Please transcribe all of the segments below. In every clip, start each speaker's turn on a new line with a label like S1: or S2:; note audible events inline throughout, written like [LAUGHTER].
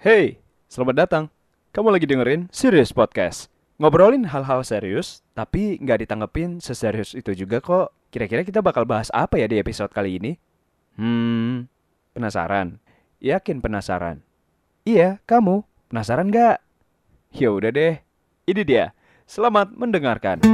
S1: Hey, selamat datang. Kamu lagi dengerin Serious Podcast. Ngobrolin hal-hal serius, tapi nggak ditanggepin seserius itu juga kok. Kira-kira kita bakal bahas apa ya di episode kali ini? Hmm, penasaran? Yakin penasaran? Iya, kamu. Penasaran nggak? Ya udah deh. Ini dia. Selamat mendengarkan.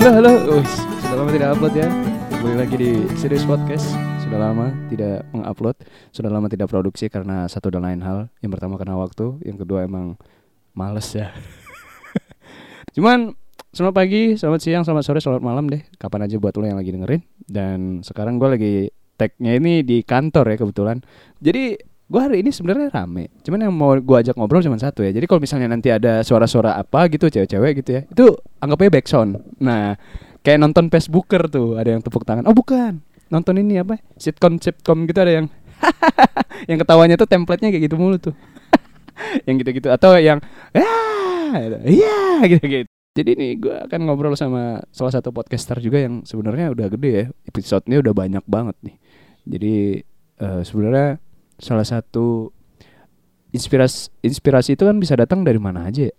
S2: Halo halo, Uis, sudah lama tidak upload ya. Kembali lagi di Serious Podcast. Sudah lama tidak mengupload, sudah lama tidak produksi karena satu dan lain hal. Yang pertama karena waktu, yang kedua emang males ya. [LAUGHS] Cuman selamat pagi, selamat siang, selamat sore, selamat malam deh. Kapan aja buat lo yang lagi dengerin. Dan sekarang gue lagi tag-nya ini di kantor ya kebetulan. Jadi gue hari ini sebenarnya rame. Cuman yang mau gue ajak ngobrol cuma satu ya. Jadi kalau misalnya nanti ada suara-suara apa gitu cewek-cewek gitu ya, itu anggapnya backsound. Nah, kayak nonton Facebooker tuh, ada yang tepuk tangan. Oh bukan, nonton ini apa? Sitcom sitcom gitu ada yang [LAUGHS] yang ketawanya tuh template-nya kayak gitu mulu tuh. [LAUGHS] yang gitu-gitu atau yang ya iya gitu-gitu. Jadi nih gue akan ngobrol sama salah satu podcaster juga yang sebenarnya udah gede ya. Episode-nya udah banyak banget nih. Jadi eh, sebenarnya salah satu inspirasi inspirasi itu kan bisa datang dari mana aja. ya.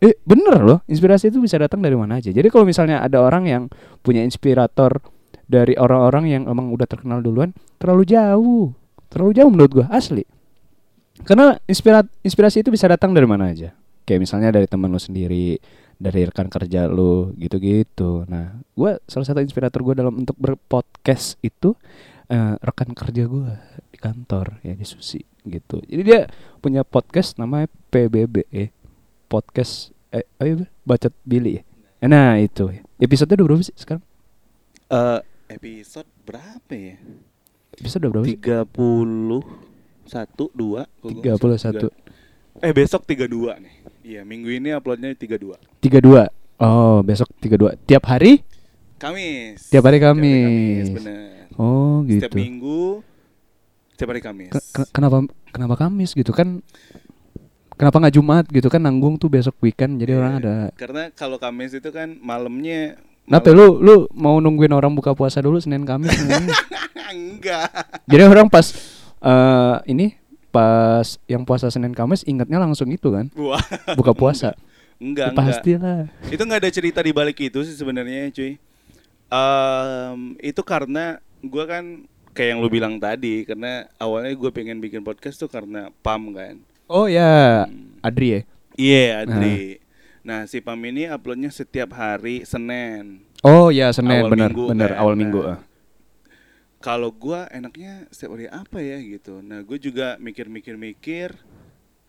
S2: Eh bener loh, inspirasi itu bisa datang dari mana aja. Jadi kalau misalnya ada orang yang punya inspirator dari orang-orang yang emang udah terkenal duluan, terlalu jauh, terlalu jauh menurut gua asli. Karena inspira- inspirasi itu bisa datang dari mana aja. Kayak misalnya dari teman lu sendiri, dari rekan kerja lu gitu-gitu. Nah, gua salah satu inspirator gua dalam untuk berpodcast itu eh, rekan kerja gua di kantor ya di Susi gitu. Jadi dia punya podcast namanya PBB eh, podcast eh ayo bacot Billy ya. Nah, itu. Episode udah berapa sih sekarang?
S3: Eh, episode berapa ya?
S2: Episode udah berapa sih?
S3: 31 2
S2: Tiga puluh satu.
S3: Eh besok 32 nih. Iya, minggu ini uploadnya 32.
S2: 32. Oh, besok 32. Tiap hari?
S3: Kamis.
S2: Tiap hari Kamis.
S3: bener.
S2: Oh, gitu.
S3: Setiap minggu setiap hari Kamis.
S2: Ke- ke- kenapa kenapa Kamis gitu kan? Kenapa nggak Jumat gitu kan nanggung tuh besok weekend jadi orang ada.
S3: Iya. Karena kalau Kamis itu kan malamnya
S2: Kenapa lu lu mau nungguin orang buka puasa dulu Senin Kamis? nungguin.
S3: [LAUGHS] enggak.
S2: jadi orang pas eh ini pas yang puasa Senin Kamis ingatnya langsung itu kan
S3: Wah.
S2: buka
S3: [LAUGHS]
S2: puasa.
S3: Enggak,
S2: Ya,
S3: enggak.
S2: Pastilah.
S3: itu nggak ada cerita di balik itu sih sebenarnya cuy Em, itu karena gua kan kayak yang lu bilang tadi karena awalnya gue pengen bikin podcast tuh karena pam kan
S2: Oh ya,
S3: Hmm.
S2: Adri ya.
S3: iya Adri nah si pam ini uploadnya setiap hari senin
S2: Oh ya Senin
S3: Awal
S2: benar
S3: minggu,
S2: benar
S3: kan?
S2: awal minggu.
S3: Nah.
S2: ah.
S3: kalau gua enaknya setiap hari apa ya gitu nah gue juga mikir-mikir-mikir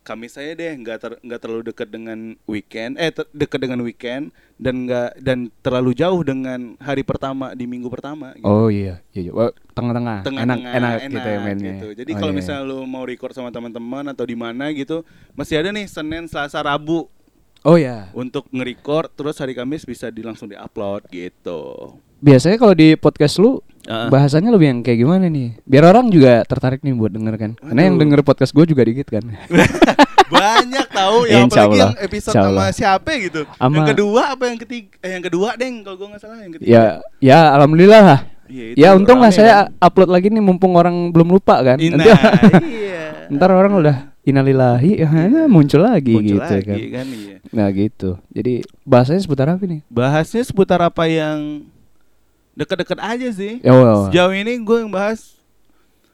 S3: Kamis saya deh nggak ter- nggak terlalu dekat dengan weekend eh ter- dekat dengan weekend dan nggak dan terlalu jauh dengan hari pertama di minggu pertama gitu.
S2: Oh iya, iya, iya. Wah, tengah-tengah, enak,
S3: tengah-tengah
S2: enak, gitu ya mainnya.
S3: gitu. Jadi
S2: Oh,
S3: kalau
S2: iya, iya.
S3: misalnya lu mau record sama teman-teman atau di mana gitu, masih ada nih Senin, Selasa, Rabu
S2: oh ya,
S3: untuk nge-record terus hari Kamis bisa di langsung di-upload gitu.
S2: biasanya kalau di podcast lu
S3: Heeh.
S2: bahasanya lebih yang kayak gimana nih? Biar orang juga tertarik nih buat denger kan. Karena yang
S3: Waduh.
S2: denger podcast gue juga dikit
S3: [LAUGHS]
S2: kan.
S3: [LAUGHS] Banyak tahu ya
S2: Insya
S3: apalagi
S2: Allah,
S3: yang episode
S2: insya
S3: sama
S2: Allah.
S3: siapa gitu. Yang
S2: Ama-
S3: kedua apa yang ketiga? Eh, yang kedua, Deng, kalau gua nggak salah yang ketiga.
S2: ya, ya alhamdulillah lah.
S3: Iya, itu
S2: Ya untung lah
S3: rame
S2: saya
S3: kan.
S2: upload lagi nih mumpung orang belum lupa kan.
S3: Ina,
S2: Nanti
S3: [LAUGHS]
S2: [LAUGHS]
S3: iya.
S2: ntar orang udah innalillahi ya, muncul lagi
S3: Muncul
S2: gitu
S3: lagi
S2: kan.
S3: kan iya.
S2: Nah gitu. Jadi bahasanya seputar apa nih?
S3: bahasnya seputar apa yang deket-deket aja sih.
S2: Ya, wah, wah.
S3: Eh, Sejauh ini gue yang bahas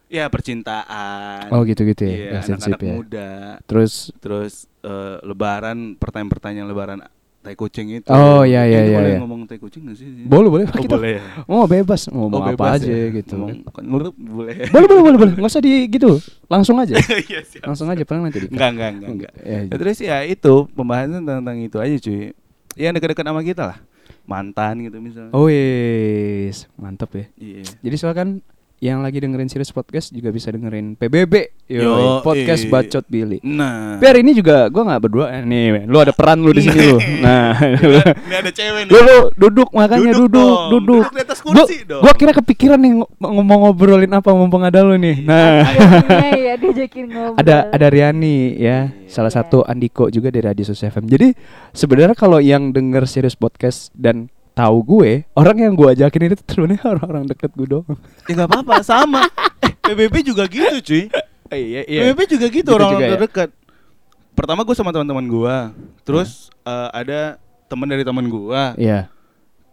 S3: ya percintaan.
S2: Oh gitu-gitu ya.
S3: Iya,
S2: relationship
S3: anak-anak muda.
S2: Terus
S3: Terus eh, lebaran, pertanyaan-pertanyaan lebaran tai kucing itu.
S2: Oh, iya, iya,
S3: Itu
S2: iya,
S3: Boleh
S2: iya.
S3: ngomong tai kucing nggak sih?
S2: boleh boleh
S3: Oh,
S2: kita
S3: boleh. ya?
S2: mau bebas mau
S3: Oh,
S2: ngomong apa
S3: bebas
S2: aja
S3: ya?
S2: gitu.
S3: Ngomong, kon- menurut boleh. ya?
S2: boleh boleh boleh boleh nggak usah di gitu langsung
S3: [LAUGHS]
S2: aja
S3: Iya, siap.
S2: langsung aja paling nanti di
S3: Enggak, enggak, enggak, enggak.
S2: Ya,
S3: Ya, terus ya itu pembahasan tentang itu aja cuy. Yang deket-deket sama kita lah. Mantan gitu misalnya.
S2: oh yes mantap ya
S3: Iya.
S2: jadi silakan yang lagi dengerin Serius Podcast juga bisa dengerin PBB yo
S3: Yoi.
S2: podcast bacot Billy
S3: Nah.
S2: biar ini juga gua nggak berdua Eh, nih lu ada peran lu di sini
S3: [LAUGHS]
S2: lu nah lu-
S3: Ini ada cewek nih.
S2: lu, lu duduk makanya duduk
S3: Duduk
S2: duduk,
S3: dong. Duduk di atas
S2: gua,
S3: kursi dong.
S2: gua kira kepikiran nih ngo- ngomong ngobrolin apa mumpung ada lu nih
S3: Iya,
S2: nah
S4: Akhirnya ya diajakin ngobrol. Iya.
S2: ada ada Riani ya salah satu Andiko juga dari Radio Sus FM jadi sebenarnya kalau yang denger serius podcast dan tahu gue orang yang gue ajakin itu sebenarnya orang-orang deket gue doang
S3: Ya nggak apa-apa, sama. Eh, PBB juga gitu, cuy.
S2: iya
S3: PBB juga gitu,
S2: Gitu
S3: orang-orang
S2: juga ya.
S3: terdekat. Pertama gue sama teman-teman gue, terus eh, ada teman dari teman gue,
S2: iya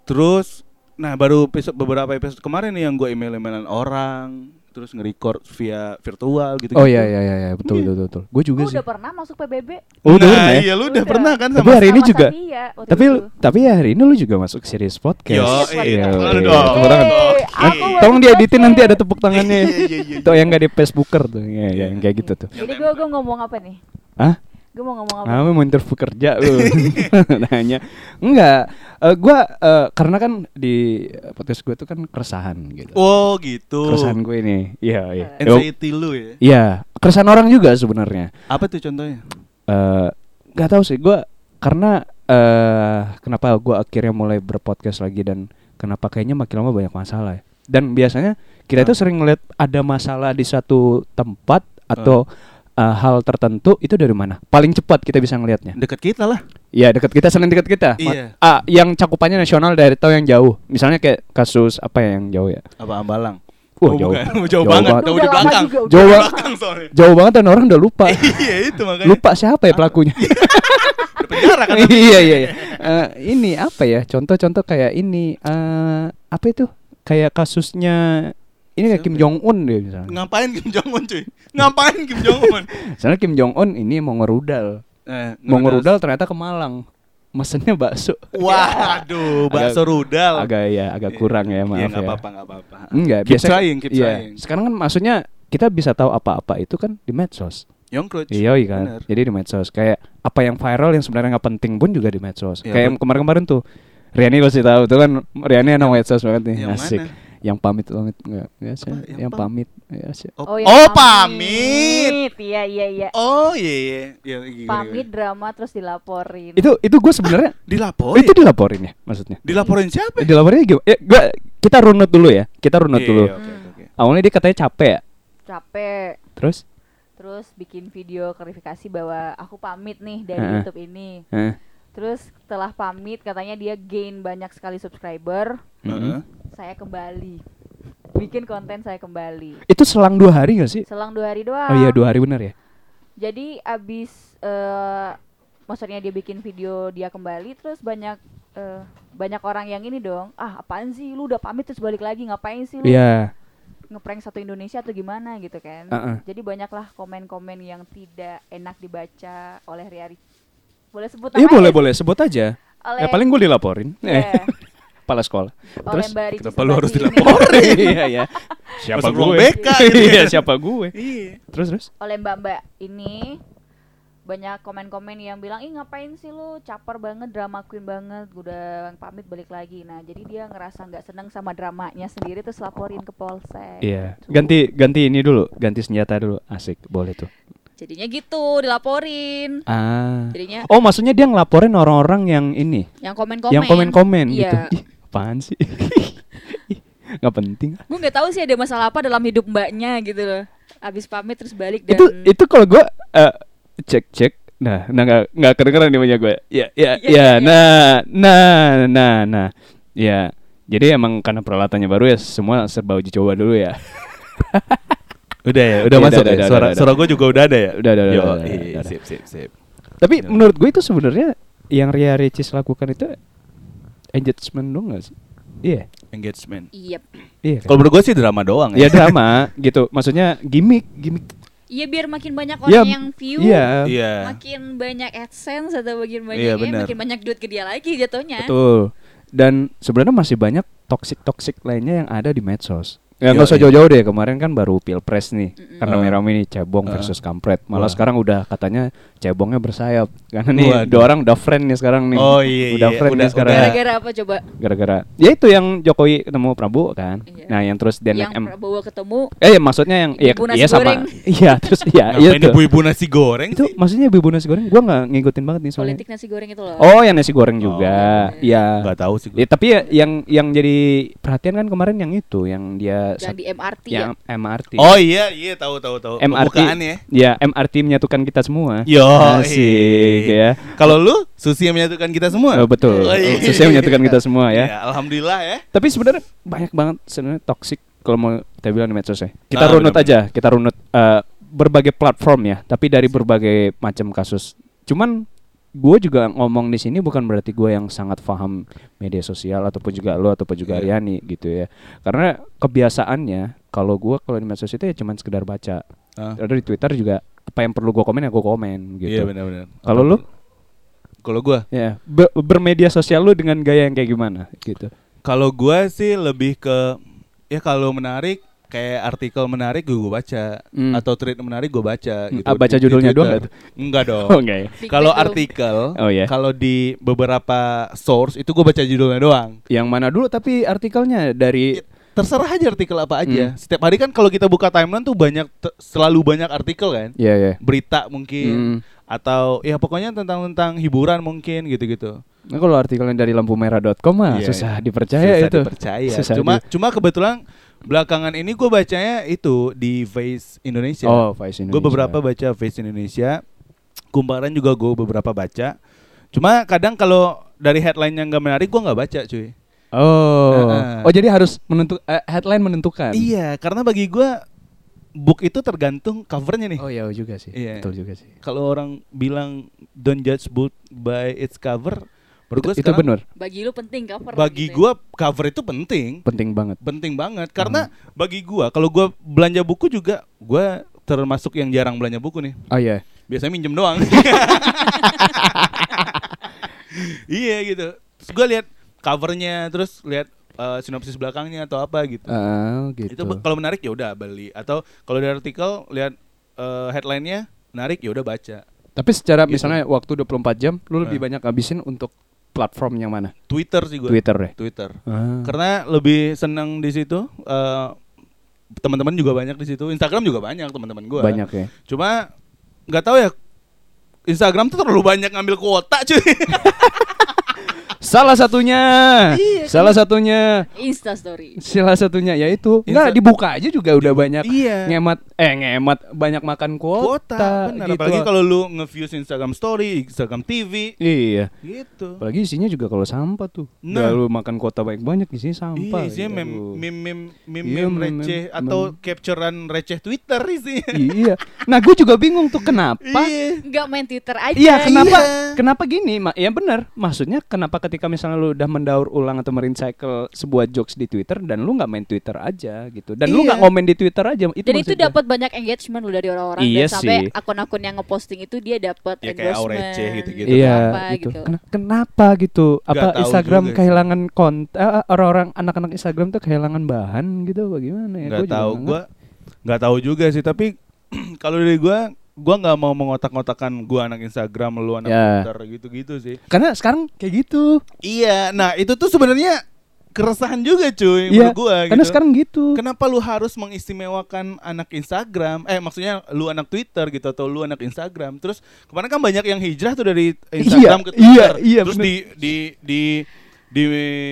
S3: terus nah baru episode, beberapa episode kemarin nih yang gue email-emailan orang, terus nge-record via virtual gitu.
S2: oh iya iya iya iya, betul betul betul gue juga
S4: Gua
S2: sih
S4: Oh, udah pernah masuk PBB.
S2: oh udah
S3: nah,
S2: pernah ya
S3: Iya, lu udah
S4: Udah.
S3: pernah kan
S2: tapi
S3: sama
S2: hari ini
S4: Sama
S2: juga
S4: Satria Iya, waktu
S2: tapi
S4: itu.
S2: tapi ya hari ini lu juga masuk serius podcast
S3: Yo,
S4: iya.
S2: Yo,
S4: Lalu
S2: iya.
S3: dong.
S2: Tepuk tangan.
S4: Yeay,
S3: Oke.
S4: Eh, aku baru
S2: Tolong dieditin
S4: selesai.
S2: nanti ada tepuk tangannya.
S3: Iya, iya, iya,
S2: Itu yang gak di Facebooker tuh. Iya, iya, yang kayak gitu tuh.
S4: Jadi gue gue ngomong apa nih?
S2: Hah?
S4: Gue mau ngomong apa?
S2: Kamu mau interview kerja
S3: [LAUGHS]
S2: lu. Nanya. Enggak. Eh, gua eh, karena kan di podcast gue tuh kan keresahan gitu.
S3: Oh gitu.
S2: Keresahan gue ini. Iya, iya. Yo,
S3: Anxiety lu ya.
S2: Iya, keresahan orang juga sebenarnya.
S3: Apa tuh contohnya?
S2: Eh, nggak tahu sih gua karena eh kenapa gua akhirnya mulai berpodcast lagi dan kenapa kayaknya makin lama banyak masalah ya. Dan biasanya kita
S3: Ah.
S2: itu sering ngeliat ada masalah di satu tempat atau
S3: Ah.
S2: eh, hal tertentu itu dari mana? Paling cepat kita bisa ngelihatnya.
S3: Dekat kita lah.
S2: Iya dekat kita selain dekat kita. Ma-
S3: Iya.
S2: Ah, yang cakupannya nasional dari atau yang jauh. Misalnya kayak kasus apa ya yang jauh ya?
S3: Apa
S2: [LAUGHS]
S3: Ambalang?
S2: Wah,
S3: Oh,
S2: jauh.
S3: bukan. [LAUGHS] Jauh,
S2: Jauh
S3: banget.
S2: banget.
S3: Udah,
S4: Udah
S3: di
S4: lama
S3: belakang.
S4: juga,
S3: Udah
S4: udah
S3: di
S2: Jauh-
S3: belakang soalnya.
S2: Jauh banget dan orang udah lupa.
S3: [LAUGHS] Iya itu makanya.
S2: lupa siapa ya
S3: [LAUGHS]
S2: pelakunya?
S3: Udah penjara kan.
S2: [LAUGHS] iya iya. iya. Eh, ini apa ya? Contoh-contoh kayak ini eh apa itu? Kayak kasusnya ini kayak
S3: ya?
S2: Kim Jong Un dia misalnya.
S3: Ngapain Kim Jong Un cuy? Ngapain Kim Jong Un?
S2: Misalnya Kim Jong Un ini mau ngerudal.
S3: [LAUGHS] Eh,
S2: Mau ngerudal ternyata ke Malang. Mesennya bakso.
S3: Wah, aduh, bakso
S2: Agak-
S3: rudal.
S2: Agak ya, agak kurang ya, maaf
S3: Iya,
S2: ya.
S3: nggak apa-apa, nggak apa-apa.
S2: Enggak,
S3: Keep
S2: biasanya
S3: trying, keep
S2: iya.
S3: trying.
S2: Sekarang kan maksudnya kita bisa tahu apa-apa itu kan di medsos.
S3: Yongkruj.
S2: Iya kan.
S3: Bener.
S2: Jadi di medsos kayak apa yang viral yang sebenarnya nggak penting pun juga di medsos.
S3: Iya,
S2: kayak yang kemarin-kemarin tuh Riani pasti tahu tuh kan Riani anak medsos banget nih
S3: Iya. yang
S2: asik.
S3: mana?
S2: Yang pamit pamit enggak ya, sih.
S3: Apa? Yang
S2: yang,
S3: pam-
S2: pamit ya, sih.
S3: Oh,
S4: iya,
S3: oh, pamit.
S4: Iya iya iya.
S3: Oh, iya iya. Iya, gimana, gimana?
S4: Pamit drama terus dilaporin.
S2: Itu itu gue sebenarnya
S3: Dilaporin.
S2: itu dilaporin ya maksudnya.
S3: Dilaporin siapa? ya?
S2: Dilaporin gimana? Ya, gua, kita runut dulu ya. Kita runut
S3: Iya,
S2: dulu.
S3: iya, oke, oke, oke.
S2: Awalnya dia katanya capek ya.
S4: capek.
S2: Terus
S4: Terus bikin video klarifikasi bahwa aku pamit nih dari
S2: Heeh.
S4: YouTube ini.
S2: eh,
S4: Terus setelah pamit katanya dia gain banyak sekali subscriber.
S3: Heeh.
S4: Saya kembali. Bikin konten saya kembali.
S2: itu selang dua hari gak sih?
S4: Selang dua hari doang.
S2: Oh iya dua hari benar ya.
S4: Jadi abis eh maksudnya dia bikin video dia kembali terus banyak eh, banyak orang yang ini dong. Ah, apaan sih lu udah pamit terus balik lagi ngapain sih lu?
S2: Iya.
S4: Ngeprank satu Indonesia atau gimana gitu kan.
S2: Uh-uh.
S4: Jadi banyaklah komen-komen yang tidak enak dibaca oleh Riari. Boleh sebut
S2: Iya
S4: namanya?
S2: boleh boleh sebut aja.
S4: Oleh
S2: Ya paling gue dilaporin.
S4: Iya.
S2: Eh, [LAUGHS] Kepala sekolah.
S4: oleh
S2: Terus
S4: Mbak Ricis
S3: kenapa lu
S4: [LAUGHS]
S3: harus
S4: Subagio ini.
S3: dilaporin?
S2: [LAUGHS] iya iya. Siapa
S3: Masuk ruang
S2: gue?
S3: BK gitu ya.
S2: Iya, siapa gue?
S3: Iya.
S2: Terus terus.
S4: Oleh Mbak-mbak ini banyak komen-komen yang bilang ih ngapain sih lu caper banget drama queen banget udah pamit balik lagi nah jadi dia ngerasa nggak seneng sama dramanya sendiri terus laporin ke polsek
S2: Iya. Ganti ganti ini dulu, ganti senjata dulu. Asik, boleh tuh.
S4: jadinya gitu dilaporin
S2: Ah.
S4: jadinya
S2: Oh, maksudnya dia ngelaporin orang-orang yang ini,
S4: yang komen-komen
S2: yang komen-komen gitu.
S4: iya
S2: Ih, apaan sih? [LAUGHS] Ih, Nggak penting.
S4: gue nggak tahu sih ada masalah apa dalam hidup mbaknya gitu loh abis pamit terus balik dan
S2: Itu itu kalau gue cek cek Nah, nah nggak nggak kedengeran nih punya gue. Ya, ya,
S4: Iya,
S2: ya.
S4: iya.
S2: Nah, nah, nah, nah. Ya. Jadi emang karena peralatannya baru ya semua serba uji coba dulu
S4: [LAUGHS]
S2: ya.
S3: Udah ya,
S2: Iya, udah,
S3: ya?
S2: udah,
S3: suara
S2: udah, udah.
S3: suara gue juga udah ada ya.
S2: Udah, udah, udah,
S3: Yo,
S2: udah,
S3: iya,
S2: udah, udah.
S3: sip sip sip.
S2: Tapi
S3: Ya.
S2: menurut gue itu sebenarnya yang Ria Ricis lakukan itu engagement dong gak sih? Iya.
S3: Engagement.
S4: iya
S2: Iya.
S3: Kalau menurut gue sih drama doang
S4: [LAUGHS]
S2: ya drama gitu. Maksudnya gimmick, gimmick.
S4: iya biar makin banyak
S2: Ya,
S4: orang yang view
S2: Iya.
S3: Iya.
S4: makin banyak adsense atau makin banyak
S3: Iya,
S4: ya,
S3: benar.
S4: makin banyak duit ke dia lagi jatuhnya
S2: Betul. Dan sebenarnya masih banyak toxic-toxic lainnya yang ada di medsos. Ya nggak usah
S3: Yoi.
S2: jauh-jauh deh kemarin kan baru pilpres nih
S4: Mm-mm.
S2: karena
S3: Ah.
S2: merame nih cebong
S3: Ah.
S2: versus kampret. Malah
S3: Wah.
S2: sekarang udah katanya cebongnya bersayap karena nih
S3: Waduh.
S2: dua orang udah friend nih sekarang nih.
S3: Oh, iya,
S2: Udah
S3: iya.
S2: friend
S3: Udah-
S2: nih sekarang.
S3: udah.
S4: Gara-gara apa coba?
S2: Gara-gara ya itu yang Jokowi ketemu Prabowo kan.
S4: Iya.
S2: Nah yang terus dia
S4: Yang
S2: naik M.
S4: Prabowo ketemu
S2: Eh ya, maksudnya yang iya
S4: Ibu nasi
S2: iya sama.
S4: goreng.
S2: [LAUGHS] Iya terus iya iya
S3: Ngapain
S2: tuh.
S3: ibu-ibu nasi goreng
S2: Itu
S3: sih?
S2: maksudnya ibu nasi goreng gua nggak ngikutin banget nih soalnya.
S4: politik nasi goreng itu loh.
S2: Oh yang nasi goreng juga.
S4: Oh,
S2: Iya.
S3: Nggak tahu sih.
S2: Ya,
S3: Gue.
S2: tapi ya, yang yang jadi perhatian kan kemarin yang itu yang dia
S4: Yang
S2: sat-
S4: di MRT ya.
S2: yang MRT.
S3: Oh iya iya tahu tahu tahu.
S2: MRT
S3: Pembukaan
S2: [LAUGHS]
S3: ya.
S2: ya MRT menyatukan kita semua
S3: Yo, iya,
S2: asik ya
S3: Kalau lu Susi yang menyatukan kita semua.
S2: Oh, betul
S3: Oh, iya.
S2: khususnya menyatukan kita semua ya
S3: Iya, alhamdulillah ya.
S2: tapi sebenarnya banyak banget sebenarnya toksik kalau mau kita bilang di medsosnya kita
S3: Ah,
S2: runut aja
S3: benar-benar.
S2: kita runut eh, berbagai platform ya tapi dari berbagai macam kasus cuman gue juga ngomong di sini bukan berarti gue yang sangat paham media sosial ataupun juga lo ataupun juga
S3: Iya.
S2: Aryani gitu ya karena kebiasaannya kalau gue kalau di medsos itu ya cuman sekedar baca
S3: Ah.
S2: ada di Twitter juga apa yang perlu gue komen ya gue komen gitu
S3: Iya benar-benar.
S2: Kalau lu?
S3: Kalau gua,
S2: Ya, be- bermedia sosial lu dengan gaya yang kayak gimana gitu.
S3: kalau gua sih lebih ke ya kalau menarik kayak artikel menarik gue baca
S2: Hmm.
S3: atau tweet menarik gue baca gitu.
S2: Ah, baca
S3: Di- di
S2: judulnya doang
S3: Twitter.
S2: nggak tuh?
S3: Enggak dong.
S2: Oh enggak ya.
S4: Clickbait
S3: Kalau
S4: dong.
S3: artikel,
S2: Oh, iya.
S3: kalau di beberapa source itu gue baca judulnya doang.
S2: Yang mana dulu tapi artikelnya dari
S3: Terserah aja artikel apa aja.
S2: Iya. Hmm.
S3: Setiap hari kan kalau kita buka timeline tuh banyak te- selalu banyak artikel kan.
S2: Iya, ya.
S3: Berita mungkin
S2: Hmm.
S3: atau ya pokoknya tentang tentang hiburan mungkin gitu-gitu.
S2: Nah, kalau artikelnya dari lampumerah.com mah
S3: Iya,
S2: susah
S3: iya.
S2: dipercaya
S3: Susah
S2: itu.
S3: dipercaya.
S2: Susah
S3: cuma
S2: di-
S3: cuma kebetulan belakangan ini gue bacanya itu di Face Indonesia.
S2: Oh, Vice Indonesia.
S3: Gue beberapa baca Face Indonesia. Kumparan juga gue beberapa baca. Cuma kadang kalau dari headline yang gak menarik gue nggak baca cuy.
S2: Oh.
S3: Heeh.
S2: Oh, jadi harus menentu eh, headline menentukan.
S3: Iya, karena bagi gue book itu tergantung covernya nih.
S2: Oh, iya juga sih.
S3: Iya.
S2: Betul juga sih.
S3: Kalau orang bilang don't judge book by its cover, menurut gue
S2: Itu, itu benar.
S4: Bagi lu penting cover
S3: Bagi
S4: gitu ya.
S3: gue cover itu penting.
S2: Penting banget.
S3: penting banget karena
S2: Hmm.
S3: bagi gua kalau gua belanja buku juga gua termasuk yang jarang belanja buku nih
S2: Oh iya.
S3: biasanya minjem
S2: [LAUGHS]
S3: doang iya gitu terus gua lihat covernya terus lihat eh, sinopsis belakangnya atau apa gitu
S2: Ah, gitu.
S3: itu be- kalau menarik ya udah beli atau kalau dari artikel lihat eh, headline-nya menarik ya udah baca
S2: tapi secara
S3: Gitu.
S2: misalnya waktu 24 jam lu lebih
S3: Ah.
S2: banyak habisin untuk platform yang mana?
S3: Twitter sih gua
S2: Twitter deh.
S3: Twitter
S2: Ah.
S3: karena lebih senang di situ eh, teman-teman juga banyak di situ Instagram juga banyak teman-teman gua
S2: Banyak ya.
S3: Cuma nggak tahu ya Instagram tuh terlalu banyak ngambil kuota cuy.
S2: Salah satunya,
S3: Iya,
S2: salah satunya,
S4: Insta story.
S2: salah satunya yaitu nggak
S3: Insta-
S2: dibuka aja juga udah banyak
S3: [LAUGHS] iya.
S2: ngemat, eh ngemat banyak makan kuota,
S3: benar.
S2: gitu.
S3: Apalagi kalau lu nge-views Instagram story, Instagram TV
S2: iya,
S3: gitu.
S2: apalagi isinya juga kalau sampah tuh,
S3: Nah.
S2: nah. lu makan kuota banyak banyak di sini
S3: Iya,
S2: sampah. gitu.
S3: isinya mem meme meme meme
S2: Iya, meme-
S3: receh
S2: meme-
S3: atau capturean receh Twitter isinya.
S2: iya. Nah, gue juga bingung tuh kenapa
S3: [LAUGHS] Iya.
S4: Enggak main Twitter aja.
S2: Iya kenapa
S3: Iya.
S2: kenapa gini Ma- ya benar maksudnya kenapa ketika misalnya lu udah mendaur ulang atau merecycle sebuah jokes di Twitter dan lu nggak main Twitter aja gitu dan lu
S3: Iya.
S2: nggak komen di Twitter aja itu
S4: Dan itu
S2: maksud gua.
S4: dapat banyak engagement lu dari orang-orang
S2: Iya
S4: dan sampai
S2: sih.
S4: akun-akun yang ngeposting itu dia dapat
S3: Ya, kayak
S4: endorsement.
S3: Aurece gitu-gitu.
S2: iya
S4: apa
S2: gitu.
S4: gitu.
S2: Ken- kenapa gitu apa
S3: kan. tahu
S2: Instagram
S3: juga sih.
S2: kehilangan konten orang-orang anak-anak Instagram tuh kehilangan bahan gitu bagaimana ya
S3: Nggak
S2: juga
S3: tahu
S2: nggak
S3: gua nggak tahu juga sih, tapi [CLEARS THROAT] kalau dari gua gua nggak mau mengotak-ngotakan gua anak Instagram, lu anak
S2: Ya.
S3: Twitter gitu-gitu sih.
S2: ngerti. karena sekarang kayak gitu
S3: Iya, nah itu tuh sebenarnya keresahan juga cuy
S2: iya
S3: menurut gua
S2: karena
S3: gitu.
S2: sekarang gitu
S3: Kenapa lu harus mengistimewakan anak Instagram? Eh maksudnya lu anak Twitter gitu atau lu anak Instagram? Terus kemarin kan banyak yang hijrah tuh dari Instagram
S2: Iya,
S3: ke Twitter.
S2: iya, iya,
S3: terus
S2: bener.
S3: di di di di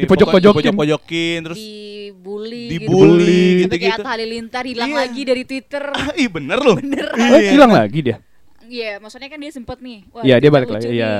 S2: Dipojok-pojokin.
S3: pojok-pojokin terus
S4: Iya. dibully
S3: Dibully,
S4: gitu. Sampai kayak
S3: gitu-gitu.
S4: Atta Halilintar hilang
S3: Iya.
S4: lagi dari Twitter.
S3: ah, ih bener Iya. loh.
S4: Bener.
S2: Oh, hilang lagi dia
S4: Iya, maksudnya kan dia sempet nih. Wah,
S2: Iya, dia
S4: Twitter
S2: balik
S4: lucu
S2: lagi,
S4: nih.
S2: iya.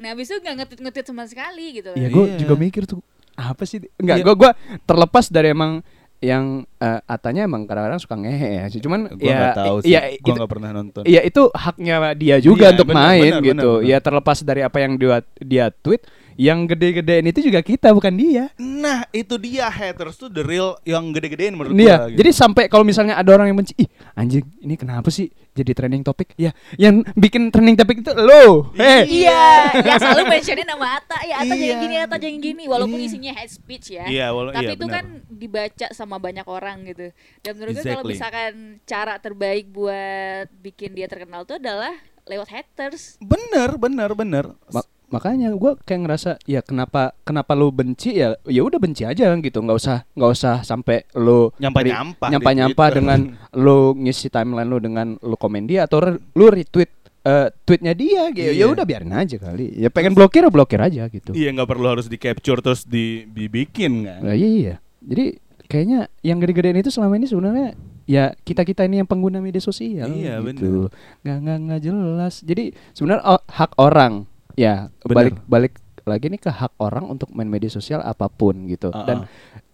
S4: Nah, habis itu nggak ngetit-ngetit sama sekali gitu.
S2: Ya
S4: loh.
S2: gue
S3: Iya.
S2: juga mikir tuh apa sih? Enggak,
S3: Iya.
S2: gue gua terlepas dari emang yang eh, atanya emang kadang-kadang suka ngehe ya. sih. Cuman
S3: Gua
S2: ya
S3: nggak tahu sih.
S2: ya
S3: gua
S2: itu,
S3: nggak pernah nonton.
S2: ya itu haknya dia juga
S3: Iya,
S2: untuk
S3: benar,
S2: main
S3: benar,
S2: gitu.
S3: benar, benar.
S2: Ya terlepas dari apa yang dia dia tweet, yang gede-gedein itu juga kita bukan dia.
S3: Nah itu dia haters tuh the real yang gede-gedein menurut
S2: Iya.
S3: gua. gitu.
S2: Jadi sampai kalau misalnya ada orang yang benci, ih anjing, ini kenapa sih jadi trending topik? Ya, yang bikin trending topik itu lo. Eh, Hei.
S4: Iya, yang selalu mentionnya nama Atta. Ya Atta
S3: Iya.
S4: jangan gini, Atta jangan gini. Walaupun
S3: Iya.
S4: isinya hate speech ya.
S3: Iya, wala- iya,
S4: Tapi itu
S3: benar.
S4: kan dibaca sama sama banyak orang gitu. Dan menurut gue kalau
S3: Exactly.
S4: misalkan cara terbaik buat bikin dia terkenal tuh adalah lewat haters.
S5: Bener, bener, bener.
S2: Ma- makanya gua kayak ngerasa ya kenapa kenapa lu benci ya ya udah benci aja gitu nggak usah nggak usah sampai lu
S5: Nyampah-nyampah di
S2: nyampa nyampa
S5: Twitter.
S3: [LAUGHS]
S2: dengan lu ngisi timeline lu dengan lu komen dia atau re- lu retweet eh, tweetnya dia gitu ya
S3: Iya.
S2: udah biarin aja kali ya pengen blokir ya blokir aja gitu
S5: Iya nggak perlu harus di capture terus di- dibikin kan.
S2: Nah, iya iya. Jadi kayaknya yang gede-gedean itu selama ini sebenarnya ya kita kita ini yang pengguna media sosial.
S3: Iya,
S2: gitu. Nggak nggak nggak jelas. Jadi sebenarnya o- hak orang ya
S3: Bener.
S2: balik balik lagi nih ke hak orang untuk main media sosial apapun gitu.
S3: Uh-uh.
S2: Dan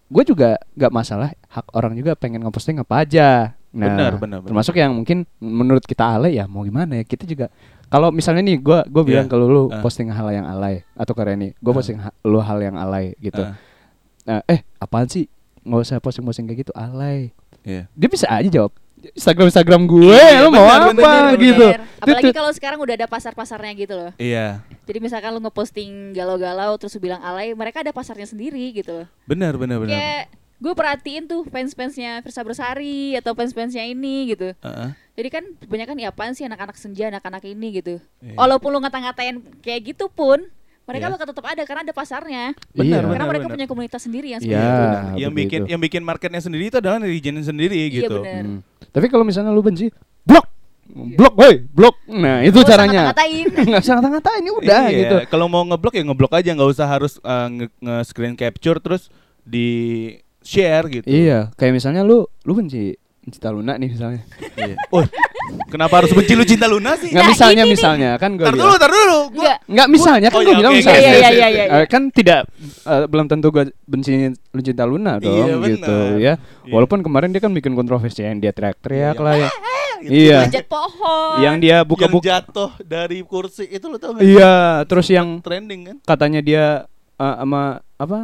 S2: gue juga nggak masalah hak orang juga pengen ngeposting apa aja. Nah,
S3: Benar, benar, benar.
S2: termasuk yang mungkin menurut kita alay ya mau gimana ya kita juga kalau misalnya nih gue gue bilang
S3: Iya.
S2: kalau lu
S3: Ah.
S2: posting hal yang alay atau karena ini gue
S3: Ah.
S2: posting ha- lu hal yang alay gitu
S3: Ah,
S2: Nah, eh apaan sih nggak usah posting-posting kayak gitu alay
S3: iya.
S2: dia bisa aja jawab Instagram Instagram gue
S3: Iya,
S2: lo mau
S3: benar,
S2: apa
S3: benar,
S2: gitu
S4: Apalagi
S2: Tut-tut.
S4: kalau sekarang udah ada pasar-pasarnya gitu loh.
S3: Iya.
S4: Jadi misalkan lu ngeposting galau-galau terus lu bilang alay, mereka ada pasarnya sendiri gitu loh.
S3: Benar, benar, benar.
S4: Kayak gue perhatiin tuh fans-fansnya Versa Bersari atau fans-fansnya ini gitu.
S3: Heeh.
S4: Jadi kan kebanyakan ya apaan sih anak-anak senja, anak-anak ini gitu.
S3: Iya.
S4: Walaupun lu ngata-ngatain kayak gitu pun, mereka
S3: Iya.
S4: bakal tetap ada karena ada pasarnya.
S2: Iya.
S3: Benar,
S4: karena
S3: benar,
S4: mereka
S3: benar.
S4: punya komunitas sendiri
S2: Iya.
S4: yang seperti itu.
S2: Ah,
S3: yang bikin
S2: begitu.
S3: yang bikin marketnya sendiri itu adalah netizen sendiri
S4: Iya
S3: gitu.
S4: benar.
S2: Hmm. tapi kalau misalnya lu benci blok blok woi blok nah itu
S4: Iya. Nggak usah
S2: caranya
S4: ngata-ngatain.
S2: [LAUGHS] nggak usah ngata-ngatain ini udah
S3: Iya,
S2: gitu
S3: Kalau mau ngeblok ya ngeblok aja, nggak usah harus eh, nge- nge-screen capture terus di share gitu.
S2: iya kayak misalnya lu lu benci Cinta Luna nih misalnya
S4: [LAUGHS]
S3: Iya.
S2: Oh,
S3: Woi, kenapa harus benci lu cinta Luna sih?
S2: nggak
S4: Nah,
S2: misalnya
S4: ini nih.
S2: misalnya kan gue
S3: Tar dulu, tar dulu. Gua
S4: Enggak.
S2: Nggak misalnya kan
S3: Oh,
S2: gue
S3: iya,
S2: bilang
S3: oke,
S2: misalnya
S4: oke, Iya, oke, iya, oke. iya, iya.
S2: Eh, kan tidak eh, belum tentu gue benci Lucinta Luna dong
S3: Iya, benar.
S2: gitu ya.
S3: Iya.
S2: Walaupun kemarin dia kan bikin kontroversi yang dia teriak-teriak
S3: Iya.
S2: lah ya.
S3: [LAUGHS] gitu.
S2: Iya.
S4: Manjat pohon.
S2: Yang dia
S3: iya. yang
S2: buka-buka
S3: jatuh dari kursi itu lu tau gak?
S2: Iya, terus yang
S3: Trending kan?
S2: katanya dia eh, sama apa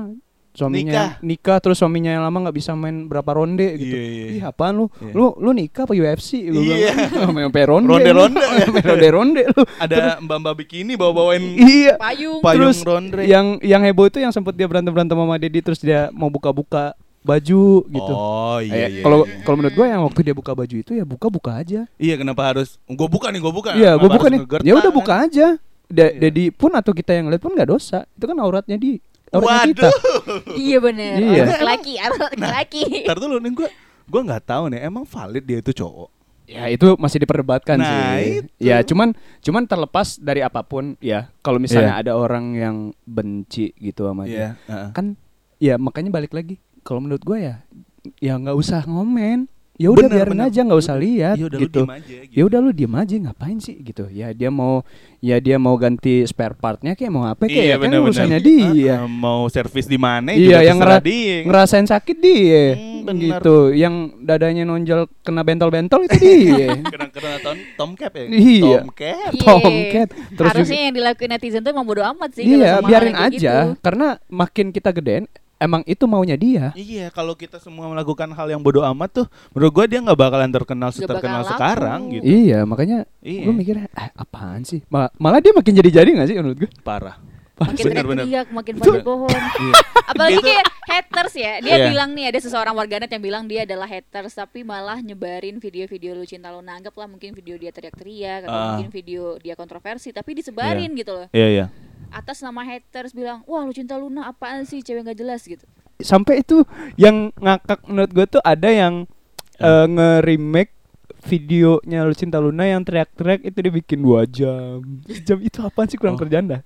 S2: suaminya nikah. terus suaminya yang lama nggak bisa main berapa ronde gitu.
S3: Iya, iya.
S2: Ih, apaan lu?
S3: Iya.
S2: Lu lu nikah apa UFC lu
S3: Iya.
S2: bilang. [LAUGHS] Sampai ronde. [LAUGHS]
S3: Ronde-ronde.
S2: Ronde-ronde lu.
S3: Ada mbak-mbak bikini bawa-bawain
S2: Iya.
S4: payung.
S3: Payung
S2: terus
S3: Rondre.
S2: yang yang heboh itu yang sempat dia berantem berantem sama Dedi terus dia mau buka buka baju gitu.
S3: Oh iya.
S2: Eh,
S3: iya,
S2: Kalau
S3: iya.
S2: kalau menurut gue yang waktu dia buka baju itu ya buka buka aja.
S3: Iya, kenapa harus? Gue buka nih, gue buka.
S2: Iya,
S3: Kenapa
S2: gue buka
S3: harus
S2: nih.
S3: ngegertak,
S2: Ya udah
S3: kan? Iya.
S2: buka aja. Da- Dedi pun atau kita yang lihat pun nggak dosa. Itu kan auratnya di auratnya
S3: Waduh.
S2: kita.
S4: Iya benar.
S2: Iya. Nah,
S4: Orang Laki, anak laki.
S3: Ntar dulu nih gue gue nggak tahu nih emang valid dia itu cowok.
S2: Ya itu masih diperdebatkan
S3: Nah,
S2: sih.
S3: itu.
S2: Ya cuman cuman terlepas dari apapun ya. Kalau misalnya ada orang yang benci gitu sama
S3: Iya.
S2: dia.
S3: heeh.
S2: kan ya makanya balik lagi kalau menurut gue ya ya nggak usah ngomen ya udah
S3: Benar,
S2: biarin
S3: benar.
S2: aja nggak usah
S3: Yaudah-
S2: lihat
S3: yaudah Iya, lu
S2: gitu
S3: diem aja, gitu.
S2: ya udah lu diem aja ngapain sih gitu ya dia mau ya dia mau ganti spare partnya kayak mau apa kayak ya kan
S3: Iya, benar-benar.
S2: urusannya
S3: Heeh,
S2: dia
S3: mau servis di mana?
S2: iya
S3: ah, juga
S2: yang
S3: terserah
S2: ngera-
S3: dia.
S2: ngerasain sakit dia
S3: Hmm, benar.
S2: gitu yang dadanya nonjol kena bentol-bentol itu
S3: [LAUGHS]
S2: dia
S3: Kena-kena tom- tomcat ya.
S2: Iya.
S3: Tomcat.
S4: Iya.
S2: Tomcat. Terus
S4: Harusnya
S2: juga-
S4: yang dilakuin netizen tuh emang bodo amat sih. kalau
S2: iya
S4: sama
S2: biarin
S4: orang kayak
S2: aja
S4: gitu.
S2: karena makin kita gedein emang itu maunya dia
S3: Iya, kalau kita semua melakukan hal yang bodoh amat tuh, menurut gue dia nggak bakalan terkenal
S4: Nggak
S3: seterkenal
S4: bakal
S3: sekarang
S4: laku.
S3: gitu.
S2: Iya, makanya
S3: Iya.
S2: gue mikirnya "Ah, apaan sih? Mal- malah dia makin jadi-jadi gak sih menurut gue?
S3: Parah.
S4: Makin
S3: Bener, bener.
S4: teriak, makin panjat pohon.
S3: Iya.
S4: Apalagi
S3: Itu-
S4: kayak haters ya. Dia
S3: Iya.
S4: bilang nih ada seseorang warganet yang bilang dia adalah haters tapi malah nyebarin video-video lu cinta lu nanggap lah mungkin video dia teriak-teriak atau
S3: Ah.
S4: mungkin video dia kontroversi tapi disebarin gitu loh.
S3: Iya, iya.
S4: Atas nama haters bilang, "Wah, lu cinta Luna apaan sih cewek nggak jelas" gitu.
S2: Sampai itu yang ngakak menurut gue tuh ada yang
S3: Iya.
S2: eh, nge-remake videonya Lu Cinta Luna yang teriak-teriak itu dibikin dua jam. Jam itu apaan sih kurang
S3: Oh.
S2: kerjaan dah?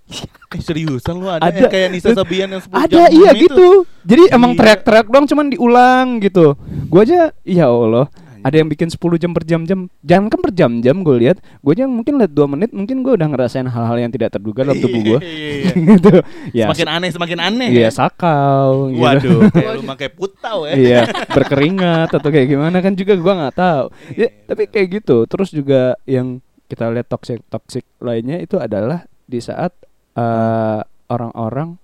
S3: Eh, seriusan lu ada,
S2: Ada.
S3: eh, kayak Nisa Sabian yang 10
S2: Ada
S3: jam
S2: iya
S3: itu.
S2: gitu. Jadi emang
S3: Iya.
S2: teriak-teriak doang cuman diulang gitu. Gue aja ya Allah ada yang bikin 10 jam per jam-jam Jangan kan per jam-jam gue lihat Gue aja mungkin lihat 2 menit Mungkin gue udah ngerasain hal-hal yang tidak terduga dalam tubuh gue
S3: Iya, iya.
S2: [LAUGHS] gitu. Ya,
S3: Semakin aneh, semakin aneh.
S2: Iya
S3: ya.
S2: sakau. gitu.
S3: Waduh, kayak lu pakai putau ya.
S2: iya berkeringat atau kayak gimana kan juga gua nggak tahu.
S3: Iya,
S2: Ya, tapi kayak gitu. Terus juga yang kita lihat toxic toxic lainnya itu adalah di saat eh, orang-orang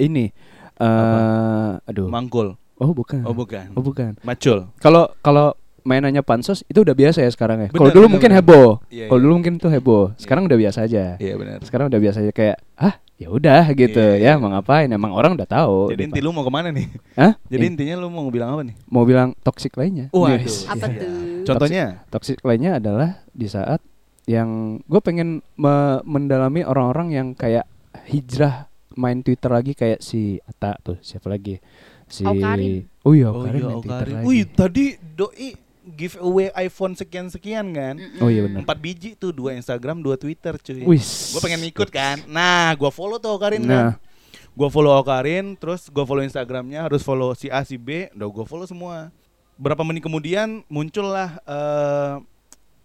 S2: ini. eh aduh.
S3: Manggol.
S2: oh bukan.
S3: Oh, bukan.
S2: Oh bukan.
S3: Macul.
S2: Kalau kalau mainannya pansos itu udah biasa ya sekarang ya.
S3: Bener,
S2: Kalau dulu
S3: bener,
S2: mungkin
S3: bener.
S2: heboh.
S3: Iya,
S2: Kalau
S3: iya.
S2: dulu mungkin itu heboh. Sekarang udah biasa aja.
S3: Iya benar.
S2: Sekarang udah biasa aja kayak ah ya udah gitu
S3: Iya,
S2: ya
S3: iya.
S2: mau ngapain emang orang udah tahu
S3: Jadi
S2: Dipa.
S3: inti lu mau kemana nih?
S2: Hah?
S3: Jadi
S2: In-
S3: intinya lu mau bilang apa nih?
S2: mau bilang toxic lainnya
S3: Waduh.
S2: Yes.
S4: Apa
S3: Iya.
S4: tuh?
S3: Contohnya?
S2: toxic lainnya adalah di saat yang gue pengen me- mendalami orang-orang yang kayak hijrah main Twitter lagi kayak si Ata tuh siapa lagi si
S4: Awkarin.
S2: oh iya Awkarin main Twitter
S3: Karin.
S2: lagi
S3: Wih, tadi doi giveaway iPhone sekian-sekian kan?
S2: oh iya benar
S3: Empat biji tuh, dua Instagram, dua Twitter cuy.
S2: Wis.
S3: Gue pengen ikut kan. Nah, gua follow tuh Karin
S2: nah
S3: kan. Gua follow Karin, terus gua follow Instagramnya, harus follow si A, si B, udah gua follow semua. Berapa menit kemudian muncullah eh,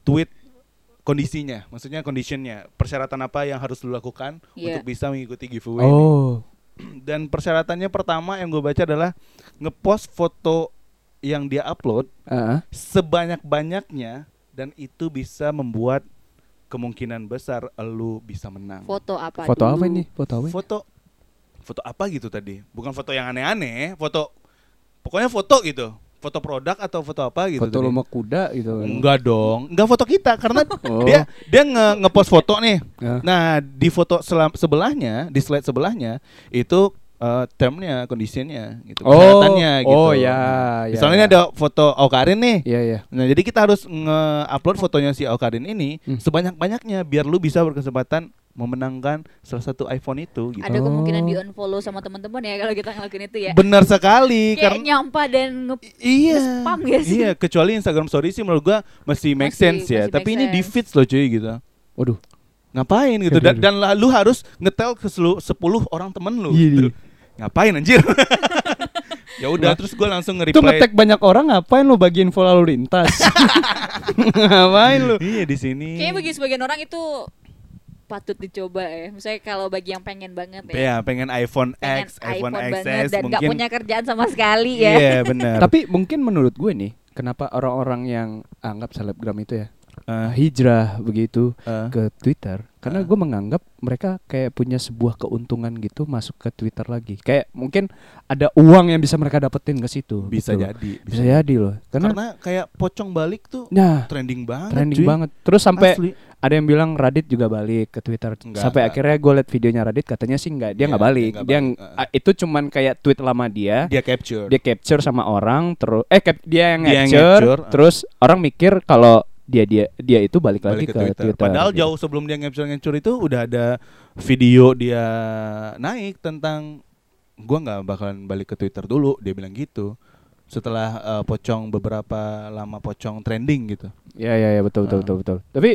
S3: tweet kondisinya, maksudnya conditionnya, persyaratan apa yang harus lu lakukan
S4: Iya.
S3: untuk bisa mengikuti giveaway ini.
S2: oh
S3: [CLEARS THROAT] Dan persyaratannya pertama yang gue baca adalah ngepost foto yang dia upload
S2: ah, ah.
S3: sebanyak-banyaknya dan itu bisa membuat kemungkinan besar lu bisa menang.
S4: Foto apa?
S2: foto
S4: dulu?
S2: apa ini foto apa ini?
S3: Foto foto apa gitu tadi? Bukan foto yang aneh-aneh, foto pokoknya foto gitu. Foto produk atau foto apa gitu.
S2: foto
S3: tadi.
S2: lo sama kuda gitu kan
S3: Enggak dong, enggak foto kita karena
S2: [LAUGHS] Oh.
S3: dia dia nge- ngepost foto nih.
S2: Ah.
S3: Nah, di foto selam- sebelahnya, di slide sebelahnya itu eh, termnya, conditionnya gitu,
S2: Oh,
S3: persyaratannya gitu.
S2: oh ya,
S3: Nah,
S2: ya,
S3: Misalnya
S2: ya.
S3: ini ada foto Aukarin nih.
S2: iya iya
S3: Nah, jadi kita harus nge-upload fotonya si Aukarin ini
S2: Hmm.
S3: sebanyak-banyaknya biar lu bisa berkesempatan memenangkan salah satu iPhone itu gitu.
S4: Ada
S2: Oh.
S4: kemungkinan di unfollow sama teman-teman ya kalau kita ngelakuin itu ya.
S3: Benar sekali
S4: Kayak
S3: karena
S4: nyampah dan nge
S3: I- iya.
S4: nge-spam ya sih?
S3: Iya, kecuali Instagram story sih menurut gua masih make
S4: Masih-
S3: sense ya,
S4: masih
S3: tapi
S4: make
S3: ini di
S4: sense.
S3: feeds loh cuy gitu.
S2: waduh
S3: ngapain gitu
S2: Iya,
S3: dan,
S2: iya,
S3: dan la- lu harus ngetel ke selu, 10 orang temen lu
S2: Iya,
S3: gitu.
S2: iya.
S3: ngapain
S2: [LAUGHS]
S3: anjir ya udah terus gue langsung
S2: itu
S3: nge-reply
S2: ngetek banyak orang ngapain lo bagiin info lalu
S3: [LAUGHS]
S2: lintas [LAUGHS] ngapain lo
S3: iya di sini
S4: Kayaknya bagi sebagian orang itu patut dicoba ya. Misalnya kalau bagi yang pengen banget ya.
S3: ya pengen iPhone
S4: Pengen
S3: X iPhone,
S4: banget
S3: XS
S4: dan nggak
S3: mungkin
S4: punya kerjaan sama sekali ya.
S3: iya benar
S2: [LAUGHS] Tapi mungkin menurut gue nih, kenapa orang-orang yang anggap selebgram itu ya
S3: Eh,
S2: hijrah begitu
S3: eh,
S2: ke Twitter? Karena
S3: Ah.
S2: gue menganggap mereka kayak punya sebuah keuntungan gitu masuk ke Twitter lagi. Kayak mungkin ada uang yang bisa mereka dapetin ke situ.
S3: bisa
S2: gitu loh.
S3: jadi
S2: Bisa jadi loh.
S3: karena,
S2: Karena,
S3: kayak pocong balik tuh
S2: nah
S3: trending banget
S2: trending
S3: cuy.
S2: banget. Terus sampai
S3: Asli.
S2: ada yang bilang Radit juga balik ke Twitter.
S3: Enggak,
S2: sampai
S3: enggak.
S2: akhirnya gue liat videonya Radit katanya sih enggak, dia
S3: Iya,
S2: nggak
S3: dia
S2: balik.
S3: nggak
S2: Dia
S3: balik,
S2: ng-
S3: ah.
S2: ah, itu cuman kayak tweet lama dia
S3: dia capture
S2: dia capture sama orang terus eh cap- dia yang
S3: Dia yang
S2: capture,
S3: capture, ah.
S2: terus orang mikir kalau dia dia dia itu balik, lagi ke,
S3: balik
S2: Twitter.
S3: Padahal
S2: gitu.
S3: jauh sebelum dia ngecur-ngecur itu udah ada video dia naik tentang gua nggak bakalan balik ke Twitter dulu, dia bilang gitu. Setelah eh, pocong beberapa lama pocong trending gitu.
S2: Ya ya ya betul betul
S3: Ah.
S2: betul betul. Tapi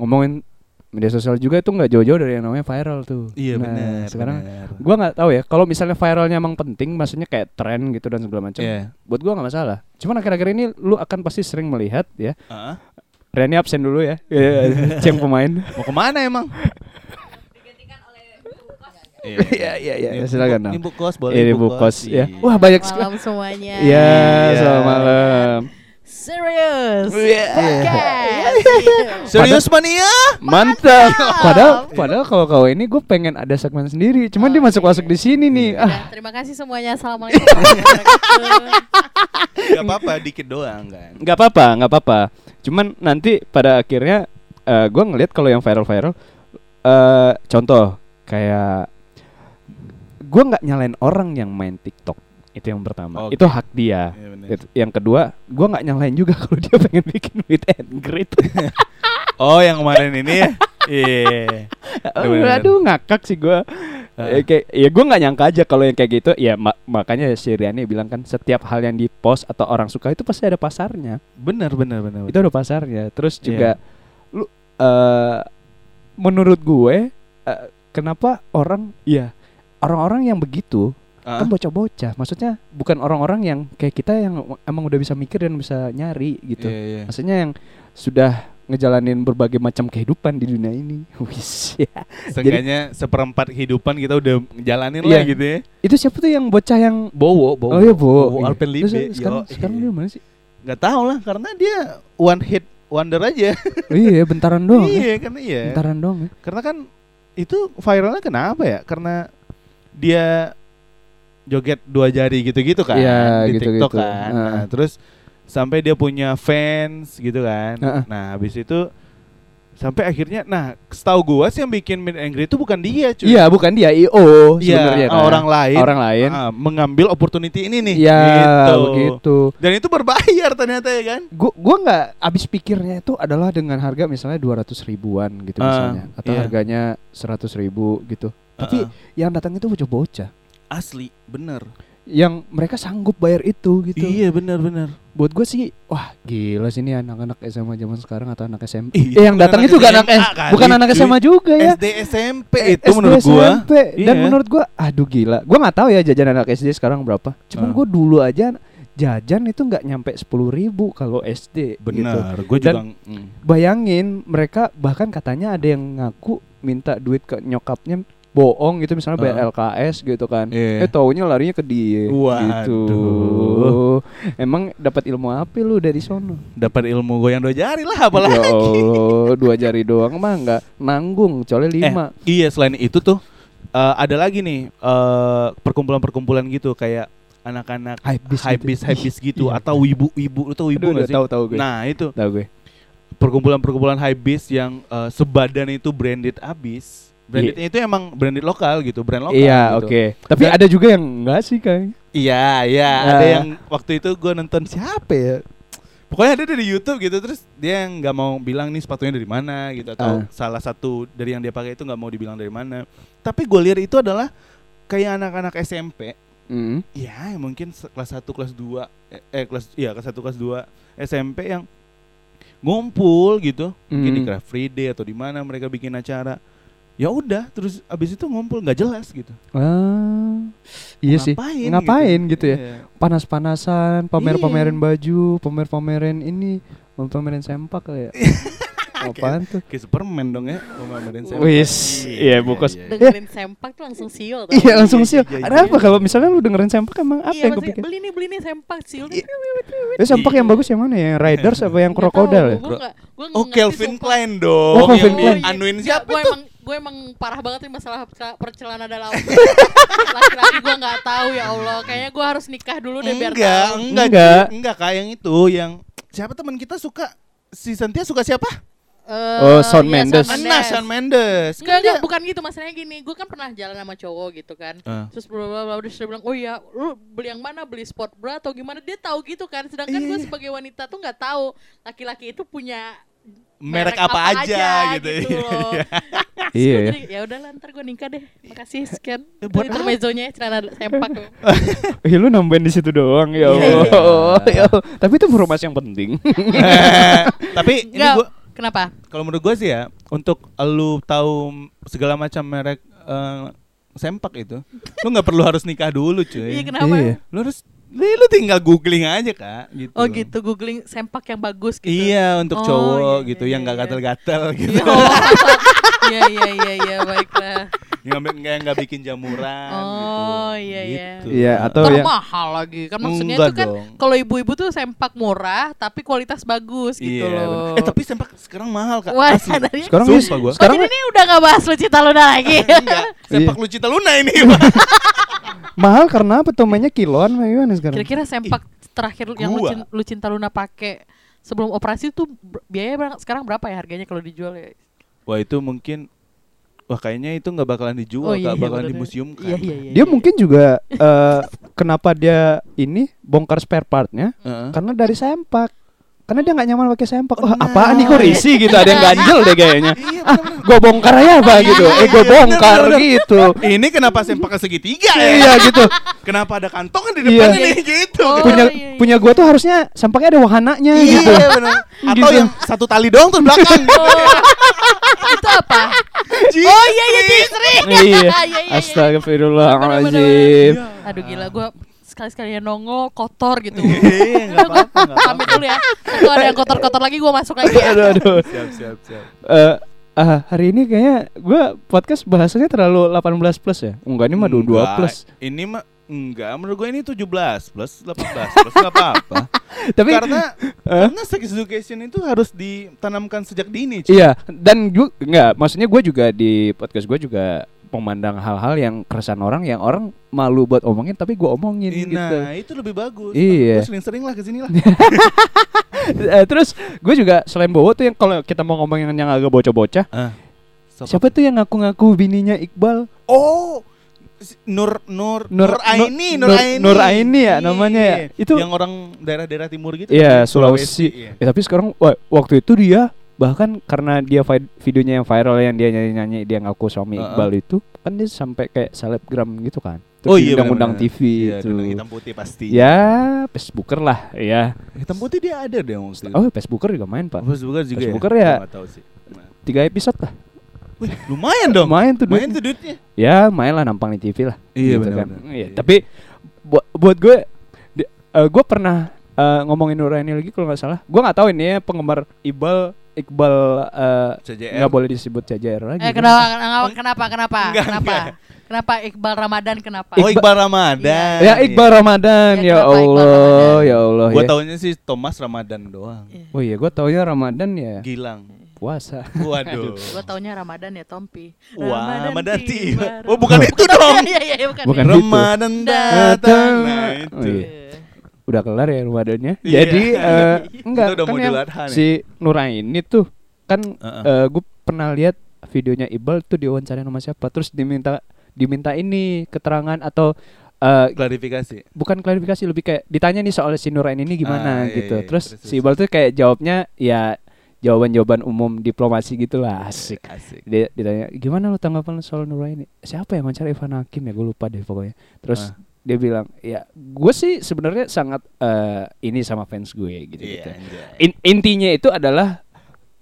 S2: ngomongin media sosial juga itu nggak jauh-jauh dari yang namanya viral tuh. Nah,
S3: Iya, bener,
S2: Sekarang
S3: bener.
S2: gua nggak tahu ya kalau misalnya viralnya emang penting, maksudnya kayak tren gitu dan segala macam.
S3: Iya.
S2: Buat gua nggak masalah. Cuman akhir-akhir ini lu akan pasti sering melihat ya.
S3: Ah,
S2: Reni absen dulu
S3: [LAUGHS]
S2: ya.
S3: Iya.
S2: [LAUGHS] Ceng pemain.
S3: mau kemana emang?
S2: [LAUGHS] Iya iya iya silakan. Nam.
S3: Ini kos boleh.
S2: Ini
S3: ibu
S2: bukos ya.
S3: Iya.
S2: Wah banyak sekali.
S6: Malam semuanya.
S2: Iya, selamat malam.
S6: Serius.
S2: Iya.
S3: Iya.
S6: Iya.
S3: Serius iya? mania?
S2: [LAUGHS] Mantap.
S3: Iya.
S2: Padahal padahal kalau kau ini gue pengen ada segmen sendiri, cuman dia
S3: Oh,
S2: masuk-masuk
S3: iya,
S2: di sini nih. Ah,
S6: Udah, terima kasih semuanya. Assalamualaikum. warahmatullahi wabarakatuh.
S3: Gak apa-apa, dikit doang kan.
S2: nggak apa-apa, nggak apa-apa. Cuman nanti pada akhirnya eh, gua gue ngelihat kalau yang viral-viral eh contoh kayak gue nggak nyalain orang yang main TikTok. Itu yang pertama.
S3: Oke.
S2: Itu hak dia.
S3: Iya, bener.
S2: Itu- Yang kedua, gue nggak nyalain juga [LAUGHS] kalau dia pengen bikin meet and greet.
S3: Oh, yang kemarin ini ya? Iya.
S2: aduh, aduh, ngakak sih gue. Ya,
S3: Heeh.
S2: kayak, ya gue nggak nyangka aja kalau yang kayak gitu ya ma- makanya si Riani bilang kan setiap hal yang di post atau orang suka itu pasti ada pasarnya Iya.
S3: Bener, bener, bener.
S2: itu ada pasarnya terus juga lu eh, menurut gue eh, kenapa orang ya orang-orang yang begitu
S3: Ah.
S2: kan bocah-bocah maksudnya bukan orang-orang yang kayak kita yang emang udah bisa mikir dan bisa nyari gitu
S3: Iya, iya.
S2: maksudnya yang sudah ngejalanin berbagai macam kehidupan di dunia ini [LAUGHS] wis ya.
S3: Seenggaknya seperempat kehidupan kita udah jalanin lah
S2: Iya.
S3: gitu ya.
S2: itu siapa tuh yang bocah yang
S3: Bowo, bowo.
S2: Oh iya Bo. Iya.
S3: Alpen
S2: Terus
S3: Libe.
S2: Sekarang, sekarang dia mana sih?
S3: Gak tau lah karena dia one hit wonder aja.
S2: Oh iya bentaran doang. ya.
S3: iya karena iya.
S2: Bentaran doang. ya.
S3: Karena kan itu viralnya kenapa ya? Karena dia joget dua jari gitu-gitu kan
S2: Iya,
S3: di
S2: gitu-gitu.
S3: TikTok kan.
S2: Heeh.
S3: Nah, terus sampai dia punya fans gitu kan.
S2: Heeh.
S3: Nah, habis itu Sampai akhirnya, nah setahu gua sih yang bikin mid angry itu bukan dia cuy.
S2: Iya, bukan dia IO
S3: Iya,
S2: sebenarnya. kan.
S3: orang lain.
S2: Orang lain.
S3: Ah, mengambil opportunity ini nih.
S2: Iya,
S3: Gitu.
S2: begitu.
S3: Dan itu berbayar ternyata ya kan?
S2: Gua gua nggak habis pikirnya itu adalah dengan harga misalnya 200 ribuan gitu
S3: Ah,
S2: misalnya atau
S3: iya.
S2: harganya 100 ribu gitu. Tapi
S3: Ah, ah.
S2: yang datang itu bocah-bocah
S3: asli, bener.
S2: yang mereka sanggup bayar itu gitu.
S3: Iya bener-bener.
S2: Buat gue sih wah gila sih ini anak-anak SMA zaman sekarang atau anak SMA.
S3: Ih,
S2: Eh, yang
S3: bukan
S2: datang
S3: Iya, anak
S2: itu juga anak
S3: SMA
S2: eh,
S3: kali,
S2: bukan anak
S3: kan, iya, cuy.
S2: SMA juga ya.
S3: SD SMP
S2: Eh,
S3: itu menurut gua.
S2: SMP. Dan
S3: Iya.
S2: menurut gua aduh gila. Gua nggak tahu ya jajan anak SD sekarang berapa. Cuman
S3: Ah.
S2: gua dulu aja jajan itu nggak nyampe 10.000 ribu kalau SD gitu.
S3: Bener, gua
S2: Dan-
S3: juga. mm.
S2: Bayangin mereka bahkan katanya ada yang ngaku minta duit ke nyokapnya bohong gitu misalnya bayar
S3: Ah.
S2: LKS gitu kan. Eh
S3: Iya.
S2: taunya larinya ke dia gitu.
S3: Waduh.
S2: Emang dapat ilmu apa lu dari sono?
S3: Dapat ilmu goyang dua jari lah apalagi.
S2: Ya Allah, dua jari doang mah nggak nanggung, kecuali lima.
S3: Eh, iya selain itu tuh eh, ada lagi nih eh, perkumpulan-perkumpulan gitu kayak anak-anak
S2: Hypebeast gitu.
S3: hypebeast hypebeast gitu
S2: Iya.
S3: atau wibu-wibu atau
S2: Aduh,
S3: wibu nggak
S2: udah
S3: sih?
S2: tahu-tahu gue.
S3: Nah itu
S2: Tahu gue.
S3: perkumpulan-perkumpulan hypebeast yang eh, sebadan itu branded abis. Brandednya itu emang branded lokal gitu, brand lokal.
S2: Iya,
S3: gitu.
S2: oke. Tapi
S3: Dan-
S2: ada juga yang enggak sih, Kang.
S3: Iya, iya. Ada
S2: Ah.
S3: yang waktu itu gue nonton siapa ya? Pokoknya ada dari YouTube gitu terus dia yang nggak mau bilang nih sepatunya dari mana gitu
S2: Ah.
S3: atau salah satu dari yang dia pakai itu nggak mau dibilang dari mana. Tapi gue lihat itu adalah kayak anak-anak SMP, ya mungkin se- kelas 1 kelas 2 eh, eh, kelas iya kelas 1 kelas 2 SMP yang ngumpul gitu, mungkin di
S2: Mm.
S3: Craft Free Day atau di mana mereka bikin acara. Ya udah, terus abis itu ngumpul nggak jelas gitu.
S2: Ah. Iya sih.
S3: Ngapain gitu.
S2: Ngapain gitu, ya?
S3: Iya.
S2: Panas-panasan, pamer-pamerin baju, pamer-pamerin ini, pamerin sempak kali ya. Apaan tuh?
S3: Kayak Superman dong ya Pemamerin saya
S2: Wis, iya bukos.
S6: dengerin sempak tuh langsung siul tau.
S2: Iya langsung
S3: Iya,
S2: sih.
S3: iya, iya,
S2: Ada apa
S3: iya.
S2: kalau misalnya lu dengerin sempak emang apa
S6: Iya,
S2: yang
S6: maksudnya
S2: kepikiran?
S6: beli nih beli nih sempak siul.
S2: Eh sempak yang bagus yang mana ya? Yang Riders apa yang krokodil ya?
S3: Oh Kelvin Klein dong
S2: Oh, Calvin
S3: Yang
S2: Klein.
S3: Anuin siapa
S6: gue
S3: tuh
S6: emang gue emang parah banget nih masalah percela- percelana dalam [LAUGHS] laki-laki gue nggak tahu ya Allah kayaknya gue harus nikah dulu deh biar
S3: Enggak
S6: tahu.
S3: Enggak
S2: Enggak.
S3: Enggak Enggak kayak yang itu Yang Siapa teman kita suka Si Sentia suka siapa?
S6: Eh,
S2: Oh, Shawn
S6: iya,
S2: Mendes.
S6: Shawn
S3: Nah Shawn Mendes Kan
S6: Enggak,
S3: dia-
S6: enggak, bukan gitu masalahnya gini. Gue kan pernah jalan sama cowok gitu kan.
S3: Ah.
S6: Terus bla bla bla terus dia bilang, "Oh iya, lu beli yang mana? Beli sport bra atau gimana?" Dia tahu gitu kan. Sedangkan gue
S3: Iya.
S6: sebagai wanita tuh nggak tahu laki-laki itu punya
S3: Merek apa aja, gitu, [LAUGHS]
S6: loh.
S2: Iya,
S6: Terus gua
S2: iya.
S6: jadi, ya udah lantar gue nikah deh. Makasih sekian.
S3: Eh, buat Eh,
S6: Itu intermezzonya celana sempak.
S3: [LAUGHS]
S2: Ih Eh, lu nambahin di situ doang ya
S6: Iya,
S2: Allah. Ya [LAUGHS] Allah. Tapi itu informasi yang penting.
S3: Tapi ini
S6: Enggak.
S3: gua
S6: Kenapa?
S3: Kalau menurut gue sih ya Untuk lu tahu Segala macam merek eh, Sempak itu Lu nggak perlu harus nikah dulu cuy
S6: Iya, kenapa?
S2: Iya.
S3: Lu harus Lu tinggal googling aja kak gitu.
S6: Oh gitu, googling sempak yang bagus gitu.
S3: Iya untuk
S6: Oh,
S3: cowok
S6: iya,
S3: gitu
S6: iya,
S3: yang nggak
S6: iya. [LAUGHS]
S3: gatel-gatel gitu.
S6: Iya, Iya, iya, iya, iya, baiklah.
S3: yang nggak yang nggak bikin jamuran.
S6: Oh,
S3: gitu.
S6: iya, iya.
S3: Gitu.
S2: Iya, atau
S6: Ntar
S2: yang
S6: mahal lagi kan maksudnya
S3: Enggak
S6: itu kan
S3: dong.
S6: kalau ibu-ibu tuh sempak murah tapi kualitas bagus gitu
S3: Iya, bener.
S6: loh.
S3: Eh tapi kan- sempak sekarang mahal kak.
S6: Wah,
S3: Asli.
S6: tadinya-
S2: Sekarang
S3: Sumpah
S2: bisa-
S6: [LAUGHS]
S3: gua.
S2: sekarang
S6: oh, jadi ini udah gak bahas Lucita Luna lagi.
S3: [LAUGHS] Enggak, sempak
S2: Iya.
S3: lucita luna
S6: [LAUGHS]
S3: ini. Pak.
S2: mahal karena apa tuh mainnya kiloan apa gimana sekarang?
S6: Kira-kira sempak terakhir yang lu,
S3: gua.
S6: cin- lu Cinta Luna pakai sebelum operasi tuh ber- biayanya berang- sekarang berapa ya harganya kalau dijual ya?
S3: Wah itu mungkin Wah kayaknya itu nggak bakalan dijual,
S6: Oh, iya,
S3: nggak
S6: iya,
S3: bakalan kan?
S6: bener.
S3: dimuseumkan.
S6: Iya, iya, iya.
S2: Dia mungkin juga eh, kenapa dia ini bongkar spare partnya
S3: Heeh.
S2: karena dari sempak. Karena dia nggak nyaman pakai sempak. Wah, apaan nih kok risih gitu? Ada yang ganjel deh kayaknya.
S3: Iya,
S2: Ah, gue bongkar aja apa gitu?
S6: Iya,
S2: Eh, gue bongkar gitu.
S3: Ini kenapa sempaknya segitiga ya?
S2: Iya gitu.
S3: Kenapa ada kantongan di
S2: Iya.
S3: depan ini gitu?
S6: Oh,
S2: Punya
S6: iya, iya.
S2: punya gue tuh harusnya sempaknya ada wahananya gitu.
S3: Iya benar. Atau
S2: Gitu.
S3: yang satu tali doang terus belakang.
S6: [LAUGHS] Oh. itu apa?
S3: oh iya iya
S2: Iya.
S6: [LAUGHS] Iya, iya, iya.
S2: Astagfirullahaladzim.
S6: Aduh gila gue sekali-sekali ya nongol kotor gitu.
S3: Iya, nggak apa-apa, nggak apa-apa.
S6: [LAUGHS] Pamit dulu ya. Kalau ada yang kotor-kotor lagi gue masuk lagi. ya.
S2: Aduh aduh.
S3: Siap siap siap.
S2: Eh ah, hari ini kayaknya gua podcast bahasanya terlalu 18 plus ya? Enggak ini mah 22
S3: Enggak, [LAUGHS]
S2: plus.
S3: Ini mah enggak menurut gue ini 17 plus 18 plus enggak apa-apa.
S2: [LAUGHS] Tapi
S3: karena
S2: Eh?
S3: karena sex education itu harus ditanamkan sejak dini. cuy.
S2: iya dan gua enggak maksudnya gua juga di podcast gua juga memandang hal-hal yang keresahan orang yang orang malu buat omongin tapi gua omongin gitu. [LAUGHS]
S3: Nah, itu lebih bagus.
S2: Iya.
S3: Lu sering-sering lah
S2: [LAUGHS]
S3: kesini lah.
S2: Eh, terus gue juga selain Bowo tuh yang kalau kita mau ngomongin yang agak bocah-bocah,
S3: Ah. Sok
S2: siapa tuh yang ngaku-ngaku bininya Iqbal?
S3: Oh, si- Nur Nur
S2: Nur-
S3: Nur Aini,
S2: Nur-
S3: Nur Aini.
S2: Nur Aini ya namanya ya?
S3: Iya.
S2: Itu-
S3: yang orang daerah-daerah timur gitu.
S2: Iya
S3: kan?
S2: Sulawesi.
S3: iya.
S2: Ya, tapi sekarang wa- waktu itu dia bahkan karena dia vi- videonya yang viral yang dia nyanyi-nyanyi dia ngaku suami
S3: Heeh.
S2: Iqbal itu kan dia sampai kayak selebgram gitu kan.
S3: Oh iya,
S2: undang-undang
S3: benar-benar.
S2: TV
S3: Iya,
S2: itu.
S3: dulu hitam putih pasti.
S2: Ya, Facebooker lah, ya.
S3: Hitam putih dia ada deh maksudnya.
S2: Oh, Facebooker juga main, Pak.
S3: Facebooker juga.
S2: Facebooker ya.
S3: Gua nggak tahu sih. Nah.
S2: Tiga episode lah.
S3: Wih, lumayan dong.
S2: Main tuh
S3: Main
S2: duitnya.
S3: tuh duitnya.
S2: Ya, main lah nampang di TV lah.
S3: Iya,
S2: gitu kan.
S3: benar-benar.
S2: Iya,
S3: Iya.
S2: tapi buat buat gue di- eh, gue pernah eh, ngomongin Nuraini lagi kalau nggak salah. Gue nggak tahu ini ya penggemar Iqbal Iqbal eh,
S3: CJR.
S2: nggak boleh disebut CJR lagi.
S6: Eh kenapa kenapa kenapa kenapa
S3: Enggak,
S6: kenapa
S3: enggak.
S6: kenapa Iqbal Ramadan kenapa?
S3: Oh, Iqbal Ramadan. Iya.
S2: Ya Iqbal Ramadan
S6: Ya,
S2: ya,
S6: kenapa Iqbal
S2: Allah
S6: Ramadan?
S2: ya Allah
S3: Gua
S2: ya.
S3: taunya sih Thomas Ramadan doang.
S2: Oh iya gua taunya Ramadan ya
S3: Gilang.
S2: puasa. [LAUGHS]
S3: Waduh.
S6: Gue taunya Ramadan ya Tompi.
S3: Wah, Ramadan tiba. Oh,
S6: Oh,
S3: bukan itu dong.
S6: Iya iya iya, bukan.
S2: Bukan. itu.
S3: Ramadan datang. Nah, itu.
S2: Oh, iya. Udah kelar ya Ramadannya.
S3: Iya. [LAUGHS]
S2: Jadi eh, enggak
S3: Itu udah
S2: kan
S3: mau
S2: yang
S3: Idul Adha nih.
S2: si Nuraini tuh kan
S3: Heeh.
S2: eh, gua pernah lihat videonya Iqbal tuh diwawancara sama siapa terus diminta diminta ini keterangan atau eh,
S3: Klarifikasi.
S2: bukan klarifikasi lebih kayak ditanya nih soal si Nurain ini gimana
S3: Ah, iya,
S2: gitu.
S3: iya,
S2: terus,
S3: terus,
S2: si Iqbal tuh kayak jawabnya ya jawaban-jawaban umum diplomasi gitulah asik.
S3: Asik.
S2: Dia ditanya gimana lu tanggapan lu soal Nuraini? Siapa yang mencari Irfan Hakim ya? Gue lupa deh pokoknya. Terus
S3: Ah.
S2: dia bilang ya gue sih sebenarnya sangat eh, ini sama fans gue gitu gitu.
S3: Iya, anjay.
S2: In- intinya itu adalah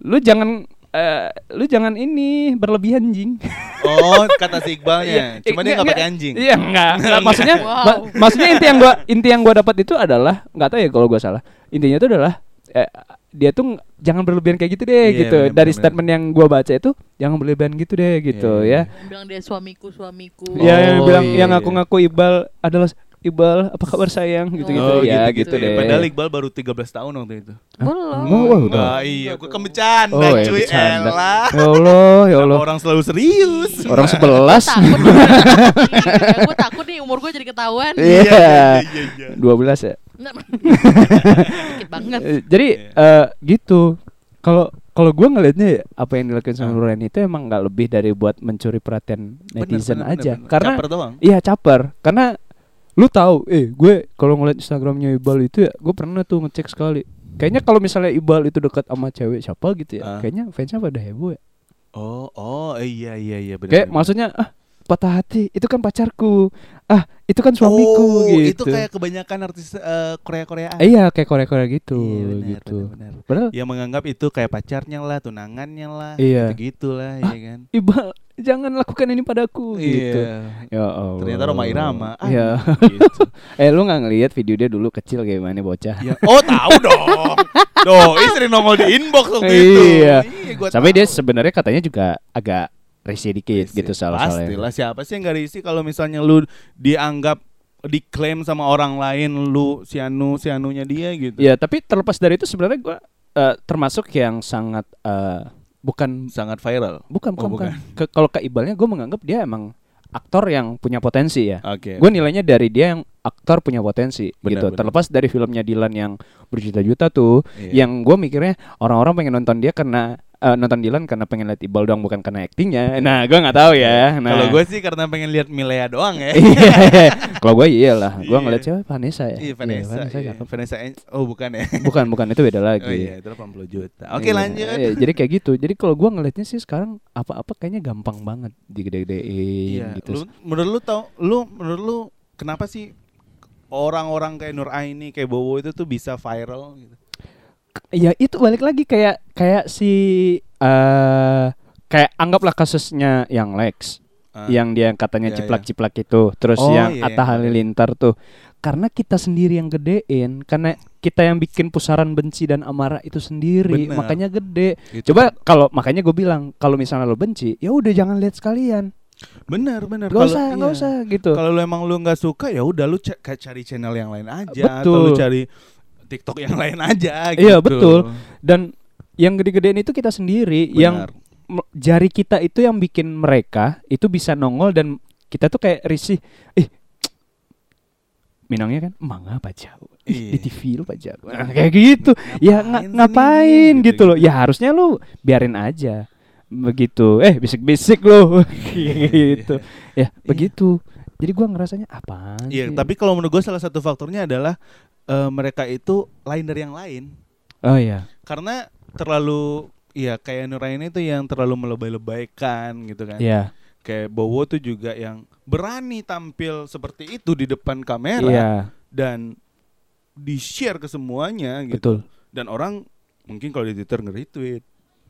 S2: lu jangan eh, lu jangan ini berlebihan jing.
S3: Oh, kata si Iqbalnya.
S2: Iya,
S3: Cuma dia
S2: enggak,
S3: nggak pakai
S2: enggak.
S3: anjing.
S2: Iya enggak. Enggak, maksudnya
S6: Wow.
S2: ma- maksudnya inti yang gua inti yang gua dapat itu adalah nggak tahu ya kalau gua salah. Intinya itu adalah eh, dia tuh ng- jangan berlebihan kayak gitu deh
S3: Iya,
S2: gitu.
S3: bener,
S2: Dari
S3: bener,
S2: statement yang gua baca itu jangan berlebihan gitu deh gitu
S3: Iya,
S6: Yang bilang dia suamiku suamiku.
S2: ya. Ya yang
S3: Oh,
S2: bilang
S3: iya,
S2: yang
S3: iya.
S2: ngaku-ngaku Iqbal adalah Iqbal apa kabar sayang gitu-gitu
S3: Oh,
S2: ya
S3: gitu,
S2: gitu,
S3: ya.
S2: deh.
S3: Padahal Iqbal baru 13 tahun waktu itu.
S6: Belum.
S2: Oh, wah, udah.
S3: Nah, iya, gue kan bercanda,
S2: Oh, ya,
S3: cuy.
S2: bercanda.
S3: Elah.
S2: Ya Allah, ya Allah.
S3: Orang selalu serius. [LAUGHS]
S2: Orang sebelas.
S6: Takut. Iya, Gua takut nih umur gue jadi ketahuan.
S2: [LAUGHS] [LAUGHS] Iya. 12 ya.
S6: Nah, [LAUGHS] Dikit banget.
S2: Eh, jadi eh, gitu kalau kalau gue ngelihatnya ya, apa yang dilakukan sama Nuraini itu emang nggak lebih dari buat mencuri perhatian netizen aja karena
S3: Caper doang.
S2: iya caper karena lu tahu eh gue kalau ngeliat instagramnya Iqbal itu ya gue pernah tuh ngecek sekali kayaknya kalau misalnya Iqbal itu dekat sama cewek siapa gitu ya
S3: Ah.
S2: kayaknya fansnya pada heboh ya
S3: Oh, oh, iya iya iya benar.
S2: kayak maksudnya ah patah hati itu kan pacarku ah itu kan suamiku gitu
S3: Oh, Itu kayak kebanyakan artis Korea-Korea.
S2: Eh, iya kayak Korea-Korea gitu
S3: Iya, benar,
S2: gitu
S3: benar, Iya. benar.
S2: padahal
S3: Yang menganggap itu kayak pacarnya lah, tunangannya lah,
S2: Iya.
S3: gitulah,
S2: Ah,
S3: ya kan.
S2: Iqbal jangan lakukan ini padaku gitu.
S3: Iya.
S2: Ya Allah.
S3: Ternyata Roma Irama. Ah,
S2: Iya.
S3: gitu.
S2: [LAUGHS] eh lu nggak ngelihat video dia dulu kecil kayak gimana bocah.
S3: Ya, Oh tahu
S2: [LAUGHS]
S3: dong. Doh, istri nongol di inbox waktu itu.
S2: Iya.
S3: gua
S2: Sampai
S3: tahu.
S2: dia sebenarnya katanya juga agak risih dikit gitu salah-salahnya.
S3: Pastilah siapa sih yang gak risih kalau misalnya lu dianggap diklaim sama orang lain lu si anu si anunya dia gitu.
S2: Ya, tapi terlepas dari itu sebenarnya gua eh, termasuk yang sangat eh, bukan
S3: Sangat viral.
S2: bukan bukan,
S3: Oh,
S2: bukan. Ke- kalau ke Ibalnya gue menganggap dia emang aktor yang punya potensi ya.
S3: Oke.
S2: Gue nilainya dari dia yang aktor punya potensi
S3: Benar,
S2: gitu.
S3: benar.
S2: Terlepas dari filmnya Dylan yang berjuta-juta tuh,
S3: Iya.
S2: yang gue mikirnya orang-orang pengen nonton dia karena eh, nonton Dylan karena pengen lihat Iqbal doang bukan karena aktingnya. Nah, gue nggak tahu ya. Nah.
S3: Iya. Kalau gue sih karena pengen lihat Milea doang ya.
S2: Iya. kalau gue iyalah, gue
S3: Iya.
S2: ngeliat siapa Vanessa ya.
S3: [LAUGHS] Iya Vanessa.
S2: Iya,
S3: iya.
S2: cakep.
S3: Vanessa Ang- oh bukan ya.
S2: Bukan, bukan itu beda lagi.
S3: [LAUGHS] Oh iya, itu 80 juta. Oke,
S2: Iya,
S3: lanjut.
S2: iya, jadi kayak gitu. Jadi kalau gua ngelihatnya sih sekarang apa-apa kayaknya gampang banget digede-gedein
S3: Iya,
S2: gitu.
S3: lu- menurut lu tau lu menurut lu kenapa sih orang-orang kayak Nur Aini kayak Bowo itu tuh bisa viral gitu?
S2: Ya itu balik lagi kayak kayak si eh kayak anggaplah kasusnya yang Lex,
S3: Ah.
S2: yang dia katanya
S3: Iya,
S2: ciplak-ciplak itu, terus
S3: Oh,
S2: yang
S3: iya,
S2: Atta
S3: iya.
S2: Halilintar tuh. Karena kita sendiri yang gedein, karena kita yang bikin pusaran benci dan amarah itu sendiri,
S3: Bener.
S2: makanya gede.
S3: Gitu.
S2: Coba kalau makanya gue bilang kalau misalnya lo benci, ya udah jangan lihat sekalian,
S3: Bener bener.
S2: nggak
S3: Kalau-
S2: usah nggak
S3: iya.
S2: usah gitu.
S3: Kalau lu emang lu nggak suka ya udah lu ca- kayak cari channel yang lain aja atau lu
S2: Betul.
S3: cari TikTok yang lain aja gitu.
S2: Iya, betul. Dan yang gede-gedein itu kita sendiri, yang
S3: Yang
S2: me- jari kita itu yang bikin mereka itu bisa nongol dan kita tuh kayak risih. Ih, Minangnya kan, mangga apa jauh? Ih, Di
S3: Iya.
S2: TV lu Pak Jago. Nah, kayak gitu. ya nga-
S3: sih
S2: ngapain
S3: nih?
S2: gitu, loh. Ya harusnya lu biarin aja. Begitu. Eh, bisik-bisik lu.
S3: Iya,
S2: [LAUGHS] gitu. Ya, begitu. Jadi gua ngerasanya apaan sih?
S3: Iya, tapi kalau menurut gue salah satu faktornya adalah eh, mereka itu lain dari yang lain.
S2: Oh iya.
S3: Karena terlalu ya kayak Nuraini itu yang terlalu melebay-lebaykan gitu kan.
S2: Iya.
S3: Kayak Bowo tuh juga yang berani tampil seperti itu di depan kamera
S2: Iya,
S3: dan di-share ke semuanya gitu.
S2: betul.
S3: Dan orang mungkin kalau di Twitter nge-retweet,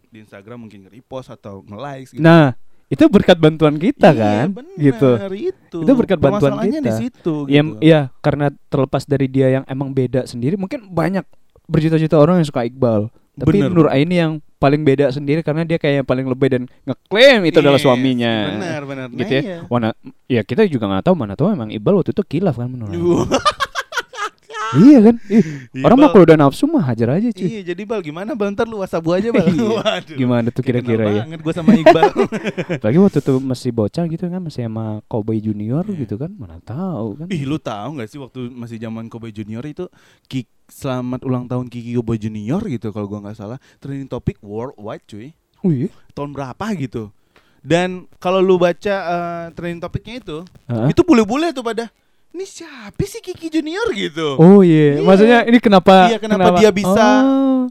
S3: di Instagram mungkin nge-repost atau nge-like gitu.
S2: Nah, itu berkat bantuan kita
S3: Iya,
S2: kan,
S3: bener,
S2: gitu.
S3: Itu.
S2: Itu berkat bantuan
S3: Permasalahannya
S2: kita.
S3: di situ
S2: Ya,
S3: gitu.
S2: ya, karena terlepas dari dia yang emang beda sendiri, mungkin banyak berjuta-juta orang yang suka Iqbal. Tapi
S3: Bener.
S2: Nur Aini yang paling beda sendiri karena dia kayak yang paling lebih dan ngeklaim itu adalah
S3: Yes,
S2: suaminya.
S3: Benar, benar. Nah, iya.
S2: Gitu ya. Wana, ya kita juga nggak tahu mana tahu emang Iqbal waktu itu kilaf kan menurut. aku.
S3: Duh.
S2: iya kan? Ih, orang mah
S3: Iqbal-
S2: kalau udah nafsu mah hajar aja cuy.
S3: Iya, jadi Bal gimana Bal ntar lu WhatsApp gua aja Bal.
S2: Iya.
S3: Waduh.
S2: Gimana tuh kira-kira ya?
S3: Kenal banget gua sama Iqbal.
S2: [LAUGHS] Apalagi waktu itu masih bocah gitu kan masih sama Cowboy Junior
S3: Iya.
S2: gitu kan, mana tahu kan.
S3: Ih, lu tahu nggak sih waktu masih zaman Kobe Junior itu Kik selamat ulang tahun Kiki Kobe Junior gitu kalau gua nggak salah. Trending topik worldwide cuy.
S2: Wih.
S3: Tahun berapa gitu. Dan kalau lu baca eh, trending topiknya itu,
S2: Hah?
S3: itu bule-bule tuh pada ini siapa sih Kiki Junior gitu.
S2: Oh iya,
S3: Iya.
S2: maksudnya ini kenapa?
S3: Iya, kenapa dia bisa
S2: Oh,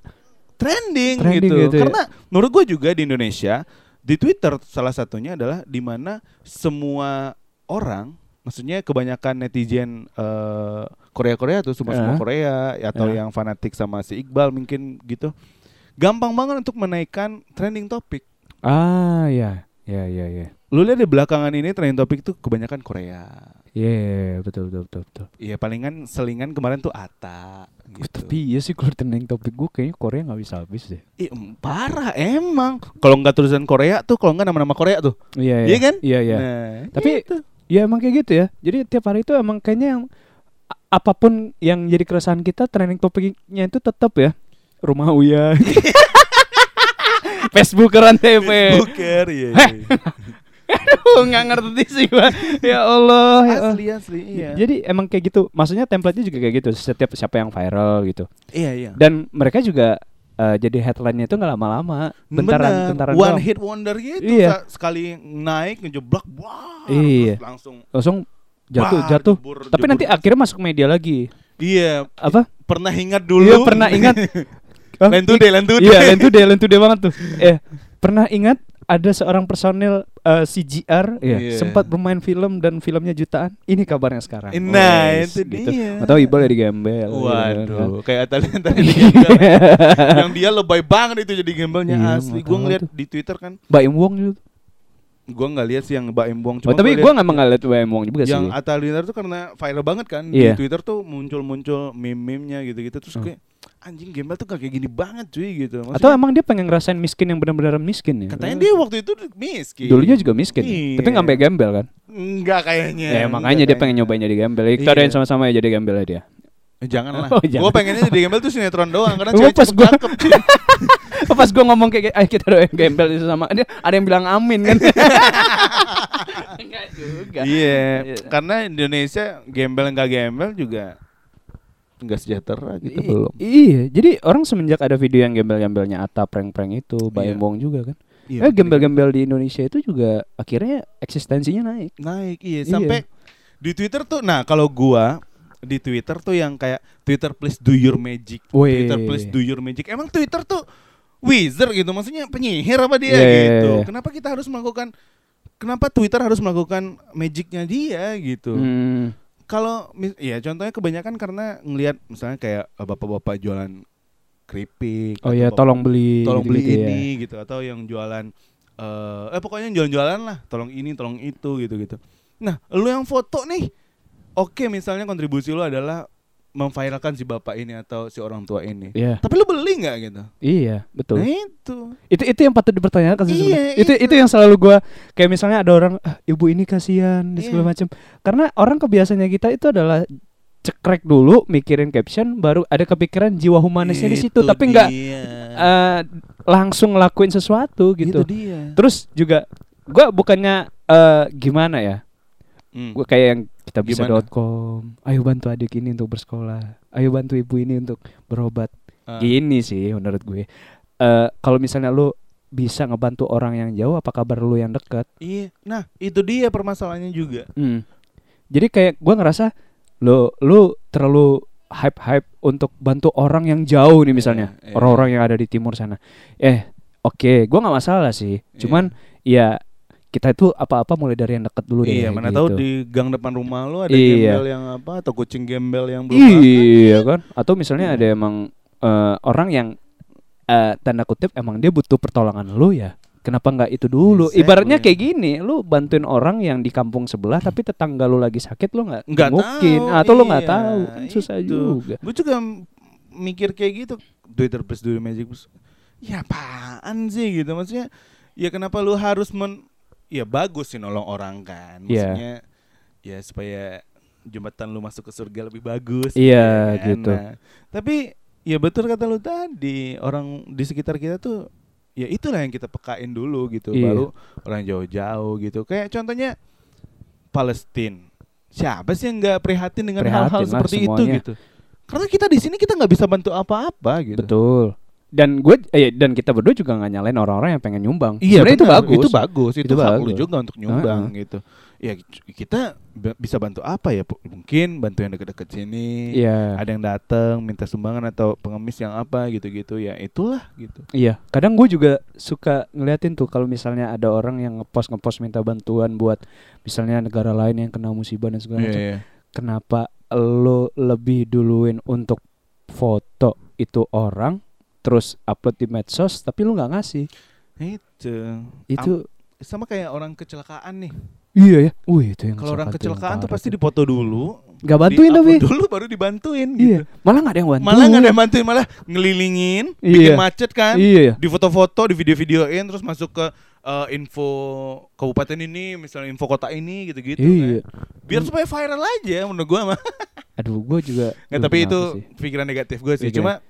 S3: trending,
S2: Trending
S3: gitu.
S2: gitu ya.
S3: Karena menurut gue juga di Indonesia di Twitter salah satunya adalah di mana semua orang, maksudnya kebanyakan netizen eh, Korea-Korea atau semua semua
S2: Ah.
S3: Korea atau
S2: Ah.
S3: yang fanatik sama si Iqbal mungkin gitu, gampang banget untuk menaikkan trending topik.
S2: Ah ya, ya ya ya.
S3: Lu lihat di belakangan ini trending topik tuh kebanyakan Korea.
S2: Iya betul betul betul. betul.
S3: Iya palingan selingan kemarin tuh Ata.
S2: Wih,
S3: Gitu.
S2: Tapi iya sih kalau trending topik gue kayaknya Korea nggak bisa habis deh.
S3: Ih, parah emang. Kalau nggak tulisan Korea tuh, kalau nggak nama-nama Korea tuh.
S2: Iya
S3: Iya kan?
S2: Iya iya.
S3: Nah,
S2: Tapi ya emang kayak gitu ya. Jadi tiap hari itu emang kayaknya yang a- apapun yang jadi keresahan kita trending topiknya itu tetap ya rumah [LAUGHS] Uya. Facebookeran TV.
S3: Booker ya. ya, ya.
S2: Aduh, nggak ngerti sih gua. Ya Allah, ya Allah.
S3: Asli asli iya.
S2: Jadi emang kayak gitu. Maksudnya template-nya juga kayak gitu. Setiap siapa yang viral gitu.
S3: iya iya.
S2: Dan mereka juga eh, jadi headline-nya itu nggak lama-lama. Bentaran,
S3: Bener,
S2: bentaran
S3: One
S2: doang.
S3: hit wonder gitu.
S2: Iya.
S3: sa- Sekali naik ngejeblak, wah.
S2: Iya.
S3: terus langsung
S2: Langsung jatuh,
S3: wah,
S2: jatuh.
S3: jebur,
S2: Tapi
S3: jebur.
S2: nanti akhirnya masuk media lagi.
S3: Iya,
S2: Apa?
S3: pernah ingat dulu.
S2: Iya, pernah ingat. Hah?
S3: [LAUGHS] Land today, land today.
S2: Iya, lentu deh, lentu deh banget tuh. Eh, pernah ingat ada seorang personil eh, CGR ya,
S3: Iya.
S2: sempat bermain film dan filmnya jutaan. Ini kabarnya sekarang.
S3: Eh, nah, itu dia.
S2: Atau Iqbal dari Gembel. gitu kan.
S3: Waduh, kayak Italian
S2: [LAUGHS]
S3: tadi di gembel. yang dia lebay banget itu jadi gembalnya
S2: Iya,
S3: asli.
S2: nggak
S3: Gua
S2: tahu
S3: ngeliat
S2: tuh.
S3: di Twitter kan,
S2: Mbak Im Wong juga.
S3: gua nggak lihat sih yang Mbak Embong
S2: Oh, tapi
S3: gua
S2: gue nggak mengalat Mbak Im Wong juga sih.
S3: yang Ataliner tuh karena viral banget kan
S2: Iya.
S3: di Twitter tuh muncul-muncul meme-memenya gitu-gitu terus
S2: Hmm.
S3: kayak anjing gembel tuh gak kayak gini banget cuy gitu. Maksudnya,
S2: Atau emang dia pengen ngerasain miskin yang benar-benar miskin ya?
S3: katanya dia waktu itu miskin.
S2: dulunya juga miskin, ya?
S3: Iya.
S2: tapi nggak sampai gembel kan?
S3: enggak kayaknya.
S2: Ya, makanya dia pengen nyobain jadi gembel. Ya, Kita
S3: Iya.
S2: doain sama-sama ya jadi gembel ya dia. [LAUGHS]
S3: Janganlah.
S2: Oh,
S3: Gua
S2: jangan.
S3: pengennya jadi gembel tuh sinetron doang
S2: [LAUGHS]
S3: karena
S2: Gua
S3: cewek
S2: pas
S3: cakep
S2: gua-
S3: cakep, cuy.
S2: Pas gue ngomong kayak, gitu, ayo kita doain gembel itu sama dia, ada yang bilang amin
S3: [LAUGHS]
S2: kan? Enggak juga.
S3: Iya, karena Indonesia gembel enggak gembel juga enggak sejahtera gitu
S2: I-
S3: belum.
S2: Iya, jadi orang semenjak ada video yang gembel-gembelnya Ata prank-prank itu,
S3: Iya.
S2: Bayem Wong juga kan.
S3: Iya,
S2: eh gembel-gembel di Indonesia itu juga akhirnya eksistensinya naik.
S3: naik iya
S2: Iya.
S3: sampai di Twitter tuh nah kalau gua di Twitter tuh yang kayak Twitter please do your magic
S2: Wih.
S3: Twitter please do your magic emang Twitter tuh wizard gitu maksudnya penyihir apa
S2: Iya,
S3: dia
S2: iya,
S3: gitu
S2: iya.
S3: kenapa kita harus melakukan kenapa Twitter harus melakukan magicnya dia gitu
S2: Hmm.
S3: kalau mis- ya contohnya kebanyakan karena ngelihat misalnya kayak eh, bapak-bapak jualan keripik
S2: Oh
S3: atau
S2: ya,
S3: bapak-
S2: tolong beli.
S3: tolong beli
S2: gitu-gitu ya.
S3: ini gitu atau yang jualan eh eh pokoknya yang jualan-jualan lah tolong ini tolong itu gitu gitu nah lu yang foto nih oke misalnya kontribusi lu adalah memviralkan si bapak ini atau si orang tua ini
S2: Iya,
S3: tapi lu beli nggak gitu
S2: iya, betul.
S3: nah itu
S2: itu itu yang patut dipertanyakan sih
S3: Iya,
S2: sebenarnya.
S3: itu.
S2: itu itu yang selalu gua kayak misalnya ada orang "Ah, ibu ini kasihan dan segala
S3: Iya.
S2: macam karena orang kebiasaannya kita itu adalah cekrek dulu mikirin caption baru ada kepikiran jiwa humanisnya di situ tapi nggak eh, langsung ngelakuin sesuatu gitu
S3: dia.
S2: terus juga gua bukannya eh, gimana ya
S3: Hmm.
S2: gue kayak yang kita
S3: Gimana?
S2: bisa.com ayo bantu adik ini untuk bersekolah ayo bantu ibu ini untuk berobat
S3: Ah.
S2: gini sih menurut gue Eh kalau misalnya lu bisa ngebantu orang yang jauh apa kabar lu yang dekat
S3: Iya. Nah, itu dia permasalahannya juga.
S2: Hmm. Jadi kayak gua ngerasa lo lu terlalu hype hype untuk bantu orang yang jauh nih misalnya
S3: Iya, iya.
S2: orang-orang yang ada di timur sana. Eh oke, gua nggak masalah sih.
S3: Iya.
S2: Cuman ya kita itu apa-apa mulai dari yang dekat dulu deh. gitu.
S3: iya, mana tahu di gang depan rumah lu ada
S2: Iya.
S3: gembel yang apa atau kucing gembel yang belum
S2: Iya kan? Atau misalnya
S3: Iya.
S2: ada emang eh, orang yang eh, tanda kutip emang dia butuh pertolongan lu ya. Kenapa nggak itu dulu?
S3: Exactly.
S2: Ibaratnya kayak gini, lu bantuin orang yang di kampung sebelah tapi tetangga lu lagi sakit lu nggak
S3: Nggak
S2: mungkin
S3: tahu,
S2: atau lu nggak
S3: iya,
S2: tahu kan susah
S3: itu.
S2: juga.
S3: Gue juga m- mikir kayak gitu. Twitter plus dulu Magic plus. Ya apaan sih gitu maksudnya? Ya kenapa lu harus men ya bagus sih nolong orang kan.
S2: Iya.
S3: Maksudnya ya supaya jembatan lu masuk ke surga lebih bagus.
S2: Iya,
S3: kan?
S2: gitu.
S3: Nah, tapi ya betul kata lu tadi, orang di sekitar kita tuh ya itulah yang kita pekain dulu gitu
S2: Iya.
S3: baru orang jauh-jauh gitu. Kayak contohnya Palestina. Siapa sih yang nggak prihatin dengan
S2: Prihatin
S3: hal-hal
S2: lah
S3: seperti itu
S2: semuanya.
S3: gitu? Karena kita di sini kita nggak bisa bantu apa-apa gitu.
S2: Betul. Dan gue eh, dan kita berdua juga nggak nyalain orang-orang yang pengen nyumbang. Sebenarnya itu
S3: Iya, benar,
S2: bagus.
S3: Itu bagus, itu,
S2: Itu
S3: hak
S2: bagus.
S3: lu juga untuk nyumbang gitu. Ya c- kita ba- bisa bantu apa ya? Pu- Mungkin bantu yang deket-deket sini.
S2: Iya.
S3: Ada yang datang minta sumbangan atau pengemis yang apa gitu-gitu ya itulah gitu.
S2: Iya, kadang gue juga suka ngeliatin tuh kalau misalnya ada orang yang ngepost ngepost minta bantuan buat misalnya negara lain yang kena musibah dan segala
S3: Iya,
S2: macam.
S3: iya.
S2: Kenapa lo lebih duluin untuk foto itu orang terus upload di medsos tapi lu nggak ngasih
S3: Itu. Am-
S2: itu
S3: sama kayak orang kecelakaan nih.
S2: iya ya wih itu yang
S3: Kalau orang
S2: siapa tuh yang
S3: kecelakaan tuh
S2: parah
S3: pasti dipoto dulu.
S2: nggak bantuin tapi
S3: di-upload dulu baru dibantuin gitu.
S2: iya malah nggak ada yang bantuin
S3: Malah nggak ada yang bantuin, malah ngelilingin, bikin
S2: Iya.
S3: macet kan.
S2: iya ya
S3: Di foto-foto, di video-videoin, terus masuk ke eh, info kabupaten ini, misalnya info kota ini gitu-gitu.
S2: iya
S3: Kan. Biar supaya viral aja menurut gua mah.
S2: aduh gue juga
S3: Nggak,
S2: Duh,
S3: tapi
S2: Iya, kenapa
S3: itu
S2: sih? Iya.
S3: pikiran negatif gue sih.
S2: Oke.
S3: Cuma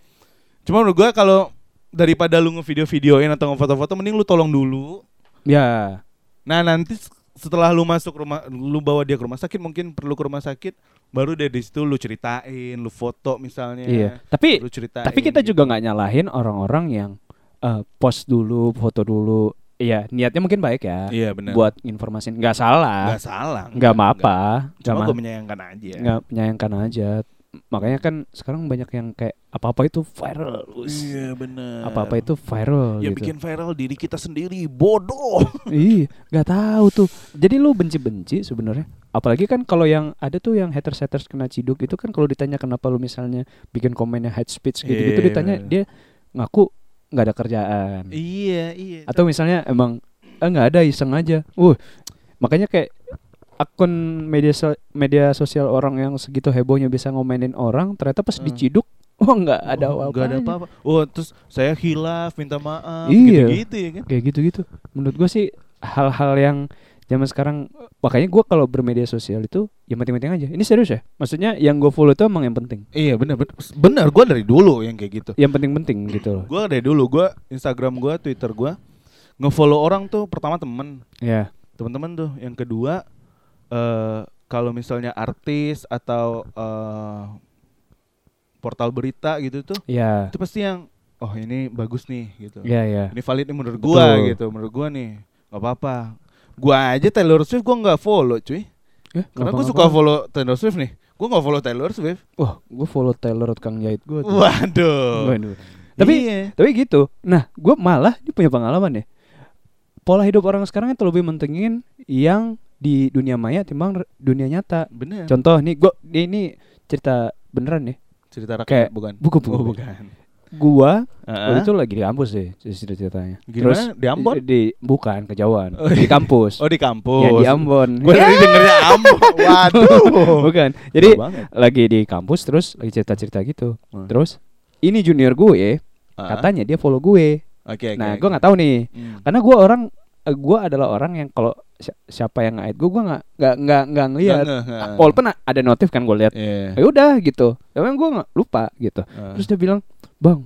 S3: cuma menurut gua kalau daripada lu ngevideo-videoin atau ngefoto-foto mending lu tolong dulu.
S2: ya
S3: Nah, nanti s- setelah lu masuk rumah lu bawa dia ke rumah sakit mungkin perlu ke rumah sakit baru dari situ lu ceritain, lu foto misalnya.
S2: iya tapi
S3: Lu ceritain. gitu.
S2: Tapi kita juga nggak nyalahin orang-orang yang eh, post dulu, foto dulu. Iya, niatnya mungkin baik ya.
S3: Iya benar.
S2: Buat informasi nggak salah,
S3: Nggak salah.
S2: nggak
S3: nggak.
S2: apa-apa, nggak
S3: Cuma ya.
S2: ma-
S3: gue menyayangkan aja.
S2: nggak menyayangkan aja. Makanya kan sekarang banyak yang kayak apa-apa itu viral, us.
S3: Iya benar.
S2: apa-apa itu viral
S3: Ya
S2: gitu.
S3: bikin viral diri kita sendiri
S2: [LAUGHS]
S3: bodoh.
S2: Ih, Iya, nggak tahu tuh. Jadi lu benci-benci sebenarnya. Apalagi kan kalau yang ada tuh yang haters-haters kena ciduk itu kan kalau ditanya kenapa lu misalnya bikin komen yang hate speech gitu, gitu
S3: Iya,
S2: ditanya
S3: bener.
S2: dia ngaku nggak ada kerjaan.
S3: iya iya.
S2: atau misalnya emang "Eh, nggak ada iseng aja uh makanya kayak akun media so- media sosial orang yang segitu hebohnya bisa ngomenin orang ternyata pas
S3: Hmm.
S2: diciduk [LAUGHS] oh nggak ada
S3: Oh,
S2: apa-apa
S3: nggak ada apa-apa. Oh terus saya hilaf minta maaf.
S2: Iya.
S3: Gitu ya kan.
S2: kayak gitu-gitu menurut gua sih hal-hal yang zaman sekarang makanya gua kalau bermedia sosial itu ya penting-penting aja ini serius ya maksudnya yang gue follow itu emang yang penting
S3: Iya benar benar. Benar gue dari dulu yang kayak gitu.
S2: yang penting-penting gitu loh
S3: Gue dari dulu gue Instagram gue Twitter gue ngefollow orang tuh pertama temen
S2: ya
S3: teman-teman tuh yang kedua eh kalau misalnya artis atau eh, portal berita gitu tuh
S2: ya
S3: itu pasti yang oh ini bagus nih gitu
S2: ya ya
S3: ini valid nih menurut gua
S2: Betul.
S3: gitu menurut gua nih nggak apa-apa gua aja Taylor Swift gua nggak follow cuy
S2: Eh,
S3: karena gua
S2: ngapa-ngapa.
S3: suka follow Taylor Swift nih gua nggak follow Taylor Swift
S2: wah gue follow Taylor Kang Jait gue
S3: waduh
S2: Waduh. Tapi
S3: Iya.
S2: tapi gitu. Nah, gue malah ini punya pengalaman ya. Pola hidup orang sekarang itu lebih mentingin yang di dunia maya timbang re- dunia nyata.
S3: bener
S2: Contoh nih, gue ini cerita beneran nih.
S3: cerita rakyat
S2: kayak-
S3: bukan
S2: Buku buku.
S3: oh bukan
S2: Gua waktu
S3: Heeh.
S2: itu lagi di kampus sih cerita ceritanya.
S3: Gimana? Di Ambon?
S2: Di, bukan kejauhan.
S3: Oh,
S2: Di
S3: iya.
S2: kampus.
S3: oh di kampus
S2: Ya, di Ambon.
S3: [LAUGHS] gua
S2: [LAUGHS]
S3: dari dengernya Ambon waduh
S2: bukan. Jadi
S3: Jauh banget.
S2: lagi di kampus terus lagi cerita-cerita gitu.
S3: Hmm.
S2: Terus ini junior gue,
S3: Ah,
S2: katanya dia follow gue.
S3: oke oke,
S2: Nah,
S3: oke.
S2: gue nggak tahu nih.
S3: Hmm.
S2: Karena gue orang eh, eh, gua adalah orang yang kalau si- siapa yang ngait gua gua nggak nggak nggak nggak ngelihat.
S3: Nggak ngeh, nggak.
S2: Walaupun a- ada notif kan gua lihat.
S3: Iya.
S2: Ya udah gitu. Emang gua nggak lupa gitu.
S3: Ah.
S2: Terus dia bilang, "Bang,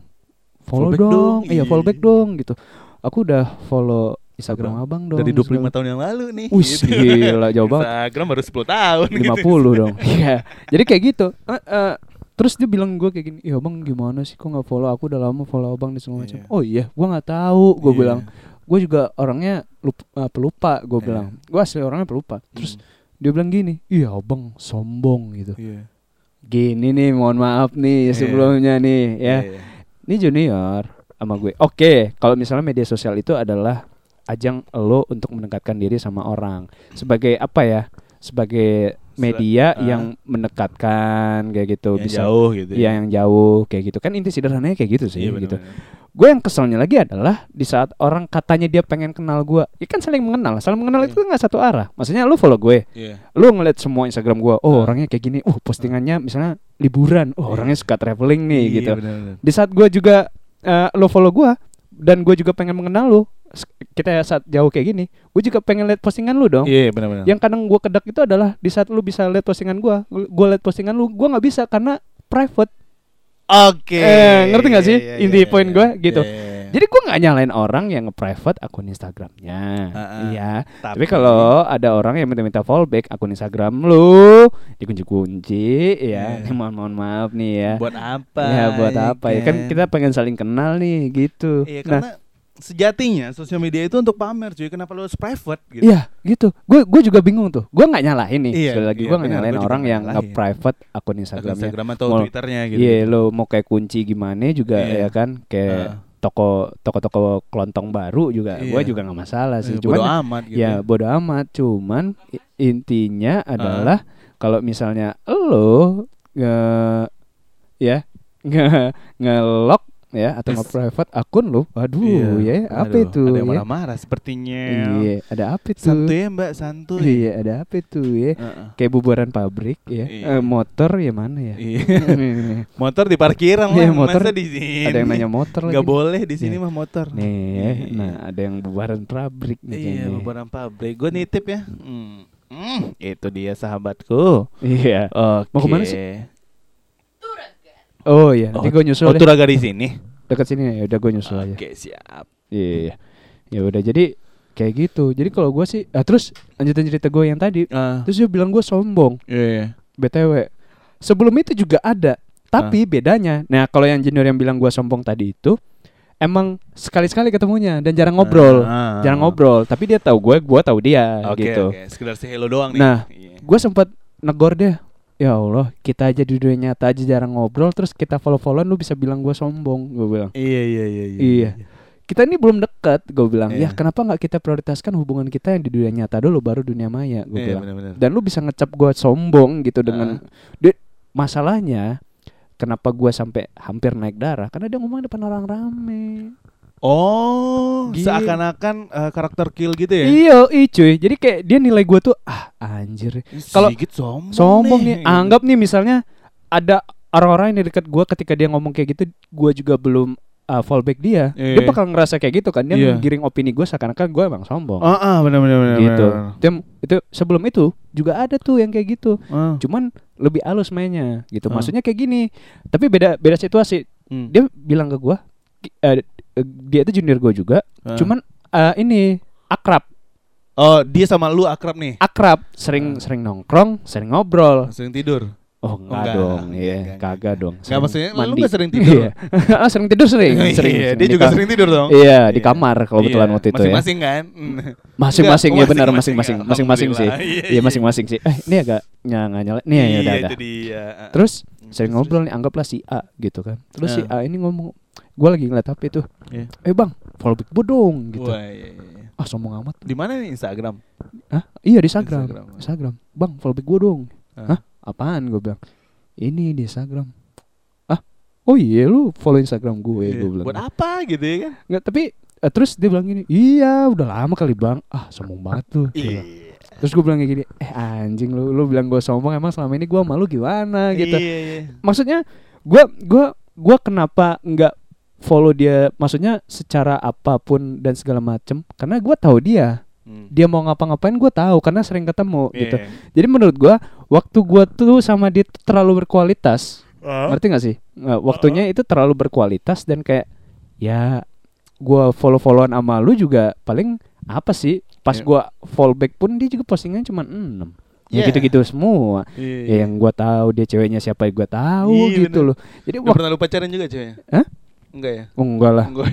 S2: follow
S3: Follow back
S2: dong.
S3: dong."
S2: Iya,
S3: Iya.
S2: follow back dong." gitu. Aku udah follow Instagram Abang dong.
S3: Dari 25
S2: segala-
S3: tahun yang lalu nih. gitu.
S2: Wih, gila jauh banget.
S3: Instagram baru 10 tahun gitu.
S2: 50
S3: [LAUGHS]
S2: dong. Iya. Jadi kayak gitu. Eh, eh, terus dia bilang gue kayak gini, "Ya Bang, gimana sih kok nggak follow aku udah lama follow Abang dan segala macam."
S3: Iya.
S2: Oh iya, gua nggak tahu, gue
S3: Iya.
S2: bilang. Gue juga orangnya lup- eh, pelupa, gue
S3: Iya. Hmm.
S2: bilang. Gue asli orangnya pelupa. Terus dia bilang gini, "Iya, Abang sombong gitu."
S3: Iya.
S2: Gini nih, mohon maaf nih
S3: Iya.
S2: sebelumnya nih ya.
S3: Iya.
S2: Ini junior sama gue. Oke, kalau misalnya media sosial itu adalah ajang lo untuk mendekatkan diri sama orang. Sebagai apa ya? Sebagai media
S3: ah.
S2: yang mendekatkan kayak gitu
S3: Yang
S2: bisa
S3: jauh gitu.
S2: Iya, yang jauh kayak gitu. Kan inti sederhananya kayak gitu sih
S3: Iya,
S2: gitu.
S3: benar-benar.
S2: Gue yang keselnya lagi adalah di saat orang katanya dia pengen kenal gue, ya kan saling mengenal. Saling mengenal itu kan nggak satu arah. Maksudnya lu follow gue,
S3: Iya.
S2: lu ngeliat semua Instagram gue,
S3: Ah.
S2: oh orangnya kayak gini, oh postingannya misalnya liburan, oh orangnya suka traveling nih
S3: Iya,
S2: gitu
S3: benar-benar.
S2: di saat gue juga eh, lo follow gue dan gue juga pengen mengenal lo s- kita saat jauh kayak gini gue juga pengen lihat postingan lu dong
S3: Iya, benar-benar.
S2: yang kadang gue kedak itu adalah di saat lu bisa lihat postingan gue gue lihat postingan lu gue nggak bisa karena private
S3: Oke.
S2: Eh, ngerti nggak sih?
S3: Iya, iya,
S2: Inti
S3: iya,
S2: poin
S3: iya.
S2: gue gitu.
S3: Iya, iya, iya.
S2: jadi gue nggak nyalain orang yang nge-private akun Instagramnya
S3: Ah, ah.
S2: iya tapi kalau ada orang yang minta-minta follow back akun Instagram lu dikunci-kunci ya
S3: Iya.
S2: mohon mohon maaf nih ya
S3: buat apa?
S2: ya buat apa ya kan kita pengen saling kenal nih gitu nah
S3: Iya, karena sejatinya sosial media itu untuk pamer cuy. Kenapa lu harus private gitu?
S2: Iya gitu. Gue gue juga bingung tuh. Gue nggak nyalahin nih.
S3: Iya,
S2: Sekali lagi gue
S3: iya,
S2: nggak
S3: benar,
S2: nyalahin
S3: gua juga
S2: orang
S3: nggak
S2: yang nge
S3: nyalahin.
S2: private akun
S3: Akun
S2: Instagramnya.
S3: Instagram atau
S2: Mau-
S3: Twitternya
S2: Iya
S3: gitu.
S2: lo mau kayak kunci gimana juga
S3: Iya.
S2: ya kan.
S3: Ah.
S2: Kayak toko toko-toko kelontong baru juga. Gue
S3: Iya.
S2: juga nggak masalah sih.
S3: Eh,
S2: Cuman
S3: bodo amat gitu.
S2: ya bodo amat. Cuman i- intinya adalah kalau misalnya lo nge ya nge ngelok ya atau nge private akun lo. Waduh ya apa
S3: Iya. Aduh,
S2: itu
S3: Ada yang
S2: ya.
S3: marah-marah sepertinya.
S2: Iya, ada apa itu?
S3: Santuy ya Mbak, santuy.
S2: Iya ada apa itu ya
S3: Heeh.
S2: Kayak bubaran pabrik ya
S3: Iya.
S2: Eh, Motor ya mana ya
S3: Iya.
S2: Nih,
S3: motor di parkiran lah,
S2: Iya, motor.
S3: masa di sini.
S2: Ada yang nanya motor lagi
S3: Nggak
S2: nih.
S3: boleh di sini
S2: Iya.
S3: mah motor.
S2: Nih ya
S3: Iya.
S2: Nah ada yang bubaran pabrik nih
S3: Iya,
S2: kayaknya.
S3: beberapa pabrik. Gue nitip ya.
S2: Mm.
S3: Hmm. Hmm, itu dia sahabatku.
S2: Iya
S3: Oke.
S2: Mau kemana sih? Oh iya nanti gue nyusul
S3: Oh,
S2: deh
S3: Turaga di sini.
S2: Dekat sini ya udah gue nyusul aja
S3: Oke, siap.
S2: Iya Ya udah jadi Kayak gitu Jadi kalau gue sih ah, Terus lanjutin cerita gue yang tadi
S3: Ah,
S2: Terus dia bilang gue sombong
S3: iya, iya.
S2: BTW Sebelum itu juga ada
S3: Ah.
S2: Tapi bedanya Nah kalau yang junior yang bilang gua sombong tadi itu Emang sekali-sekali ketemunya Dan jarang ngobrol
S3: Ah.
S2: Jarang ngobrol Tapi dia tahu gue Gue tahu dia
S3: Oke,
S2: gitu
S3: oke. Sekedar say hello doang nih.
S2: Nah.
S3: Iya.
S2: Gue sempat negor dia Ya Allah Kita aja di dunia nyata aja jarang ngobrol Terus kita follow-followan Lu bisa bilang gue sombong Gue bilang
S3: Iya, iya, iya, iya.
S2: Iya. Kita ini belum dekat Gue bilang Ya
S3: Iya.
S2: kenapa nggak kita prioritaskan hubungan kita Yang di dunia nyata dulu Baru dunia maya Gue
S3: Iya,
S2: bilang
S3: benar-benar. Ah.
S2: dan lu bisa ngecap gue sombong gitu dengan Dia- masalahnya kenapa gue sampai hampir naik darah karena dia ngomong depan orang rame
S3: Oh,
S2: Gini.
S3: seakan-akan eh, karakter kill gitu ya.
S2: iyo i Iya, cuy jadi kayak dia nilai gue tuh ah anjir Kalau-
S3: Sigit sombong,
S2: sombong nih Ah, anggap nih misalnya ada orang-orang yang di dekat gue ketika dia ngomong kayak gitu gue juga belum uh, fallback dia
S3: Iya.
S2: dia bakal ngerasa kayak gitu kan dia
S3: Iya.
S2: menggiring opini gue seakan-akan gue emang sombong
S3: Ah, ah, benar benar benar.
S2: Oh. gitu
S3: benar.
S2: itu, itu sebelum itu juga ada tuh yang kayak gitu
S3: Ah,
S2: cuman lebih halus mainnya gitu.
S3: Ah.
S2: Maksudnya kayak gini. Tapi beda beda situasi.
S3: hmm.
S2: Dia bilang ke gua ki- eh, eh, dia itu junior gua juga.
S3: Ah.
S2: Cuman eh, ini akrab,
S3: oh, dia sama lu akrab nih.
S2: akrab,
S3: Ah.
S2: sering sering nongkrong, sering ngobrol.
S3: Sering tidur.
S2: Oh, enggak,
S3: enggak,
S2: dong,
S3: enggak,
S2: iya,
S3: enggak,
S2: kagak dong.
S3: Enggak
S2: Sering
S3: maksudnya lu
S2: mandi.
S3: enggak sering tidur.
S2: Iya. [LAUGHS] Ah, sering tidur sering,
S3: [LAUGHS] Iya,
S2: sering.
S3: iya,
S2: sering
S3: dia
S2: di
S3: juga
S2: kam-
S3: sering tidur dong.
S2: Iya, di
S3: Iya.
S2: kamar kalau kebetulan
S3: Iya,
S2: waktu itu ya.
S3: Masing-masing kan? Mm.
S2: [LAUGHS] Masing-masing ya
S3: Enggak,
S2: benar
S3: oh,
S2: masing-masing, masing-masing
S3: masing-masing.
S2: sih.
S3: Alhamdulillah.
S2: Iya, masing-masing sih. Eh, ini agak nggak nggak nyala. Nih, ya udah,
S3: Iya,
S2: udah.
S3: jadi ya.
S2: Terus sering ngobrol nih anggaplah si A gitu kan. Terus si A ini ngomong, gue lagi ngeliat HP tuh.
S3: Hmm. Iya.
S2: Eh bang, follow back gue dong gitu.
S3: Wah, iya, iya, iya.
S2: Ah sombong amat.
S3: Di mana nih Instagram?
S2: Hah? Iya di Instagram.
S3: Instagram.
S2: Instagram. Bang, follow back gue dong.
S3: Ah.
S2: Hah? Apaan gue bilang? Ini di Instagram. Ah, oh iya lu follow Instagram gue
S3: Iya.
S2: gue bilang.
S3: Buat apa gitu ya kan?
S2: Nggak, tapi eh, terus dia bilang gini, iya udah lama kali bang. Ah sombong banget tuh. Dia
S3: Iya.
S2: bilang. Terus gue bilang kayak gini, eh anjing lu lu bilang gue sombong emang selama ini gue malu gimana gitu.
S3: Iya, iya.
S2: maksudnya gua gua gua kenapa nggak follow dia maksudnya secara apapun dan segala macem karena gua tahu dia
S3: Hmm.
S2: dia mau ngapa-ngapain gua tahu karena sering ketemu
S3: Iya.
S2: gitu jadi menurut gua waktu gua tuh sama dia tuh terlalu berkualitas
S3: Ah.
S2: ngerti gak sih Nah, waktunya itu terlalu berkualitas dan kayak ya gua follow-followan sama lu juga paling apa sih pas
S3: Iya.
S2: gua follow back pun dia juga postingnya cuma 6 ya
S3: Iya.
S2: gitu-gitu semua
S3: Iya.
S2: ya yang gua tahu dia ceweknya siapa ya gua tahu
S3: Iya,
S2: gitu
S3: bener.
S2: loh jadi
S3: Udah
S2: wah
S3: pernah lu pacaran juga ceweknya?
S2: Hah?
S3: Enggak ya?
S2: oh, enggak lah
S3: Enggak.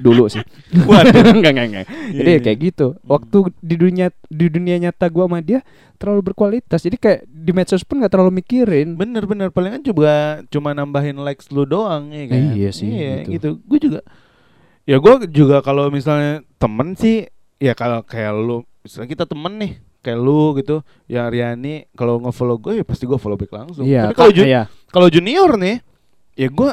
S2: dulu sih
S3: [LAUGHS]
S2: [LAUGHS]
S3: Waduh.
S2: enggak enggak enggak jadi
S3: Iya,
S2: ya kayak gitu waktu di dunia di dunia nyata gua sama dia terlalu berkualitas jadi kayak di medsos pun nggak terlalu mikirin
S3: Bener-bener palingan kan juga cuma nambahin likes lu doang ya kan?
S2: Iya sih,
S3: Iya,
S2: gitu.
S3: gitu. Gue juga Ya gue juga kalau misalnya temen sih Ya kalau kayak lu Misalnya kita temen nih Kayak lu gitu Ya Riani Kalau nge-follow gue ya pasti gue follow back langsung
S2: iya
S3: Tapi kalau ju-
S2: iya
S3: kalau junior nih Ya gue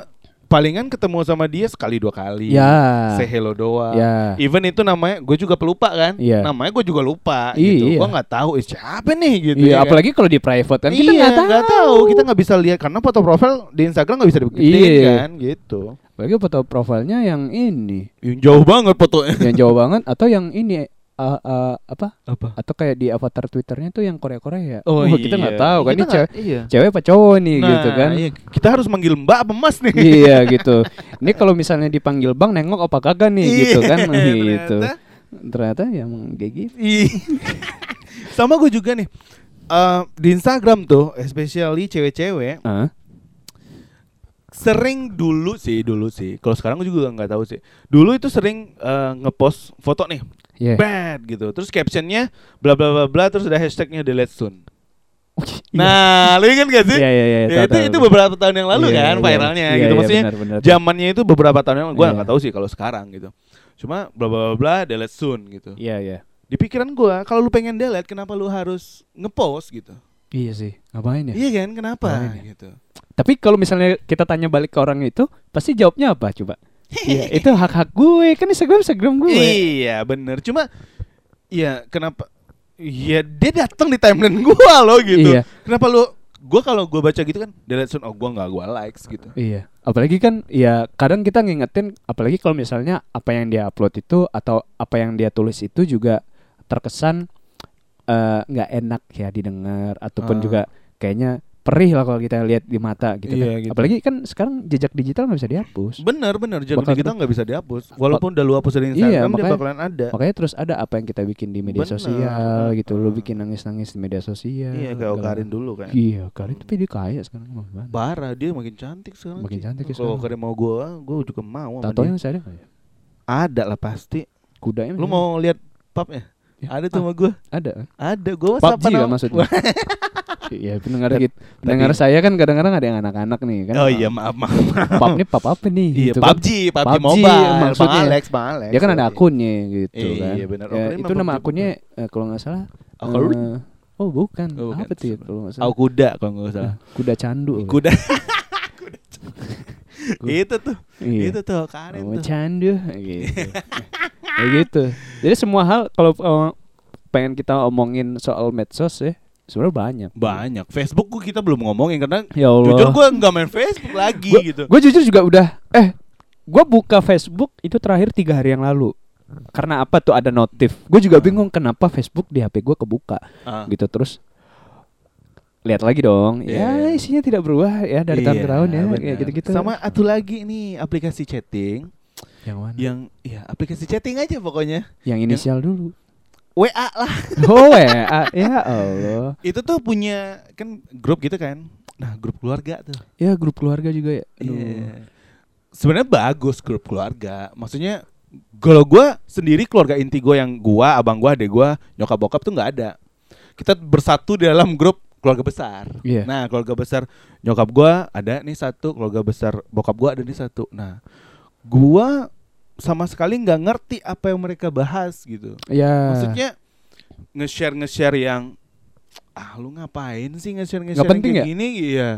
S3: palingan ketemu sama dia sekali dua kali
S2: ya
S3: Say hello doang
S2: ya
S3: Even itu namanya gue juga pelupa kan,
S2: Iya.
S3: namanya gue juga lupa
S2: Iya.
S3: gitu. Gue nggak tahu "Eh, siapa nih gitu.
S2: iya
S3: ya kan?
S2: apalagi kalau di private kan kita
S3: Iya,
S2: nggak tahu.
S3: nggak tahu. Kita nggak bisa lihat karena foto profil di Instagram nggak bisa dibuktiin
S2: Iya.
S3: kan, gitu.
S2: apalagi foto profilnya yang ini
S3: Yang jauh banget fotonya.
S2: yang
S3: [LAUGHS]
S2: jauh banget atau yang ini eh, eh, apa
S3: Apa?
S2: atau kayak di avatar twitternya tuh yang Korea Korea
S3: Oh,
S2: kita
S3: iya.
S2: nggak tahu kan
S3: Kita
S2: ini
S3: nggak-
S2: cewek
S3: iya.
S2: cewek apa cowok nih
S3: Nah,
S2: gitu kan
S3: iya. Kita harus manggil Mbak apa Mas nih?
S2: iya gitu ini kalau misalnya dipanggil bang nengok apa kagak nih gitu
S3: [LAUGHS]
S2: kan
S3: Iya,
S2: gitu
S3: ternyata.
S2: ternyata ya emang kayak gitu
S3: [LAUGHS] Ih. Sama gue juga nih. Eh, di Instagram tuh, especially cewek-cewek
S2: ah
S3: sering dulu sih dulu sih kalau sekarang gue juga nggak tahu sih dulu itu sering eh, ngepost foto nih
S2: ya
S3: bad gitu terus captionnya bla bla bla bla terus ada hashtagnya delete soon
S2: nah
S3: nah lu ingat gak sih
S2: Iya, iya, iya,
S3: Ya,
S2: tahu,
S3: itu
S2: tahu.
S3: itu beberapa tahun yang lalu
S2: Iya,
S3: kan
S2: iya.
S3: viralnya
S2: Iya,
S3: gitu
S2: iya,
S3: maksudnya
S2: benar, benar.
S3: zamannya itu beberapa tahun yang lalu gue
S2: Iya.
S3: nggak tahu sih kalau sekarang gitu cuma bla bla bla bla delete soon gitu
S2: iya iya
S3: di pikiran gue kalau lu pengen delete kenapa lu harus ngepost gitu
S2: iya sih ngapain ya
S3: iya kan kenapa
S2: Ngapain ya?
S3: gitu
S2: tapi kalau misalnya kita tanya balik ke orang itu pasti jawabnya apa
S3: [LAUGHS]
S2: coba Iya, itu hak-hak gue kan Instagram Instagram gue.
S3: Iya bener Cuma Iya kenapa Iya dia datang di timeline gua loh gitu
S2: Iya.
S3: Kenapa lu Gua kalau gua baca gitu kan Delete soon Oh gua gak gua likes gitu
S2: Iya. Apalagi kan ya kadang kita ngingetin apalagi kalau misalnya apa yang dia upload itu atau apa yang dia tulis itu juga terkesan eh, nggak enak ya didengar ataupun
S3: Ah.
S2: juga kayaknya perih lah kalau kita lihat di mata gitu
S3: Iya,
S2: kan.
S3: gitu.
S2: Apalagi kan sekarang jejak digital nggak bisa dihapus.
S3: Bener bener Jejak
S2: Bakal
S3: digital gak bisa dihapus Walaupun udah lu hapus dari
S2: Iya,
S3: Instagram Dia
S2: makanya-
S3: bakalan ada
S2: Makanya terus ada apa yang kita bikin di media
S3: Bener.
S2: sosial gitu. Lu
S3: Ah.
S2: bikin nangis-nangis di media sosial.
S3: Iya kayak
S2: segala-
S3: Okarin dulu kan
S2: Iya, Karin tapi dia kaya sekarang mau gimana?
S3: Parah dia makin cantik sekarang
S2: Makin
S3: Ci.
S2: cantik ya sekarang.
S3: Kalau Okarin mau gua Gua juga mau sama
S2: Tatonya
S3: dia.
S2: masih Iya. ada nggak ya?
S3: Ada lah pasti
S2: Kudanya
S3: Lu
S2: masih
S3: mau lihat papnya
S2: Ya,
S3: Ada tuh sama gua
S2: ada kan?
S3: Ada gua
S2: PUBG
S3: whatsappan
S2: kan
S3: sama-
S2: maksudnya. [LAUGHS] Iya, pendengar
S3: Tadi-
S2: gitu. Pendengar saya kan kadang-kadang ada yang anak-anak nih kan.
S3: [LAUGHS] Oh iya maaf maaf
S2: Pap nih pap apa nih?
S3: Iya,
S2: gitu kan.
S3: PUBG, PUBG,
S2: PUBG,
S3: Mobile, Bang
S2: maksudnya.
S3: Alex, Bang Alex.
S2: Dia kan ada
S3: akun
S2: akunnya gitu
S3: Iya,
S2: kan.
S3: iya, benar.
S2: Ya,
S3: Ocarina
S2: itu
S3: apa
S2: nama
S3: PUBG?
S2: akunnya eh, kalau nggak salah.
S3: Ocarina?
S2: eh, oh bukan.
S3: Oh, bukan.
S2: Apa tuh ya kalau nggak salah? Eh,
S3: Aku kuda kalau nggak salah.
S2: Iya. Kuda candu.
S3: Kuda. [LAUGHS] Kuda. itu tuh,
S2: Iya.
S3: itu tuh karen
S2: Kamu
S3: tuh.
S2: candu
S3: [LAUGHS]
S2: gitu. Kayak gitu. Jadi semua hal kalau eh, pengen kita omongin soal medsos ya, sebenarnya banyak.
S3: Banyak. Facebook gua kita belum ngomongin karena
S2: Ya Allah.
S3: jujur gua nggak main Facebook lagi
S2: Gua-
S3: gitu.
S2: Gue jujur juga udah eh gue buka Facebook itu terakhir tiga hari yang lalu. Karena apa tuh ada notif. Hmm. Gue juga bingung kenapa Facebook di HP gue kebuka
S3: Ah.
S2: gitu terus lihat lagi dong. Ya
S3: Iya.
S2: isinya tidak berubah ya dari tahun ke
S3: Iya,
S2: tahun ya
S3: benar.
S2: kayak gitu-gitu.
S3: Sama satu lagi nih aplikasi chatting
S2: yang mana?
S3: yang ya aplikasi chatting aja pokoknya.
S2: Yang inisial dulu. [LAUGHS]
S3: WA lah.
S2: Oh WA. ya Allah.
S3: Itu tuh punya kan grup gitu kan. Nah, grup keluarga tuh.
S2: Ya grup keluarga juga ya. Aduh.
S3: Iya. Sebenarnya bagus grup keluarga. Maksudnya kalau gua sendiri keluarga inti gua yang gua, abang gua, adek gua, nyokap bokap tuh nggak ada. Kita bersatu di dalam grup keluarga besar.
S2: Iya.
S3: Nah, keluarga besar nyokap gua ada nih satu, keluarga besar bokap gua ada nih satu. Nah, gua sama sekali nggak ngerti apa yang mereka bahas gitu.
S2: Ya.
S3: Maksudnya nge-share nge-share yang ah lu ngapain sih nge-share nge-share
S2: Nggak
S3: yang
S2: penting
S3: kayak
S2: ya?
S3: gini iya.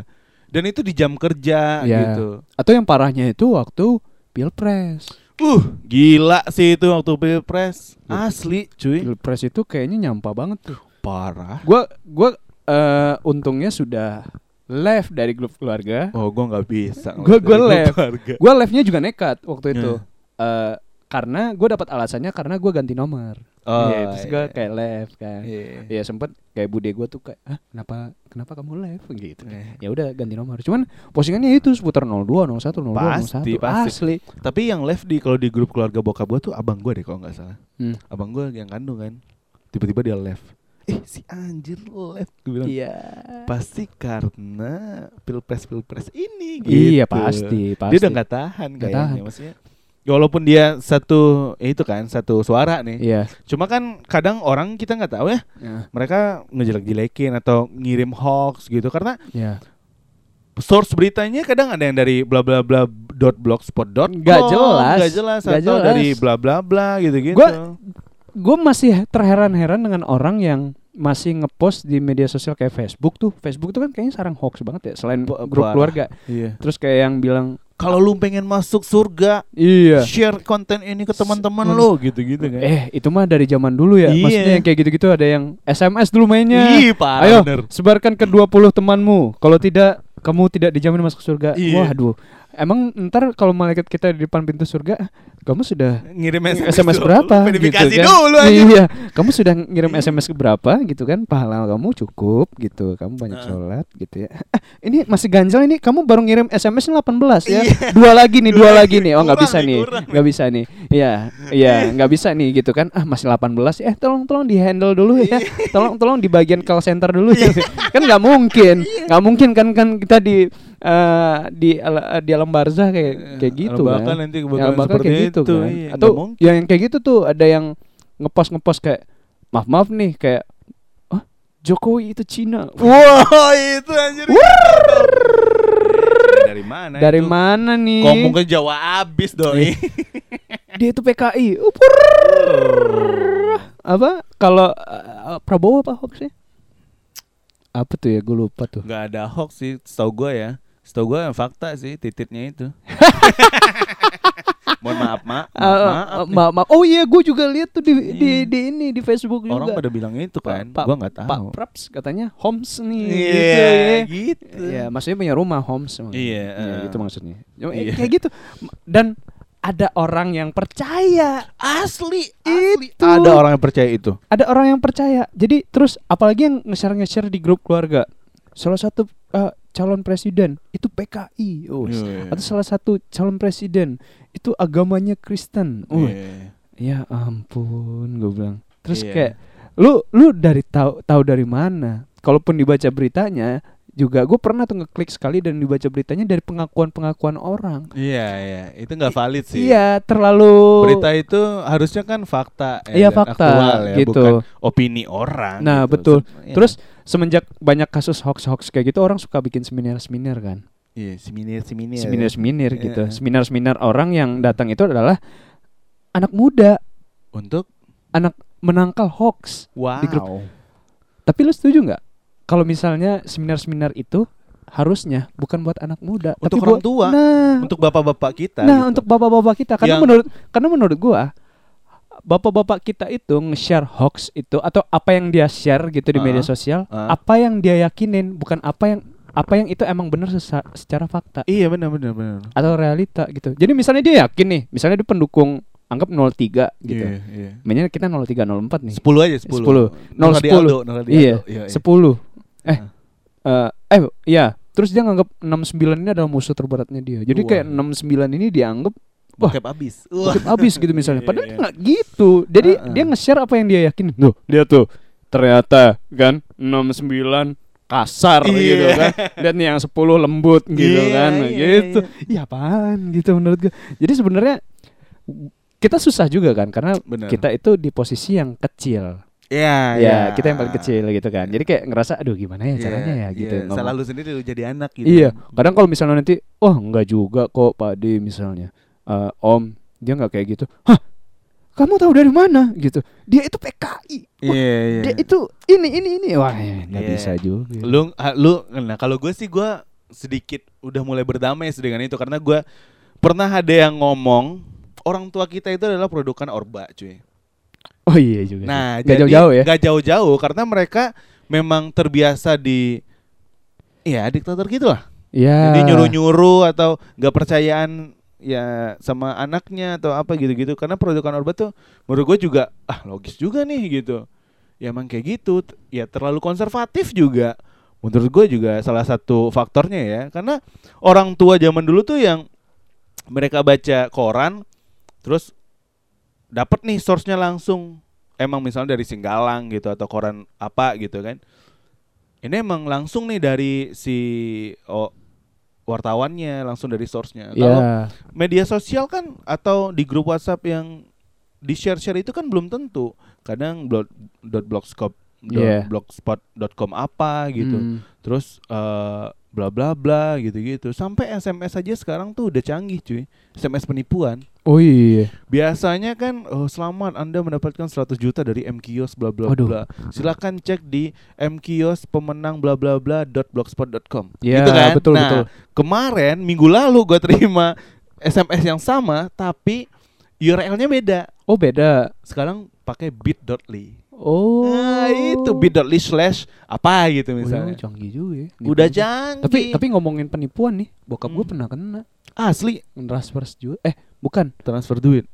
S3: Dan itu di jam kerja
S2: Iya.
S3: gitu.
S2: Atau yang parahnya itu waktu pilpres.
S3: Uh, gila sih itu waktu pilpres.
S2: Iya.
S3: Asli, cuy.
S2: Pilpres itu kayaknya nyampa banget tuh.
S3: Parah.
S2: Gua gua eh, untungnya sudah left dari grup keluarga.
S3: Oh, gue nggak bisa.
S2: Gua- gua left.
S3: Harga.
S2: Gue left-nya juga nekat waktu itu.
S3: Iya.
S2: Eh, karena gue dapat alasannya karena gue ganti nomor.
S3: Oh,
S2: Iya, terus gue kayak left kan.
S3: Iya.
S2: Ya sempet kayak bude gue tuh kayak, "Hah, kenapa kenapa kamu left?" gitu.
S3: Iya.
S2: Ya udah ganti nomor. Cuman postingannya itu seputar 02, 01, 02,
S3: Pasti,
S2: 01.
S3: pasti.
S2: Asli.
S3: Tapi yang left di kalau di grup keluarga bokap gue tuh abang gue deh kalau nggak salah.
S2: Hmm.
S3: Abang gue yang kandung kan. Tiba-tiba dia left. Eh si anjir left gue bilang. Pasti karena pilpres pilpres ini gitu.
S2: Iya, pasti, pasti.
S3: Dia udah nggak tahan
S2: Nggak
S3: kayaknya
S2: tahan.
S3: maksudnya. ya Walaupun dia satu ya itu kan satu suara nih.
S2: Iya.
S3: Cuma kan kadang orang kita nggak tahu ya. Mereka ngejelek-jelekin atau ngirim hoax gitu karena
S2: Iya.
S3: source beritanya kadang ada yang dari bla bla bla dot blogspot dot
S2: Nggak jelas.
S3: nggak jelas
S2: Nggak
S3: atau
S2: jelas.
S3: dari bla bla bla gitu gitu
S2: Gua- gue masih terheran-heran dengan orang yang masih ngepost di media sosial kayak Facebook tuh. Facebook tuh kan kayaknya sarang hoax banget ya selain
S3: Ba-
S2: grup
S3: parah.
S2: keluarga. Terus kayak yang bilang
S3: Iya. kalau lu pengen masuk surga
S2: iya.
S3: share konten ini ke teman-teman lo gitu gitu kan
S2: Eh, itu mah dari zaman dulu ya.
S3: Iya.
S2: Maksudnya yang kayak gitu-gitu ada yang SMS dulu mainnya.
S3: Ih, parah,
S2: Ayo,
S3: bener.
S2: sebarkan ke 20 temanmu. Kalau tidak, kamu tidak dijamin masuk surga.
S3: Iya.
S2: Wah, aduh. Emang ntar kalau malaikat kita di depan pintu surga, kamu sudah
S3: ngirim
S2: SMS, berapa gitu kan?
S3: dulu aja
S2: Iya, kamu sudah ngirim SMS ke berapa gitu kan? Pahala kamu cukup gitu. Kamu banyak sholat gitu ya. Ah, ini masih ganjel ini kamu baru ngirim SMS 18 ya. Dua lagi nih, dua,
S3: Dua
S2: lagi
S3: lagi.
S2: nih. Oh, nggak
S3: Iya. Kurang
S2: bisa
S3: nih,
S2: nih.
S3: kurang.
S2: nggak bisa nih. Iya, iya, nggak bisa nih gitu kan. Ah, masih 18. Eh, tolong-tolong di handle dulu ya.
S3: Iya.
S2: Tolong-tolong di bagian call center dulu ya. kan nggak mungkin.
S3: Iya.
S2: nggak mungkin kan kan kita di eh, di ala- di alam barzah kayak kayak gitu
S3: Alam bakal
S2: kan.
S3: Iya, nanti
S2: Ya,
S3: bakal
S2: alam bakal
S3: seperti
S2: kayak gitu
S3: itu,
S2: kan.
S3: iya.
S2: Atau
S3: Nggak mungkin.
S2: yang kayak gitu tuh ada yang ngepost ngepost kayak maaf maaf nih kayak ah Jokowi itu Cina.
S3: wah itu anjir dari mana
S2: Dari
S3: itu?
S2: mana Iya. nih?
S3: ngomong ke Jawa abis doi
S2: Dia itu PKI. Uh,
S3: Oh.
S2: purr. Apa? Kalau uh, Prabowo apa hoaxnya? Apa tuh ya? Gue lupa tuh.
S3: [LAUGHS] nggak ada hoax sih setahu gue ya setahu gue yang fakta sih tititnya
S2: [LAUGHS]
S3: itu mohon maaf mak
S2: Ah, ah, ah,
S3: maaf, maaf, nih.
S2: maaf, maaf. Oh iya, gue juga lihat tuh di, di
S3: Iya.
S2: di ini di Facebook juga.
S3: orang pada bilang itu kan
S2: Pak-
S3: gue
S2: Pak
S3: nggak tahu
S2: Praps katanya Homs nih. gitu
S3: Iya,
S2: ya.
S3: gitu.
S2: Iya, maksudnya punya rumah Homs. emang.
S3: Iya, eh.
S2: gitu maksudnya. Cuma, eh,
S3: Iya.
S2: Kayak gitu. M- Dan ada orang yang percaya.
S3: asli
S2: Itu.
S3: ada orang yang percaya itu
S2: Ada orang yang percaya. Jadi terus apalagi yang nge-share nge-share di grup keluarga. Salah satu eh, calon presiden itu PKI. Oh,
S3: Iya.
S2: Atau salah satu calon presiden itu agamanya Kristen. Oh,
S3: Iya.
S2: Ya ampun, gue bilang. Terus
S3: Iya.
S2: kayak lu lu dari tahu tahu dari mana? Kalaupun dibaca beritanya juga gue pernah tuh ngeklik sekali dan dibaca beritanya dari pengakuan-pengakuan orang.
S3: iya iya itu nggak valid sih
S2: Iya, terlalu
S3: berita itu harusnya kan fakta ya,
S2: Iya,
S3: dan
S2: fakta,
S3: aktual ya,
S2: gitu.
S3: bukan opini orang
S2: Nah,
S3: gitu.
S2: betul.
S3: Se- iya.
S2: Terus semenjak banyak kasus hoax-hoax kayak gitu orang suka bikin seminar-seminar kan.
S3: iya seminir seminir
S2: Seminar-seminar
S3: Iya.
S2: gitu. Seminar-seminar orang yang datang itu adalah anak muda,
S3: untuk
S2: anak menangkal hoax.
S3: wow
S2: Di grup. Tapi lu setuju nggak kalau misalnya seminar-seminar itu harusnya bukan buat anak muda, tapi
S3: Untuk orang
S2: buat-
S3: tua,
S2: Nah,
S3: untuk bapak-bapak kita
S2: nah
S3: gitu.
S2: untuk bapak-bapak kita karena
S3: Yang-
S2: menurut karena menurut gua bapak-bapak kita itu nge-share hoax itu atau apa yang dia share gitu di media
S3: Ah,
S2: sosial,
S3: ah.
S2: apa yang dia yakinin bukan apa yang apa yang itu emang benar sesa- secara fakta
S3: iya benar benar benar
S2: atau realita gitu. Jadi misalnya dia yakin nih, misalnya dia pendukung anggap 03 gitu.
S3: Iya, iya.
S2: Mainnya kita 0304 nih.
S3: 10 aja 10.
S2: 10. 0
S3: Ronaldo,
S2: 10.
S3: Ronaldo,
S2: Iya.
S3: iya, iya.
S2: 10. Eh. eh, eh iya. Terus dia nganggap 69 ini adalah musuh terberatnya dia. Jadi
S3: Wah.
S2: kayak 69 ini dianggap Wah.
S3: Bokep abis. Wah.
S2: bokep abis gitu misalnya.
S3: [LAUGHS] Iya,
S2: Padahal
S3: iya.
S2: nggak gitu. Jadi
S3: Heeh.
S2: dia nge-share apa yang dia yakin. Loh, dia tuh ternyata kan 69 kasar
S3: Iya.
S2: gitu kan. Dan yang 10 lembut gitu
S3: Iya,
S2: kan.
S3: iya,
S2: gitu. Ya apaan gitu menurut gue. Jadi sebenarnya kita susah juga kan karena
S3: Benar.
S2: kita itu di posisi yang kecil
S3: Iya,
S2: ya kita yang paling kecil gitu kan jadi kayak ngerasa aduh gimana ya caranya ya gitu
S3: Iya,
S2: ngomong.
S3: Salah lu sendiri lu jadi anak gitu.
S2: iya kadang kalau misalnya nanti oh nggak juga kok Pak D misalnya Eh, Om dia nggak kayak gitu hah kamu tahu dari mana gitu dia itu PKI Wah,
S3: Iya, iya.
S2: dia itu ini ini ini wah ya, nggak
S3: Iya.
S2: bisa juga
S3: Lu ah, lu nah kalau gue sih gue sedikit udah mulai berdamai sih dengan itu karena gue pernah ada yang ngomong orang tua kita itu adalah produkan orba, cuy.
S2: oh iya juga sih.
S3: Nah,
S2: nggak ya?
S3: jadi
S2: jauh-jauh ya
S3: nggak jauh-jauh karena mereka memang terbiasa di Iya diktator gitu lah.
S2: Iya.
S3: Jadi nyuruh-nyuruh atau gak percayaan ya sama anaknya atau apa gitu-gitu karena produkan Orba tuh menurut gue juga ah logis juga nih gitu ya emang kayak gitu T- ya terlalu konservatif juga menurut gue juga salah satu faktornya ya karena orang tua zaman dulu tuh yang mereka baca koran terus dapat nih source-nya langsung emang misalnya dari Singgalang gitu atau koran apa gitu kan ini emang langsung nih dari si oh, wartawannya langsung dari source-nya
S2: Iya.
S3: kalau media sosial kan atau di grup WhatsApp yang di share share itu kan belum tentu kadang blog dot blogspot dot
S2: Yeah.
S3: blogspot.com apa gitu
S2: Hmm.
S3: terus eh, bla bla bla gitu gitu sampai SMS aja sekarang tuh udah canggih cuy SMS penipuan
S2: Oh iya.
S3: biasanya kan oh, selamat Anda mendapatkan 100 juta dari MKios bla bla
S2: Waduh.
S3: bla silakan cek di MKios pemenang bla bla bla dot blogspot.com
S2: Iya,
S3: gitu kan
S2: betul,
S3: nah,
S2: betul.
S3: kemarin minggu lalu gue terima SMS yang sama tapi URL-nya beda.
S2: Oh beda.
S3: Sekarang pakai bit.ly.
S2: Oh.
S3: Nah, itu bit.ly slash apa gitu misalnya.
S2: Oh, canggih juga ya.
S3: Udah
S2: Nipu juga.
S3: canggih.
S2: Tapi tapi ngomongin penipuan nih, bokap gue
S3: Iya. Hmm.
S2: pernah kena
S3: asli
S2: transfer sejuta. Eh, bukan.
S3: transfer duit.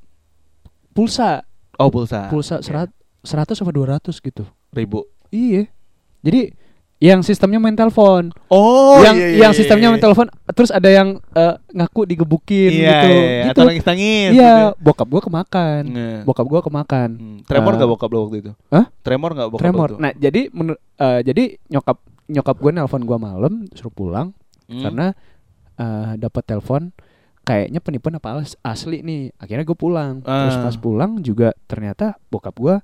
S2: Pulsa,
S3: Oh, pulsa.
S2: pulsa serat, 100 apa 200 gitu.
S3: ribu.
S2: Iya. Jadi yang sistemnya main telepon,
S3: Oh,
S2: yang yang sistemnya main telepon, terus ada yang eh, ngaku digebukin
S3: Iya,
S2: gitu.
S3: iya, iya.
S2: Gitu.
S3: Atau
S2: Iya,
S3: nangis-nangis gitu.
S2: bokap gua kemakan.
S3: Nah.
S2: Bokap gua kemakan.
S3: Hmm, Tremor
S2: Ah.
S3: gak bokap lo waktu itu?
S2: Hah?
S3: Tremor gak bokap
S2: Tremor.
S3: waktu?
S2: Nah, jadi menur- eh, jadi nyokap nyokap gue nelpon gua malam suruh pulang
S3: Hmm.
S2: karena eh, dapat telepon kayaknya penipuan apa as- asli nih. Akhirnya gue pulang. Terus
S3: Ah.
S2: pas pulang juga ternyata bokap gua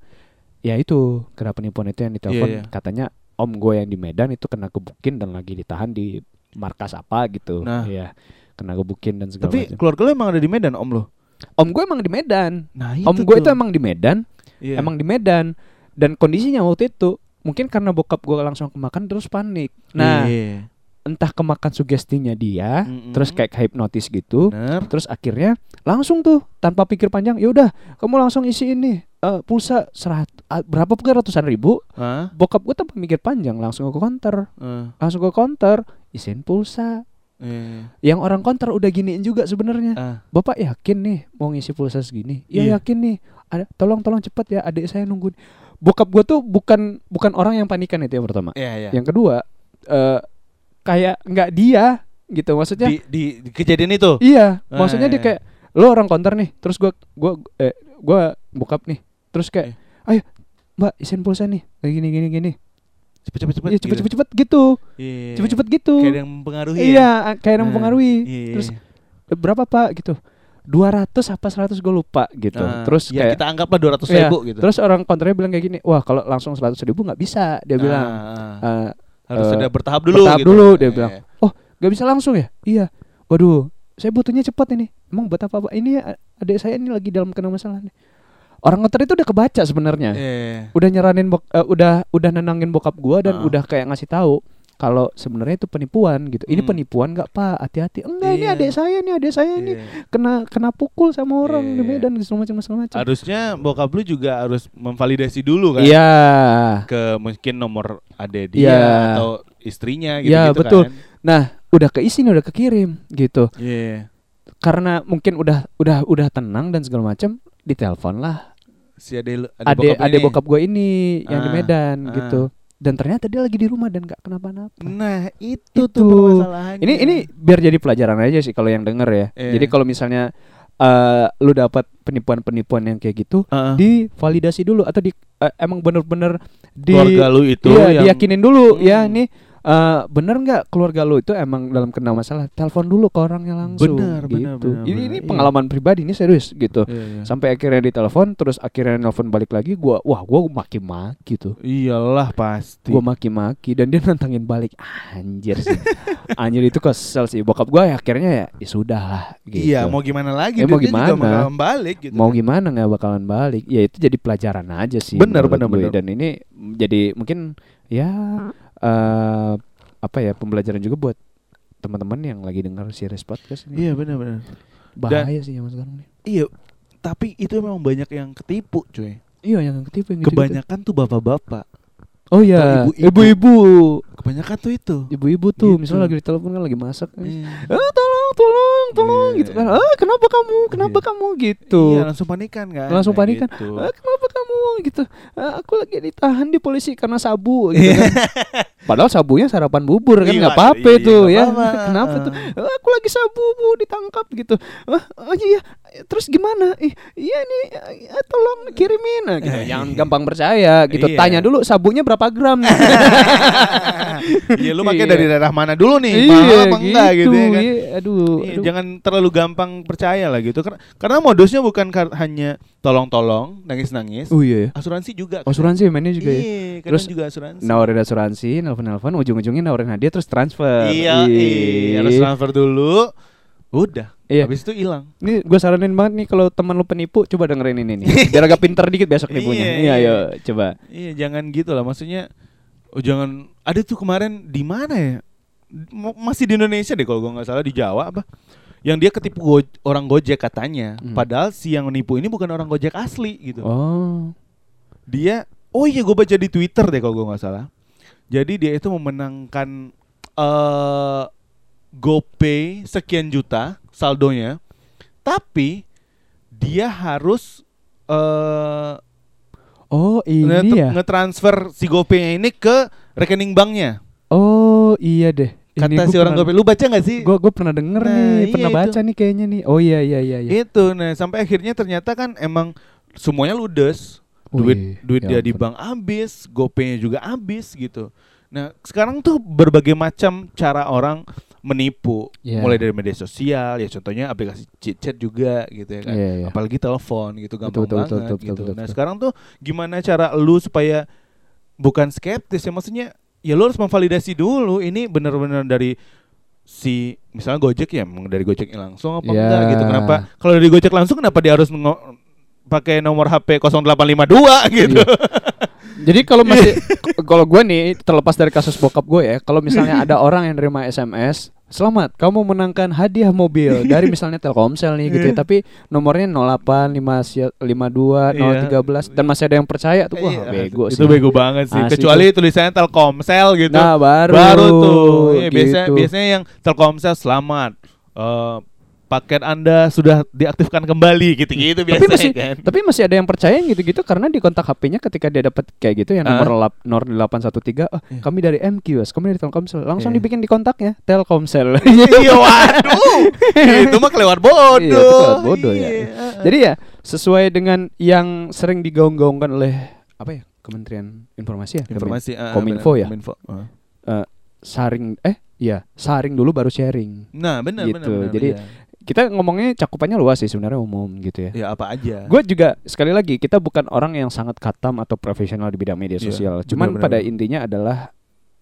S2: ya itu kena penipuan itu yang ditelepon
S3: Iya, iya.
S2: katanya om gue yang di Medan itu kena gebukin dan lagi ditahan di markas apa gitu.
S3: Nah.
S2: Iya. Kena gebukin dan segala
S3: Tapi
S2: macam.
S3: keluarga lo emang ada di Medan om lo?
S2: Om gue emang di Medan.
S3: Nah
S2: Om gue itu emang di Medan
S3: Iya.
S2: emang di Medan dan kondisinya waktu itu mungkin karena bokap gue langsung kemakan terus panik nah
S3: Iya. Hmm.
S2: entah kemakan sugestinya dia
S3: Mm-mm.
S2: terus kayak hipnotis gitu
S3: Bener.
S2: terus akhirnya langsung tuh tanpa pikir panjang yaudah kamu langsung isi ini eh, pulsa serat ah, berapa pun ratusan ribu
S3: Hah?
S2: bokap gue tanpa mikir panjang langsung ke counter
S3: Eh,
S2: langsung ke counter isiin pulsa
S3: iya.
S2: yang orang counter udah giniin juga sebenarnya
S3: Ah.
S2: Bapak yakin nih mau ngisi pulsa segini? Iya
S3: Iya.
S2: yakin nih. Ada tolong tolong cepat ya adik saya nunggu. Bokap gua tuh bukan bukan orang yang panikan itu yang pertama.
S3: Iya, iya.
S2: Yang kedua eh kayak nggak dia gitu maksudnya.
S3: Di, di, di kejadian itu.
S2: Iya,
S3: Ah,
S2: maksudnya
S3: iya,
S2: dia kayak lo orang konter nih, terus gua gua eh gua bokap nih. Terus
S3: Eh,
S2: kayak
S3: Iya.
S2: ayo Mbak isiin pulsa nih. Kayak gini gini gini.
S3: Cepet cepet cepet.
S2: Iya cepet cepet cepet gitu.
S3: Iya.
S2: Cepet cepet gitu.
S3: Kayak ada yang mempengaruhi. ya?
S2: Iya, kayak ada yang
S3: Ah,
S2: mempengaruhi.
S3: iya, iya,
S2: Terus
S3: iya.
S2: "Eh, berapa Pak gitu. 200 apa 100 gue lupa gitu.
S3: Ah,
S2: terus
S3: ya
S2: kayak
S3: kita anggaplah dua ratus
S2: Iya,
S3: ribu gitu.
S2: Terus orang konternya bilang kayak gini, wah kalau langsung 100 ribu nggak bisa. Dia
S3: Ah,
S2: bilang
S3: ah.
S2: "Eh,
S3: harus
S2: eh,
S3: ada bertahap dulu.
S2: bertahap
S3: gitu.
S2: dulu, dia
S3: Iya,
S2: bilang. Oh,
S3: iya.
S2: nggak bisa langsung ya? Iya. Waduh, saya butuhnya cepat ini. Emang buat apa? Ini eh, adik saya ini lagi dalam kena masalah nih. Orang konter itu udah kebaca sebenarnya.
S3: Iya, iya.
S2: Udah nyaranin bok- eh, udah udah nenangin bokap gua dan
S3: Ah.
S2: udah kayak ngasih tahu kalau sebenarnya itu penipuan gitu. Ini
S3: Hmm.
S2: penipuan nggak Pak? Hati-hati. Enggak, ini
S3: Iya.
S2: adik saya nih, adik saya nih
S3: Iya.
S2: kena kena pukul sama orang di
S3: Iya.
S2: Medan segala macam segala macam.
S3: Harusnya bokap lu juga harus memvalidasi dulu kan.
S2: Iya.
S3: Ke mungkin nomor ade dia
S2: Iya.
S3: atau istrinya gitu,
S2: Iya,
S3: gitu
S2: betul.
S3: kan.
S2: Nah, udah keisi nih, udah kekirim gitu.
S3: Iya.
S2: Karena mungkin udah udah udah tenang dan segala macam, ditelepon lah
S3: Si ade lu-
S2: ade
S3: ade bokap lu
S2: ade
S3: nih.
S2: bokap gue ini yang di
S3: Ah,
S2: Medan
S3: ah.
S2: gitu. Dan ternyata dia lagi di rumah dan nggak kenapa-napa.
S3: Nah, itu,
S2: Itu.
S3: tuh permasalahannya.
S2: Ini ini biar jadi pelajaran aja sih kalau yang denger ya.
S3: Iya.
S2: Jadi kalau misalnya eh, lu dapat penipuan-penipuan yang kayak gitu,
S3: Heeh.
S2: divalidasi dulu atau di eh, emang bener-bener di
S3: keluarga lu itu
S2: iya,
S3: yang
S2: diyakinin dulu ya
S3: Hmm.
S2: ini eh, bener nggak keluarga lu itu emang dalam kena masalah telepon dulu ke orangnya langsung
S3: Bener,
S2: gitu.
S3: bener,
S2: ini
S3: bener, bener,
S2: ini
S3: iya.
S2: pengalaman pribadi ini serius gitu
S3: Iya, iya.
S2: sampai akhirnya ditelepon terus akhirnya nelpon balik lagi gua wah gua maki-maki tuh
S3: Iyalah pasti.
S2: gua maki-maki dan dia nantangin balik anjir
S3: [LAUGHS]
S2: sih anjir itu kesel sih bokap gua ya akhirnya ya, ya sudah lah gitu
S3: Iya, mau gimana lagi?
S2: Ya,
S3: Dia
S2: mau
S3: dia
S2: gimana?
S3: Juga bakalan balik gitu.
S2: mau gimana nggak bakalan balik ya itu jadi pelajaran aja sih
S3: Bener,
S2: menurut
S3: bener,
S2: gue.
S3: bener.
S2: dan ini jadi mungkin ya eh apa ya pembelajaran juga buat teman-teman yang lagi dengar series podcast ini
S3: Iya, benar-benar.
S2: bahaya sih zaman sekarang nih
S3: Iya, tapi itu memang banyak yang ketipu, cuy.
S2: iya yang ketipu yang gitu-gitu.
S3: Kebanyakan tuh bapak-bapak.
S2: Oh iya,
S3: Atau ibu-ibu.
S2: ibu-ibu.
S3: Kebanyakan tuh itu.
S2: Ibu-ibu tuh,
S3: Gitu.
S2: misalnya lagi di telepon kan lagi masak. Eh,
S3: Iya.
S2: tolong, tolong, tolong gitu kan. Ah, kenapa kamu? Kenapa kamu gitu?
S3: Iya, langsung panikan kan.
S2: Langsung
S3: Nah,
S2: panikan.
S3: gitu.
S2: Ah, kenapa kamu gitu? Ah, aku lagi ditahan di polisi karena sabu gitu kan. Padahal sabunya sarapan bubur kan
S3: Iya,
S2: nggak apa-apa
S3: iya,
S2: tuh
S3: nggak
S2: ya.
S3: apa-apa.
S2: [LAUGHS] Kenapa tuh? "Ah, aku lagi sabu bu ditangkap gitu. Ah, oh iya. Terus gimana? Ih, iya nih ah, tolong kirimin. Nah, gitu. Jangan gampang percaya gitu.
S3: Iya.
S2: Tanya dulu sabunya berapa gram.
S3: [LAUGHS]
S2: [LAUGHS]
S3: Iya, lu pakai
S2: Iya.
S3: dari daerah mana dulu nih? mahal
S2: iya
S3: apa enggak gitu, ya kan.
S2: iya, aduh,
S3: Iya,
S2: aduh.
S3: jangan terlalu gampang percaya lah gitu. Karena karena modusnya bukan kar- hanya tolong-tolong, nangis-nangis.
S2: Oh iya. ya.
S3: Asuransi juga. kan.
S2: Asuransi mainnya juga ya.
S3: Iya, kadang
S2: Terus-
S3: juga asuransi.
S2: Nawarin asuransi, nelfon-nelfon, ujung-ujungnya nawarin hadiah terus transfer.
S3: Iya,
S2: Ih.
S3: iya, harus transfer dulu. Udah,
S2: Iya.
S3: habis itu hilang.
S2: Ini gue saranin banget nih kalau teman lu penipu coba dengerin ini nih.
S3: [LAUGHS]
S2: Biar agak pinter dikit besok nipunya.
S3: Iya,
S2: Iya,
S3: iya.
S2: ayo coba.
S3: Iya, jangan gitu lah. Maksudnya oh jangan ada tuh kemarin di mana ya? Mo- Masih di Indonesia deh kalau gua nggak salah di Jawa apa? Yang dia ketipu go- orang Gojek katanya.
S2: Hmm.
S3: Padahal si yang nipu ini bukan orang Gojek asli gitu.
S2: Oh.
S3: dia oh iya gue baca di Twitter deh kalau gue nggak salah jadi dia itu memenangkan eh GoPay sekian juta saldonya tapi dia harus eh
S2: Oh, ini
S3: nge-
S2: ya.
S3: ngetransfer si GoPay ini ke rekening banknya
S2: Oh, iya deh.
S3: kata si orang GoPay lu baca nggak sih
S2: Gue gue pernah denger
S3: Nah,
S2: nih,
S3: iya
S2: pernah
S3: itu.
S2: baca nih kayaknya nih. Oh iya iya iya iya.
S3: itu nah sampai akhirnya ternyata kan emang semuanya ludes
S2: Oh,
S3: duit
S2: iya.
S3: duit
S2: Ya
S3: dia di
S2: ampun.
S3: bank habis gopaynya juga habis gitu nah sekarang tuh berbagai macam cara orang menipu
S2: Iya.
S3: mulai dari media sosial ya contohnya aplikasi chit chat juga gitu ya kan
S2: Iya, iya.
S3: apalagi telepon gitu
S2: betul,
S3: gampang banget
S2: betul, betul,
S3: gitu
S2: betul, betul,
S3: nah
S2: betul.
S3: sekarang tuh gimana cara lu supaya bukan skeptis ya maksudnya ya lu harus memvalidasi dulu ini benar-benar dari si misalnya Gojek ya emang dari Gojek langsung apa
S2: Ya.
S3: enggak gitu kenapa kalau dari Gojek langsung kenapa dia harus ngo- pakai nomor HP 0852 [LAUGHS] gitu
S2: Iya, Jadi kalau masih
S3: Iya.
S2: k- [LAUGHS] kalau gue nih terlepas dari kasus bokap gue ya, kalau
S3: [LAUGHS]
S2: misalnya ada orang yang nerima SMS, selamat kamu menangkan hadiah mobil dari misalnya Telkomsel nih gitu ya,
S3: Iya.
S2: tapi nomornya 08 52 013 dan masih ada yang percaya tuh wah
S3: Iya,
S2: bego
S3: itu
S2: sih.
S3: bego banget sih
S2: Asli
S3: kecuali tulisannya Telkomsel gitu
S2: Nah, baru,
S3: tuh Iya, biasanya
S2: gitu.
S3: biasanya yang Telkomsel selamat Eh, paket Anda sudah diaktifkan kembali gitu-gitu
S2: tapi
S3: biasanya
S2: masih [LAUGHS]
S3: kan
S2: tapi masih ada yang percaya yang gitu-gitu karena di kontak HP-nya ketika dia dapat kayak gitu yang nomor
S3: Ah.
S2: lap- nomor 813 oh, kami dari MQS kami dari Telkomsel langsung
S3: Iya.
S2: dibikin di kontaknya Telkomsel
S3: [LAUGHS] Iya waduh Itu mah kelewat
S2: Iya,
S3: bodoh
S2: itu kelewat bodoh ya.
S3: Iya.
S2: Jadi ya sesuai dengan yang sering digaung-gaungkan oleh apa ya Kementerian Informasi ya Kemen-
S3: Informasi ah,
S2: Kominfo
S3: benar,
S2: ya?
S3: Kominfo. Ah.
S2: eh, saring eh iya saring dulu baru sharing.
S3: Nah benar benar
S2: Gitu,
S3: benar,
S2: jadi-
S3: iya.
S2: Kita ngomongnya cakupannya luas sih sebenarnya umum gitu ya.
S3: ya apa aja
S2: Gue juga sekali lagi kita bukan orang yang sangat katam atau profesional di bidang media
S3: Iya,
S2: sosial.
S3: benar,
S2: Cuman
S3: benar,
S2: pada
S3: benar.
S2: intinya adalah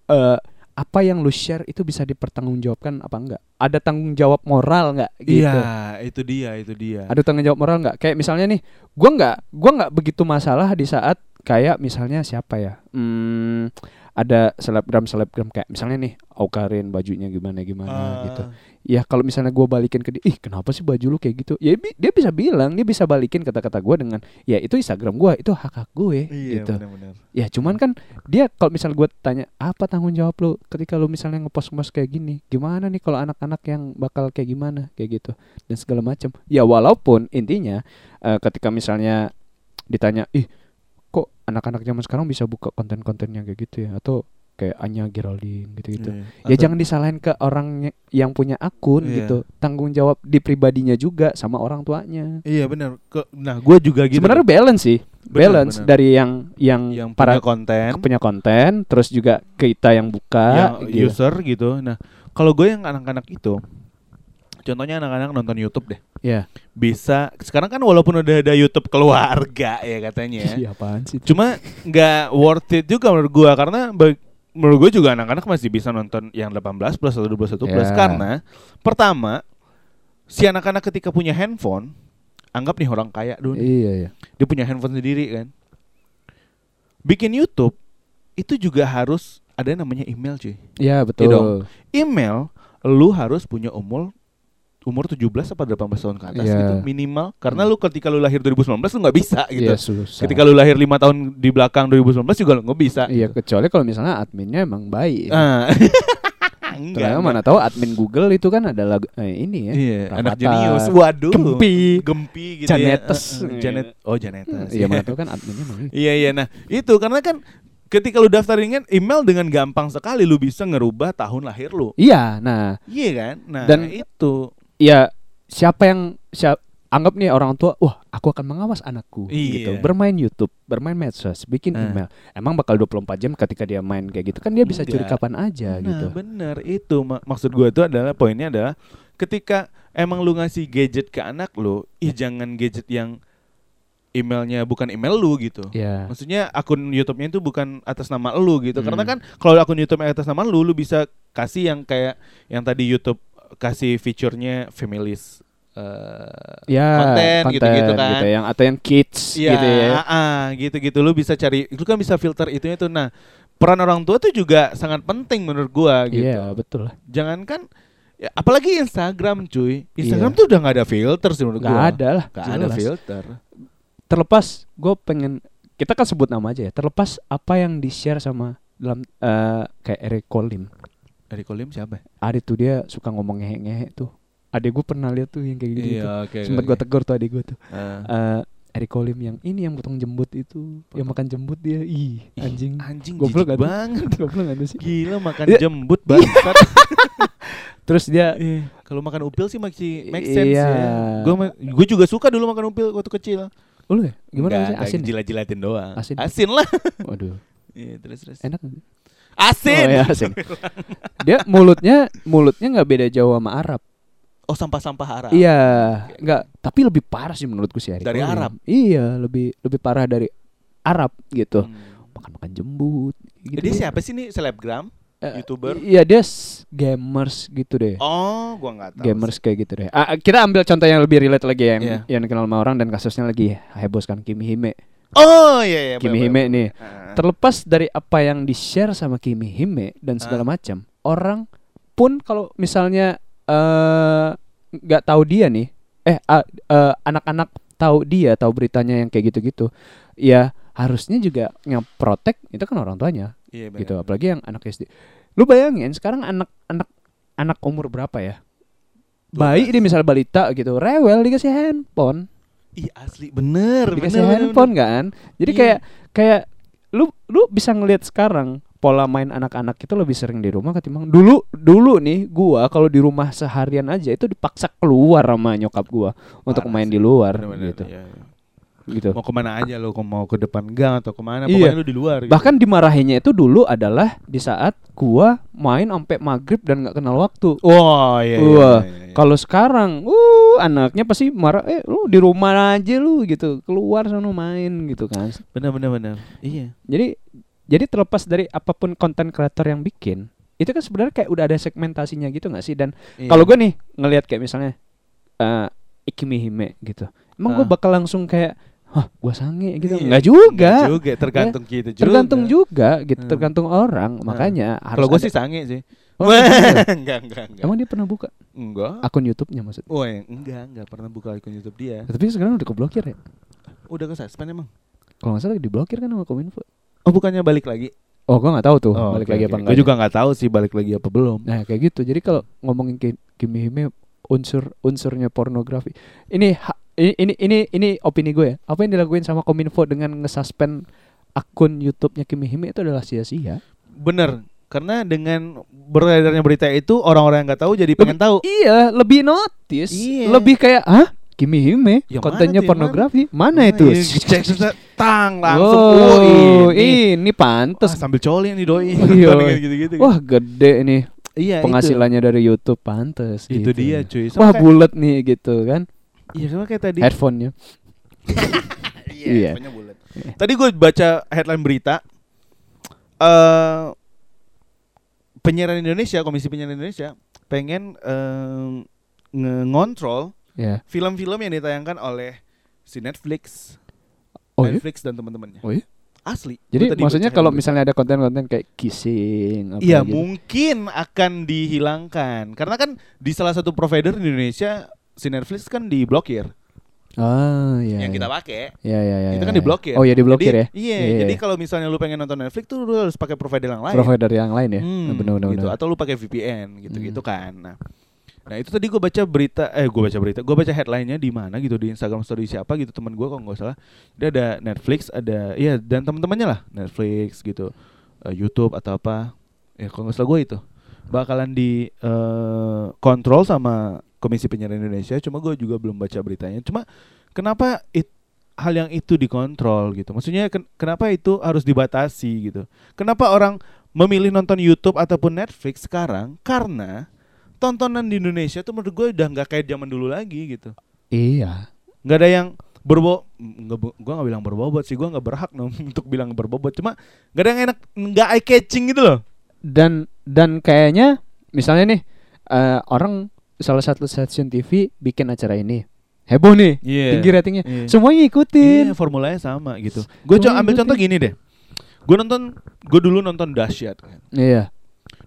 S2: eh, apa yang lu share itu bisa dipertanggungjawabkan apa enggak? Ada tanggung jawab moral enggak gitu?
S3: Iya, itu dia, itu dia.
S2: ada tanggung jawab moral nggak kayak misalnya nih gua nggak gua nggak begitu masalah di saat kayak misalnya siapa ya hmm, ada selebgram selebgram kayak misalnya nih Aukarin bajunya gimana gimana
S3: Ah,
S2: gitu ya kalau misalnya gua balikin ke dia ih kenapa sih baju lu kayak gitu ya bi- dia bisa bilang dia bisa balikin kata-kata gua dengan ya itu Instagram gua itu hak hak gue
S3: Iya,
S2: gitu
S3: benar-benar.
S2: ya cuman kan dia kalau misal gue tanya apa tanggung jawab lu ketika lu misalnya ngepost ngepost kayak gini gimana nih kalau anak-anak yang bakal kayak gimana kayak gitu dan segala macam ya walaupun intinya eh, ketika misalnya ditanya ih kok anak-anak zaman sekarang bisa buka konten-kontennya kayak gitu ya atau kayak Anya Geraldine gitu-gitu
S3: Iya.
S2: ya
S3: Atau-
S2: jangan disalahin ke orang yang punya akun
S3: Iya.
S2: gitu tanggung jawab di pribadinya juga sama orang tuanya
S3: Iya, benar. Ke- Nah, gue juga gitu.
S2: sebenarnya balance sih
S3: Benar,
S2: balance
S3: benar.
S2: dari yang yang,
S3: yang
S2: para
S3: punya konten,
S2: yang punya konten terus juga kita yang buka
S3: yang
S2: gitu.
S3: user gitu. Nah, kalau gue yang anak-anak itu, contohnya anak-anak nonton YouTube deh,
S2: ya
S3: bisa. Sekarang kan walaupun udah ada YouTube keluarga ya katanya,
S2: Iya, apaan sih itu?
S3: cuma nggak worth it juga menurut gue karena bag- menurut gue juga anak-anak masih bisa nonton yang 18 plus atau 12 atau
S2: Ya.
S3: 12 karena pertama si anak-anak ketika punya handphone anggap nih orang kaya dulu nih,
S2: iya iya
S3: dia punya handphone sendiri kan bikin YouTube itu juga harus ada Iya yang namanya email cuy
S2: ya betul
S3: dong. email lu harus punya umur umur 17 apa 18 tahun ke atas
S2: Iya. Hmm.
S3: gitu minimal karena lu ketika lu lahir 2019 lu nggak bisa gitu.
S2: Iya, susah.
S3: Ketika lu lahir lima tahun di belakang 2019 juga lu nggak bisa.
S2: Iya, kecuali kalau misalnya adminnya emang baik. [LAUGHS]
S3: Ah. Enggak,
S2: Ternyata
S3: enggak.
S2: mana tahu admin Google itu kan ada lagu eh, ini ya.
S3: Iya,
S2: Rafathar,
S3: anak jenius. Waduh.
S2: Gempi.
S3: Gempi gitu
S2: Janetes.
S3: ya. Eh, eh, Janet. Oh, Janetes.
S2: Iya, mana tahu kan adminnya emang itu.
S3: Iya iya nah itu karena kan ketika lu daftarin kan email dengan gampang sekali lu bisa ngerubah tahun lahir lu.
S2: Iya, nah,
S3: Iya kan? Nah,
S2: Dan-
S3: itu.
S2: ya siapa yang siap anggap nih orang tua, wah, aku akan mengawas anakku gitu.
S3: Iya.
S2: Bermain YouTube, bermain medsos, bikin
S3: Nah.
S2: email. Emang bakal 24 jam ketika dia main kayak gitu kan dia bisa curi
S3: Enggak.
S2: kapan aja
S3: Iya. nah,
S2: gitu.
S3: bener itu Ma- maksud gua itu adalah poinnya adalah ketika emang lu ngasih gadget ke anak lu, ih jangan gadget yang emailnya bukan email lu gitu.
S2: Iya.
S3: Maksudnya akun YouTube-nya itu bukan atas nama lu gitu.
S2: Hmm.
S3: Karena kan kalau akun YouTube atas nama lu lu bisa kasih yang kayak yang tadi YouTube kasih fiturnya families eh,
S2: Ya,
S3: konten, gitu-gitu kan.
S2: yang atau yang kids
S3: Iya,
S2: gitu ya.
S3: ah, gitu-gitu lu bisa cari lu kan bisa filter itunya tuh. Nah, peran orang tua tuh juga sangat penting menurut gua gitu.
S2: Iya, betul lah.
S3: Jangankan ya, apalagi Instagram cuy. Instagram
S2: Iya.
S3: tuh udah nggak ada filter sih menurut
S2: Gak
S3: gua.
S2: ada lah.
S3: Nggak ada
S2: jelas.
S3: filter.
S2: terlepas gue pengen kita kan sebut nama aja ya terlepas apa yang di share sama dalam eh, kayak Eric Colin
S3: Dari kolim siapa?
S2: ada tuh dia suka ngomong ngehe ngehe tuh adek gue pernah lihat tuh yang kayak gitu, gitu.
S3: Iya, oke.
S2: sempet gue tegur tuh adek gue tuh
S3: Ah.
S2: Eh Eric Colin yang ini yang potong jembut itu yang makan jembut dia ih
S3: Ih,
S2: anjing
S3: anjing
S2: Goblok nggak
S3: goblok
S2: tuh?
S3: banget.
S2: [LAUGHS] goblok gak sih
S3: Gila makan
S2: Iya.
S3: jembut bangsat.
S2: [LAUGHS] terus dia
S3: Iya. Kalau makan upil sih masih make sense
S2: Iya.
S3: ya. Gua ma- gua juga suka dulu makan upil waktu kecil.
S2: lu ya gimana
S3: Nggak,
S2: sih
S3: nggak,
S2: asin ya?
S3: jilat-jilatin doang.
S2: Asin.
S3: asin lah.
S2: waduh
S3: [LAUGHS] Iya, terus terus.
S2: enak nggak?
S3: Asin.
S2: oh,
S3: iya, [LAUGHS]
S2: ya, asin dia mulutnya mulutnya nggak beda jauh sama Arab
S3: Oh sampah-sampah Arab.
S2: Iya, enggak, tapi lebih parah sih menurutku sih Eric
S3: Dari
S2: Colin.
S3: Arab?
S2: Iya, lebih lebih parah dari Arab gitu.
S3: Hmm.
S2: Makan-makan jembut gitu.
S3: Jadi siapa sih nih selebgram?
S2: Eh,
S3: YouTuber?
S2: Iya, dia s- gamers gitu deh.
S3: Oh, gua nggak tahu.
S2: gamers kayak gitu deh. Ah, kita ambil contoh yang lebih relate lagi ya, yang
S3: Iya.
S2: yang dikenal sama orang dan kasusnya lagi heboh kan Kimi Hime.
S3: Oh iya iya.
S2: Kimi
S3: boleh,
S2: Hime
S3: boleh.
S2: nih.
S3: Ah.
S2: Terlepas dari apa yang di-share sama Kimi Hime dan segala macam, orang pun kalau misalnya eh, nggak tahu dia nih, eh a- eh, anak-anak tahu dia, tahu beritanya yang kayak gitu-gitu, ya harusnya juga yang protek itu kan orang tuanya
S3: Iya, benar.
S2: gitu, apalagi yang anak SD. Lu bayangin sekarang anak-anak anak umur berapa ya? Bayi dia misal balita gitu, rewel dikasih handphone
S3: Ih asli bener.
S2: dikasih
S3: bener, bener,
S2: handphone kan jadi
S3: Iya.
S2: kayak kayak lu lu bisa ngelihat sekarang pola main anak-anak itu lebih sering di rumah ketimbang dulu dulu nih gua kalau di rumah seharian aja itu dipaksa keluar sama nyokap gua untuk
S3: Parah
S2: main
S3: sih.
S2: di luar
S3: Bener, bener,
S2: gitu
S3: iya, iya.
S2: gitu
S3: Mau kemana aja lo, mau ke depan gang atau kemana?
S2: Iya.
S3: Pokoknya lu di luar. gitu.
S2: bahkan dimarahinnya itu dulu adalah di saat gua main sampai maghrib dan nggak kenal waktu
S3: Wah, iya, iya,
S2: Wah,
S3: iya, iya.
S2: kalau sekarang, uh, anaknya pasti marah. Eh, lu di rumah aja lu gitu, keluar sana main gitu kan.
S3: bener bener bener. Iya.
S2: Jadi jadi terlepas dari apapun konten kreator yang bikin, itu kan sebenarnya kayak udah ada segmentasinya gitu nggak sih? Dan
S3: iya.
S2: kalau gue nih ngelihat kayak misalnya eh Ikimi Hime gitu, emang gue
S3: Ah.
S2: bakal langsung kayak Hah, gua sange gitu.
S3: Iya.
S2: Nggak juga. Iya.
S3: Nggak juga, tergantung kita juga.
S2: Tergantung juga gitu,
S3: Hmm.
S2: tergantung orang. Makanya harus
S3: Kalau gue
S2: ada-
S3: sih sange sih.
S2: [LAUGHS]
S3: [LAUGHS]
S2: Oh, gitu.
S3: enggak, enggak, enggak.
S2: Emang Ah. dia pernah buka
S3: Enggak.
S2: akun YouTube-nya maksudnya?
S3: Woi, enggak, enggak iya. pernah buka akun YouTube dia.
S2: Tapi sekarang udah keblokir ya.
S3: Udah ke suspend emang?
S2: Kalau nggak salah diblokir kan sama Kominfo.
S3: Oh, bukannya balik lagi?
S2: Oh, gua nggak tahu tuh balik lagi apa enggak. gitu.
S3: Gue juga nggak tahu sih balik lagi apa belum.
S2: Nah kayak gitu. Jadi kalau ngomongin Ki- Kimi Hime unsur unsurnya pornografi. Ini ha- ini ini ini, ini opini gue ya. Apa yang dilakuin sama Kominfo dengan ngesuspend akun YouTube-nya Kimi Hime itu adalah sia-sia.
S3: Bener, karena dengan beredarnya berita itu orang-orang yang nggak tahu jadi pengen tahu.
S2: Iya, lebih notice,
S3: Iya.
S2: lebih kayak hah Kimi Hime
S3: Ya,
S2: kontennya
S3: mana tuh,
S2: pornografi mana,
S3: Ah,
S2: itu?
S3: iya, Cek seset, tang langsung.
S2: Wow,
S3: Oh, ini. Ah, Gitu,
S2: ini,
S3: Terus
S2: pantes.
S3: sambil coli nih doi.
S2: Iya.
S3: [LAUGHS] gitu-gitu.
S2: Wah gede nih
S3: iya, itu.
S2: penghasilannya dari YouTube pantes.
S3: Itu
S2: gitu.
S3: dia cuy. Sama
S2: Wah
S3: kayak-
S2: bulat nih gitu kan
S3: Iya, sama kayak tadi.
S2: headphone-nya. Iya.
S3: handphonenya bulat. Tadi gue baca headline berita eh penyiaran Indonesia, Komisi Penyiaran Indonesia pengen eh, nge- ngontrol
S2: Ya.
S3: film-film yang ditayangkan oleh si Netflix,
S2: Oh, iya?
S3: Netflix dan teman-temannya.
S2: Oh, iya?
S3: asli. Gua
S2: Jadi
S3: tadi
S2: maksudnya
S3: baca
S2: kalau
S3: dulu.
S2: misalnya ada konten-konten kayak kissing apa
S3: Iya
S2: gitu.
S3: mungkin akan dihilangkan karena kan di salah satu provider di Indonesia si Netflix kan diblokir
S2: Ah, iya.
S3: yang
S2: iya.
S3: kita pakai
S2: Iya, iya, iya.
S3: itu kan
S2: iya.
S3: diblokir.
S2: Oh, iya diblokir
S3: Jadi-
S2: ya.
S3: Iya, jadi kalau misalnya lu pengen nonton Netflix tuh lu harus pakai provider yang lain.
S2: provider yang lain ya.
S3: Hmm,
S2: benar benar.
S3: gitu.
S2: benar.
S3: Atau lu pakai VPN gitu-gitu
S2: Hmm.
S3: kan. Nah, nah itu tadi gue baca berita, eh gue baca berita, gue baca headline-nya di mana gitu di Instagram Story siapa gitu teman gue kalau nggak salah. Dia ada Netflix, ada ya dan teman-temannya lah Netflix gitu, eh, YouTube atau apa. Ya kalau nggak salah gue itu bakalan di eh, kontrol sama Komisi Penyiaran Indonesia. Cuma gue juga belum baca beritanya. Cuma kenapa it- hal yang itu dikontrol gitu? Maksudnya ken- kenapa itu harus dibatasi gitu? Kenapa orang memilih nonton YouTube ataupun Netflix sekarang karena tontonan di Indonesia tuh menurut gue udah nggak kayak zaman dulu lagi gitu.
S2: Iya.
S3: Nggak ada yang berbo nggak bo- gua nggak bilang berbobot sih gua nggak berhak nom [LAUGHS] untuk bilang berbobot cuma nggak ada yang enak nggak eye catching gitu loh
S2: Dan dan kayaknya misalnya nih eh, orang salah satu stasiun TV bikin acara ini. Heboh nih.
S3: Iya.
S2: Tinggi ratingnya.
S3: Iya.
S2: Semuanya ikutin.
S3: Iya formulanya sama gitu gue coba
S2: Semuanya
S3: ambil
S2: gitu.
S3: contoh gini deh gue nonton gue dulu nonton dahsyat kan
S2: Iya.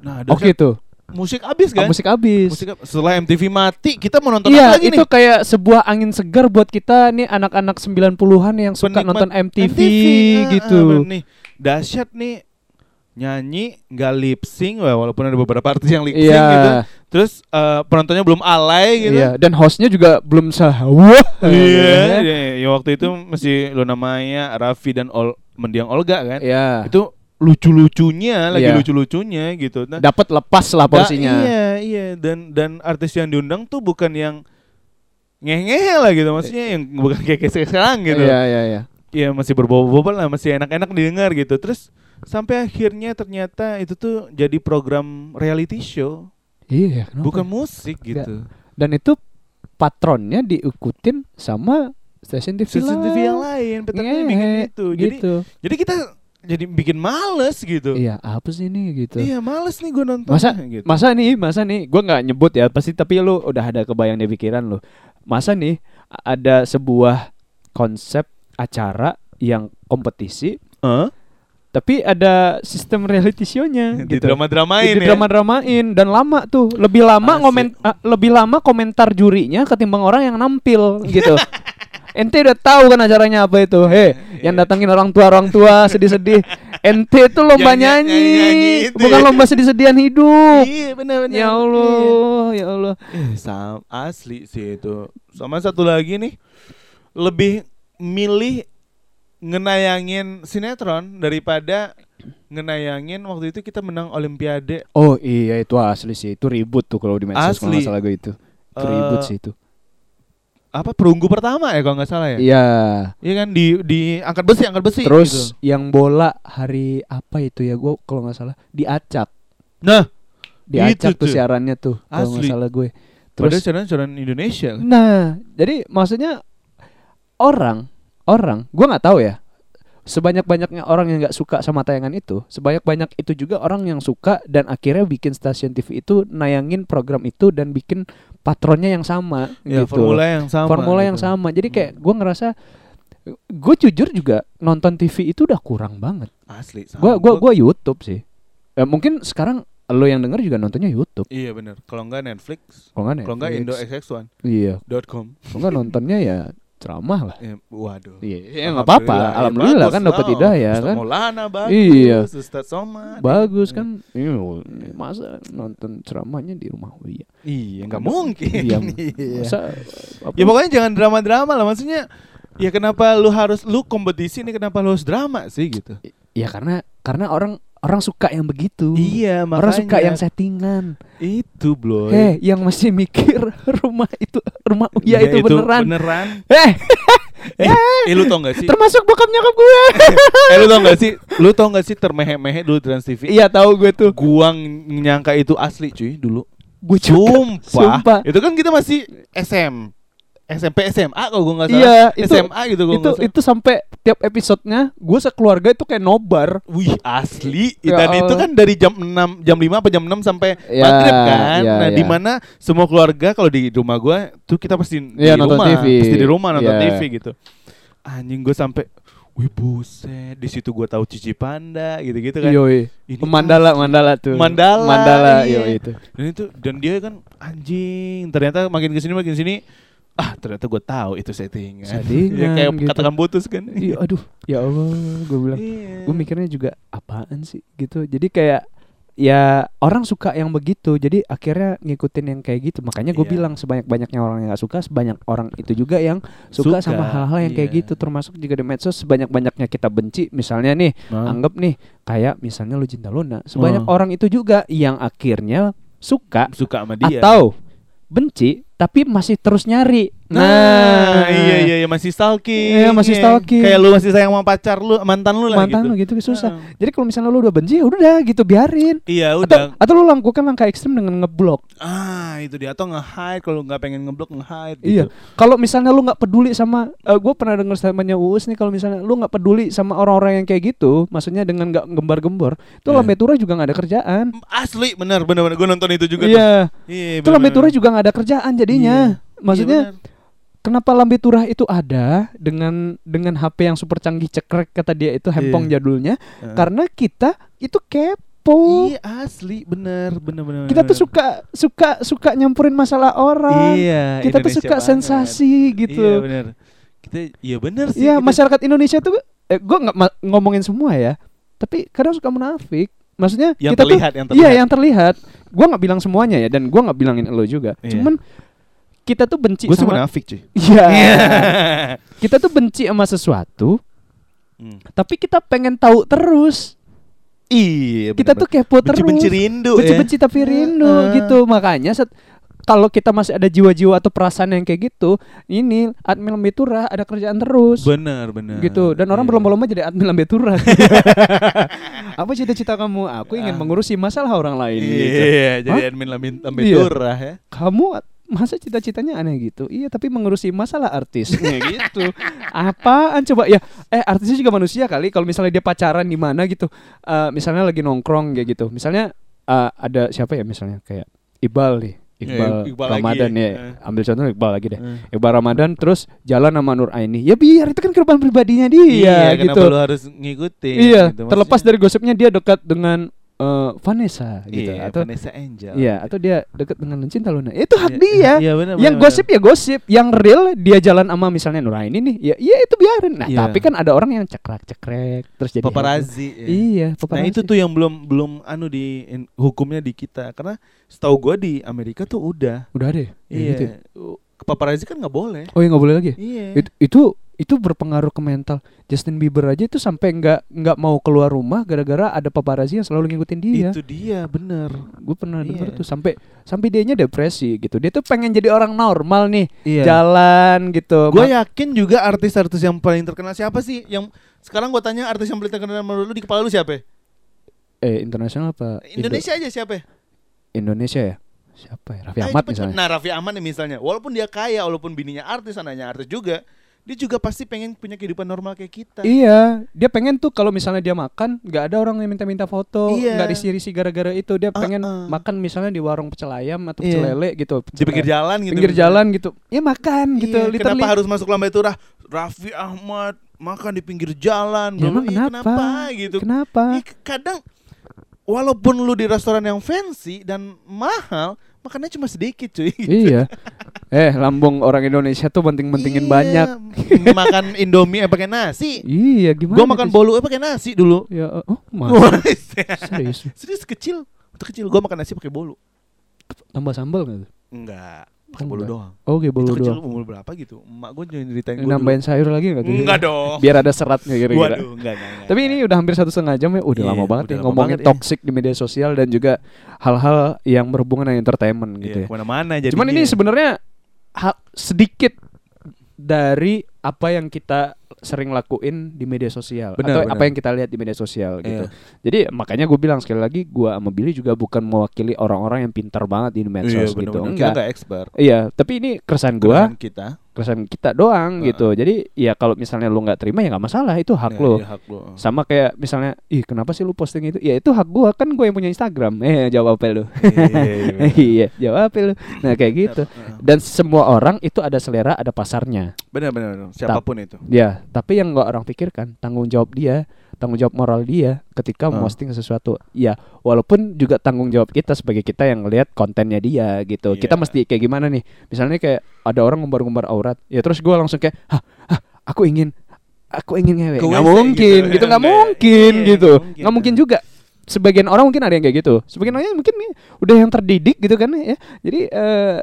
S3: nah
S2: Oke
S3: dahsyat
S2: tuh.
S3: musik abis
S2: gitu. Oh,
S3: kan
S2: Musik abis.
S3: Musik ab- setelah MTV mati kita mau nonton
S2: Iya,
S3: apa lagi
S2: itu
S3: nih
S2: kayak sebuah angin segar buat kita nih anak-anak 90-an yang suka
S3: Penikmat
S2: nonton MTV,
S3: ah, ah,
S2: gitu.
S3: bener nih dahsyat nih nyanyi nggak lip sync wah, walaupun ada beberapa artis yang lip sync
S2: Iya.
S3: gitu terus eh, penontonnya belum alay gitu
S2: Iya, dan hostnya juga belum sahawah.
S3: Iya, iya, ya waktu itu masih Luna Maya, Raffi dan Ol mendiang Olga kan.
S2: Iya.
S3: Itu lucu-lucunya, lagi
S2: Iya.
S3: lucu-lucunya gitu. Nah,
S2: Dapat lepas lah
S3: nggak-
S2: porsinya.
S3: Iya, iya dan dan artis yang diundang tuh bukan yang ngeh-ngeh lah gitu maksudnya yang bukan kayak kayak sekarang gitu.
S2: Iya, iya, iya.
S3: ya masih berbobot-bobot lah, masih enak-enak didengar gitu. Terus sampai akhirnya ternyata itu tuh jadi program reality show,
S2: Iya, kenapa?
S3: bukan musik gitu.
S2: Dan itu patronnya diikutin sama stasiun TV
S3: Stasiun TV yang lain, peternaknya bikin
S2: Ngehe,
S3: itu. Jadi
S2: Iya, Gitu.
S3: jadi kita jadi bikin males gitu.
S2: Iya, apa sih ini gitu.
S3: Iya, males nih gue nonton.
S2: Masa
S3: gitu.
S2: masa nih, masa nih, gua nggak nyebut ya, pasti tapi lu udah ada kebayang di pikiran lu. Masa nih a- ada sebuah konsep acara yang kompetisi
S3: Hah?
S2: tapi ada sistem reality
S3: [LAUGHS]
S2: show-nya
S3: Di
S2: gitu. Di
S3: drama-dramain ya.
S2: drama-dramain dan lama tuh, lebih lama
S3: Asik.
S2: komen ah, lebih lama komentar jurinya ketimbang orang yang nampil gitu.
S3: [LAUGHS]
S2: Ente udah tahu kan acaranya apa itu.
S3: Iya,
S2: Heh, yang datangin orang tua orang tua
S3: [LAUGHS]
S2: sedih-sedih. Ente itu lomba
S3: Yang nyanyi-
S2: nyanyi,
S3: nyanyi itu
S2: bukan
S3: ya.
S2: lomba sedih-sedihan hidup.
S3: Iya, benar-benar.
S2: Ya Allah, ya Allah.
S3: Eh, sam- asli sih itu. Sama satu lagi nih, lebih milih ngenayangin sinetron daripada ngenayangin waktu itu kita menang olimpiade.
S2: Oh iya itu asli sih, itu ribut tuh kalau di medsos kalau
S3: Asli.
S2: nggak salah gue itu. Itu ribut
S3: Eh,
S2: sih itu.
S3: Apa perunggu pertama ya kalau nggak salah ya?
S2: Iya.
S3: Iya kan di di angkat besi, angkat besi gitu.
S2: Terus yang bola hari apa itu ya gue kalau nggak salah diacak,
S3: Nah,
S2: diacak
S3: Itu
S2: tuh
S3: tuh.
S2: siarannya tuh kalau nggak
S3: Asli.
S2: salah gue.
S3: padahal
S2: Terus
S3: siaran-siaran Indonesia. kan.
S2: nah jadi maksudnya orang orang gue nggak tahu ya sebanyak banyaknya orang yang nggak suka sama tayangan itu sebanyak banyak itu juga orang yang suka dan akhirnya bikin stasiun TV itu nayangin program itu dan bikin patronnya yang sama
S3: Ya,
S2: gitu
S3: formula yang sama.
S2: formula yang
S3: gitu.
S2: sama jadi kayak gue ngerasa gue jujur juga nonton TV itu udah kurang banget
S3: Asli. sama.
S2: gue gua gua YouTube sih ya, mungkin sekarang lo yang denger juga nontonnya YouTube
S3: Iya benar. Kalau enggak Netflix,
S2: kalau nggak
S3: kalau enggak
S2: Netflix.
S3: indoxx1.com.
S2: iya kalau nggak nontonnya ya ceramah lah
S3: Ya, waduh.
S2: iya ya, nggak apa-apa
S3: Alhamdulillah. Ya,
S2: alhamdulillah
S3: bagus
S2: kan dapat
S3: lah.
S2: hidayah
S3: Ustaz
S2: kan
S3: Maulana bagus.
S2: Iya.
S3: Ustaz Somad.
S2: bagus kan
S3: Hmm.
S2: Iya, masa nonton ceramahnya di rumah Uya
S3: Iya, enggak mungkin. [LAUGHS]
S2: Iya.
S3: Iya.
S2: masa apa?
S3: Ya pokoknya jangan drama-drama lah maksudnya. Ya kenapa lu harus lu kompetisi nih kenapa lu harus drama sih gitu.
S2: ya karena karena orang orang suka yang begitu
S3: Iya, makanya.
S2: orang suka yang settingan
S3: itu, Bloy.
S2: Heh, yang masih mikir [LAUGHS] rumah itu rumah Uya ya
S3: Iya,
S2: itu, beneran.
S3: Beneran.
S2: Eh, [LAUGHS]
S3: Eh, lu tau gak sih?
S2: termasuk bokap nyokap gue. [LAUGHS]
S3: eh, lu tau gak sih? Lu tau gak sih termehek-mehek dulu Trans TV?
S2: iya tahu gue tuh.
S3: Gua ng- nyangka itu asli cuy dulu.
S2: Gue
S3: Sumpah.
S2: Sumpah.
S3: Itu kan kita masih SM. SMP SMA kalau gue nggak salah.
S2: Iya, itu-
S3: SMA gitu gue
S2: Itu itu sampai tiap episodenya gue sekeluarga itu kayak nobar.
S3: Wih asli
S2: Ya
S3: Dan itu
S2: Allah.
S3: kan dari jam 6 Jam 5 apa jam 6 sampai
S2: Ya,
S3: maghrib kan
S2: ya,
S3: Nah
S2: ya.
S3: dimana semua keluarga Kalau di rumah gue Tuh kita pasti
S2: Iya,
S3: di
S2: nonton
S3: rumah
S2: TV.
S3: Pasti di rumah nonton
S2: Iya.
S3: TV gitu Anjing gue sampai Wih buset, di situ gua tahu Cici Panda gitu-gitu kan.
S2: Yoi.
S3: Ini
S2: Mandala, mandala tuh.
S3: Mandala,
S2: Mandala,
S3: iya.
S2: yoi itu.
S3: Dan itu dan dia kan anjing. Ternyata makin kesini makin sini ah ternyata gua tahu itu settingan. [LAUGHS] ya
S2: Settingan,
S3: kayak
S2: gitu.
S3: katakan putus kan.
S2: Iya, aduh, ya Allah, gue bilang.
S3: Iya.
S2: Gue mikirnya juga apaan sih gitu. Jadi kayak ya orang suka yang begitu. Jadi akhirnya ngikutin yang kayak gitu. Makanya gue
S3: Iya.
S2: bilang sebanyak-banyaknya orang yang gak suka, sebanyak orang itu juga yang suka,
S3: Suka,
S2: sama hal-hal yang kayak
S3: iya.
S2: gitu. Termasuk juga di medsos sebanyak-banyaknya kita benci. Misalnya nih,
S3: Nah.
S2: anggap nih kayak misalnya lu cinta Luna. Sebanyak
S3: Hmm.
S2: orang itu juga yang akhirnya suka
S3: suka sama dia.
S2: atau benci tapi masih terus nyari.
S3: Nah, iya iya iya masih stalking.
S2: Iya, masih
S3: Iya.
S2: stalking.
S3: Kayak lu masih sayang sama pacar lu, mantan lu lah
S2: mantan
S3: gitu.
S2: lu gitu susah.
S3: Nah.
S2: Jadi kalau misalnya lu udah benci, ya udah gitu biarin.
S3: Iya,
S2: Atau,
S3: udah.
S2: atau lu lakukan langkah ekstrim dengan ngeblok.
S3: Ah, itu dia atau nge-hide kalau nggak pengen ngeblok nge-hide
S2: Iya.
S3: gitu.
S2: Kalau misalnya lu nggak peduli sama, gue pernah dengar statementnya Uus nih kalau misalnya lu nggak peduli sama orang-orang yang kayak gitu, maksudnya dengan nggak gembar-gembor,
S3: Iya.
S2: itu lambe turah juga nggak ada kerjaan.
S3: Asli bener bener bener gue nonton itu juga tuh.
S2: Iya.
S3: Iya.
S2: Itu lambe turah juga nggak ada kerjaan jadinya. Maksudnya kenapa lambe turah itu ada dengan dengan HP yang super canggih cekrek kata dia itu handphone
S3: Iya.
S2: jadulnya
S3: Heeh.
S2: karena kita itu kepo.
S3: Iya asli bener bener bener.
S2: Kita tuh
S3: bener.
S2: suka suka suka nyampurin masalah orang.
S3: Iya.
S2: kita tuh
S3: Indonesia
S2: suka
S3: banget.
S2: sensasi
S3: Iya
S2: gitu.
S3: bener. Kita iya bener sih.
S2: Iya,
S3: kita- [LAUGHS]
S2: masyarakat Indonesia tuh eh gua nggak ma- ngomongin semua ya, tapi kadang suka munafik. Maksudnya
S3: Yang
S2: kita
S3: terlihat,
S2: tuh
S3: yang terlihat.
S2: Iya, yang terlihat. Gua nggak bilang semuanya ya dan gua nggak bilangin lo juga.
S3: Iya.
S2: Cuman kita tuh benci
S3: Gue sih
S2: sama
S3: munafik cuy.
S2: Iya. Kita tuh benci sama sesuatu,
S3: Hmm.
S2: tapi kita pengen tahu terus.
S3: Iya.
S2: Kita tuh kepo terus.
S3: benci rindu Eh. ya.
S2: benci-benci tapi rindu
S3: Heeh.
S2: gitu. Makanya set- kalau kita masih ada jiwa-jiwa atau perasaan yang kayak gitu, ini admin Lambe Turah ada kerjaan terus.
S3: Bener bener.
S2: gitu dan orang
S3: Iya.
S2: berlomba-lomba jadi admin Lambe Turah.
S3: [LAUGHS]
S2: Apa cita-cita kamu? Aku ingin mengurusi masalah orang lain. gitu.
S3: Ah. Iya, jadi
S2: Hah?
S3: admin lambe lambe
S2: Iya.
S3: turah ya.
S2: Kamu masa cita-citanya aneh gitu? Iya, tapi mengurusi masalah artis. Ya
S3: Iya,
S2: [LAUGHS] gitu. Apaan coba ya? Eh, artisnya juga manusia kali. Kalau misalnya dia pacaran di mana gitu. Eh misalnya lagi nongkrong kayak gitu. Misalnya eh, ada siapa ya misalnya kayak Iqbal nih. Iqbal,
S3: Iya, Iqbal lagi.
S2: Ramadan ya.
S3: Eh.
S2: Ambil contoh Iqbal lagi deh.
S3: Eh.
S2: Iqbal Ramadan terus jalan sama Nur Aini. Ya biar itu kan kehidupan pribadinya dia
S3: Iya, kenapa
S2: gitu.
S3: lu harus ngikutin.
S2: Iya,
S3: gitu.
S2: terlepas
S3: Maksudnya-
S2: dari gosipnya dia dekat dengan eh, Vanessa gitu
S3: Iya,
S2: atau
S3: Vanessa Angel.
S2: Iya, atau dia dekat dengan Cinta Luna. Itu hak
S3: Iya,
S2: dia.
S3: iya, benar,
S2: yang
S3: benar,
S2: gosip ya gosip, yang real dia jalan sama misalnya Nuraini nih. Ya, iya itu biarin. Nah,
S3: Iya.
S2: tapi kan ada orang yang cekrek-cekrek terus jadi heboh.
S3: paparazzi. ya.
S2: Iya,
S3: Nah
S2: paparazzi.
S3: itu tuh yang belum belum anu di in- hukumnya di kita karena setahu gua di Amerika tuh udah
S2: udah deh. Ya
S3: iya
S2: gitu ya.
S3: paparazzi kan nggak boleh
S2: Oh, ya nggak boleh lagi. ya?
S3: iya
S2: Itu, itu itu berpengaruh ke mental. Justin Bieber aja itu sampai nggak nggak mau keluar rumah gara-gara ada paparazzi yang selalu ngikutin dia.
S3: itu dia bener
S2: gue pernah denger
S3: Iya.
S2: tuh sampai sampai dianya depresi gitu dia tuh pengen jadi orang normal nih
S3: Iya. ya-
S2: jalan gitu
S3: gue
S2: Ma-
S3: yakin juga artis-artis yang paling terkenal siapa sih yang sekarang gua tanya artis yang paling terkenal menurut lu di kepala lu siapa
S2: eh internasional apa Indo-
S3: Indonesia aja siapa
S2: Indonesia ya siapa ya Raffi
S3: Ayo
S2: Ahmad
S3: cepet.
S2: misalnya
S3: nah Raffi Ahmad nih misalnya walaupun dia kaya walaupun bininya artis anaknya artis juga dia juga pasti pengen punya kehidupan normal kayak kita
S2: Iya, dia pengen tuh kalau misalnya dia makan, nggak ada orang yang minta-minta foto,
S3: Iya.
S2: nggak risi-risi gara-gara itu. Dia pengen
S3: Uh-uh.
S2: makan misalnya di warung pecel ayam atau
S3: Iya.
S2: pecel lele gitu.
S3: di pinggir jalan gitu
S2: Pinggir
S3: misalnya.
S2: jalan gitu. Ya makan gitu,
S3: Iya,
S2: literally.
S3: Kenapa harus masuk lambai turah? Raffi Ahmad makan di pinggir jalan.
S2: Ya, emang
S3: Ih,
S2: kenapa?
S3: Iya, gitu.
S2: Kenapa?
S3: Ih, kadang walaupun lu di restoran yang fancy dan mahal, makannya cuma sedikit, cuy.
S2: iya. Eh, lambung orang Indonesia tuh penting-pentingin
S3: Iya,
S2: banyak.
S3: [LAUGHS] makan Indomie eh, pakai nasi.
S2: Iya, gimana?
S3: Gua makan
S2: tuh?
S3: bolu eh, pakai nasi dulu.
S2: Ya, oh, mas. Serius.
S3: [LAUGHS] Serius kecil, waktu kecil gua makan nasi pakai bolu.
S2: Tambah sambal nggak? tuh?
S3: Enggak,
S2: Oh,
S3: pakai bolu
S2: enggak.
S3: doang.
S2: Oke, bolu
S3: Itu kecil
S2: doang.
S3: umur berapa gitu? Emak gua nyeritain gua dulu.
S2: Nambahin sayur lagi nggak tuh?
S3: Enggak dong.
S2: Biar ada seratnya kira-kira.
S3: Waduh, enggak, enggak, enggak.
S2: Tapi ini udah hampir satu setengah jam ya, udah
S3: Iya,
S2: lama banget
S3: udah
S2: ya
S3: lama
S2: ngomongin
S3: banget ya.
S2: toxic di media sosial dan juga hal-hal yang berhubungan dengan entertainment
S3: Iya,
S2: gitu ya.
S3: kemana-mana jadi.
S2: Cuman ini sebenarnya ha- sedikit dari apa yang kita sering lakuin di media sosial atau
S3: Benar, benar. Iya.
S2: apa yang kita lihat di media sosial gitu. Jadi makanya gue bilang sekali lagi, gue sama Billy juga bukan mewakili orang-orang yang pintar banget di medsos gitu.
S3: Iya, bener-bener. Kita
S2: Enggak.
S3: nggak expert.
S2: Iya, tapi ini keresahan gue,
S3: Keresahan kita.
S2: keresahan kita doang
S3: Heeh.
S2: gitu. Jadi ya kalau misalnya lu nggak terima ya nggak masalah, itu hak
S3: Iya,
S2: lu
S3: iya, hak lu.
S2: sama kayak misalnya ih kenapa sih lu posting itu ya itu hak gua kan gue yang punya Instagram [LAUGHS] eh jawab apa lu [LAUGHS] iya jawab apa lu nah kayak gitu dan semua orang itu ada selera ada pasarnya
S3: Benar benar. benar. Siapapun itu.
S2: ya salah tapi yang nggak orang pikirkan tanggung jawab dia tanggung jawab moral dia ketika
S3: Hmm.
S2: posting sesuatu ya walaupun juga tanggung jawab kita sebagai kita yang lihat kontennya dia gitu kita
S5: Iya.
S2: mesti kayak gimana nih misalnya kayak ada orang ngumbar-ngumbar aurat ya terus gua langsung kayak hah, hah, aku ingin aku ingin ngewe
S3: Ke
S2: nggak
S3: WC
S2: mungkin
S3: gitu.
S2: gitu nggak
S3: Nggak,
S2: mungkin
S3: iya,
S2: gitu
S3: nggak mungkin.
S2: nggak mungkin juga sebagian orang mungkin ada yang kayak gitu sebagian orang mungkin nih udah yang terdidik gitu kan ya jadi eh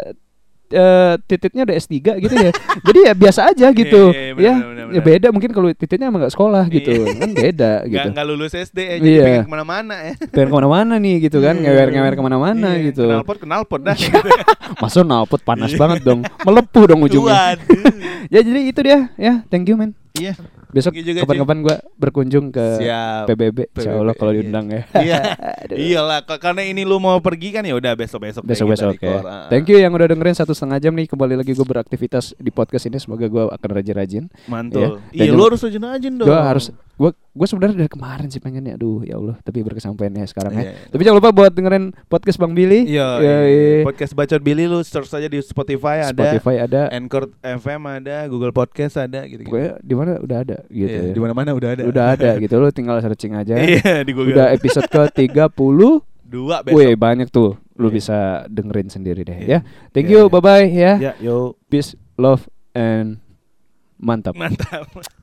S2: eh, tititnya udah S3 gitu ya jadi ya biasa aja gitu ya,
S3: Iya, iya, benar, benar,
S2: ya
S3: benar. Iya.
S2: beda mungkin kalau tititnya emang nggak sekolah gitu kan beda
S3: Nggak
S2: gitu
S3: nggak lulus SD ya, jadi
S2: Iya.
S3: pengen kemana-mana
S2: [LAUGHS]
S3: ya.
S2: pengen kemana-mana nih gitu kan ngewer-ngewer kemana-mana
S3: Iya,
S2: gitu
S3: Knalpot knalpot
S2: [LAUGHS]
S3: dah.
S2: masuk nalput panas banget dong melepuh dong ujungnya
S3: Iya. Waduh.
S2: [LAUGHS] ya jadi itu dia ya thank you man
S3: Iya.
S2: besok
S3: Thank you juga,
S2: kapan-kapan gua berkunjung ke
S3: Siap.
S2: PBB insya
S3: PBB,
S2: Allah kalau
S3: iya.
S2: diundang ya
S3: [LAUGHS] Iya. Iyalah ka- karena ini lu mau pergi kan ya udah besok-besok
S2: [LAUGHS]
S3: deh
S2: besok besok
S3: kita
S2: ya.
S3: record. Ah,
S2: Thank you yang udah dengerin satu setengah jam nih kembali lagi gue beraktivitas di podcast ini semoga gue akan rajin-rajin.
S3: Mantul.
S2: Iya. Dan
S3: Iya, lu
S2: juga-
S3: harus rajin rajin dong.
S2: Gue harus gue gue sebenarnya dari kemarin sih pengen ya, aduh ya Allah tapi berkesampaian ya sekarang ya.
S3: Iya, iya.
S2: Tapi jangan lupa buat dengerin podcast Bang Billy.
S3: Iya,
S2: Iya, iya.
S3: podcast bacot Billy lu search aja di Spotify,
S2: Spotify ada,
S3: ada, Anchor FM ada, Google Podcast ada gitu.
S2: pokoknya di mana udah ada gitu.
S3: Iya,
S2: ya.
S3: Di mana-mana udah ada.
S2: Udah
S3: [LAUGHS]
S2: ada gitu lo tinggal searching aja.
S3: Iya, di Google.
S2: udah episode ke 30
S3: Dua [LAUGHS] besok.
S2: Wih banyak tuh Lu
S3: Iya.
S2: bisa dengerin sendiri deh
S3: Iya.
S2: ya Thank
S3: Iya,
S2: you
S3: iya.
S2: bye bye ya
S3: Ya, yo.
S2: Peace love and mantap
S3: Mantap.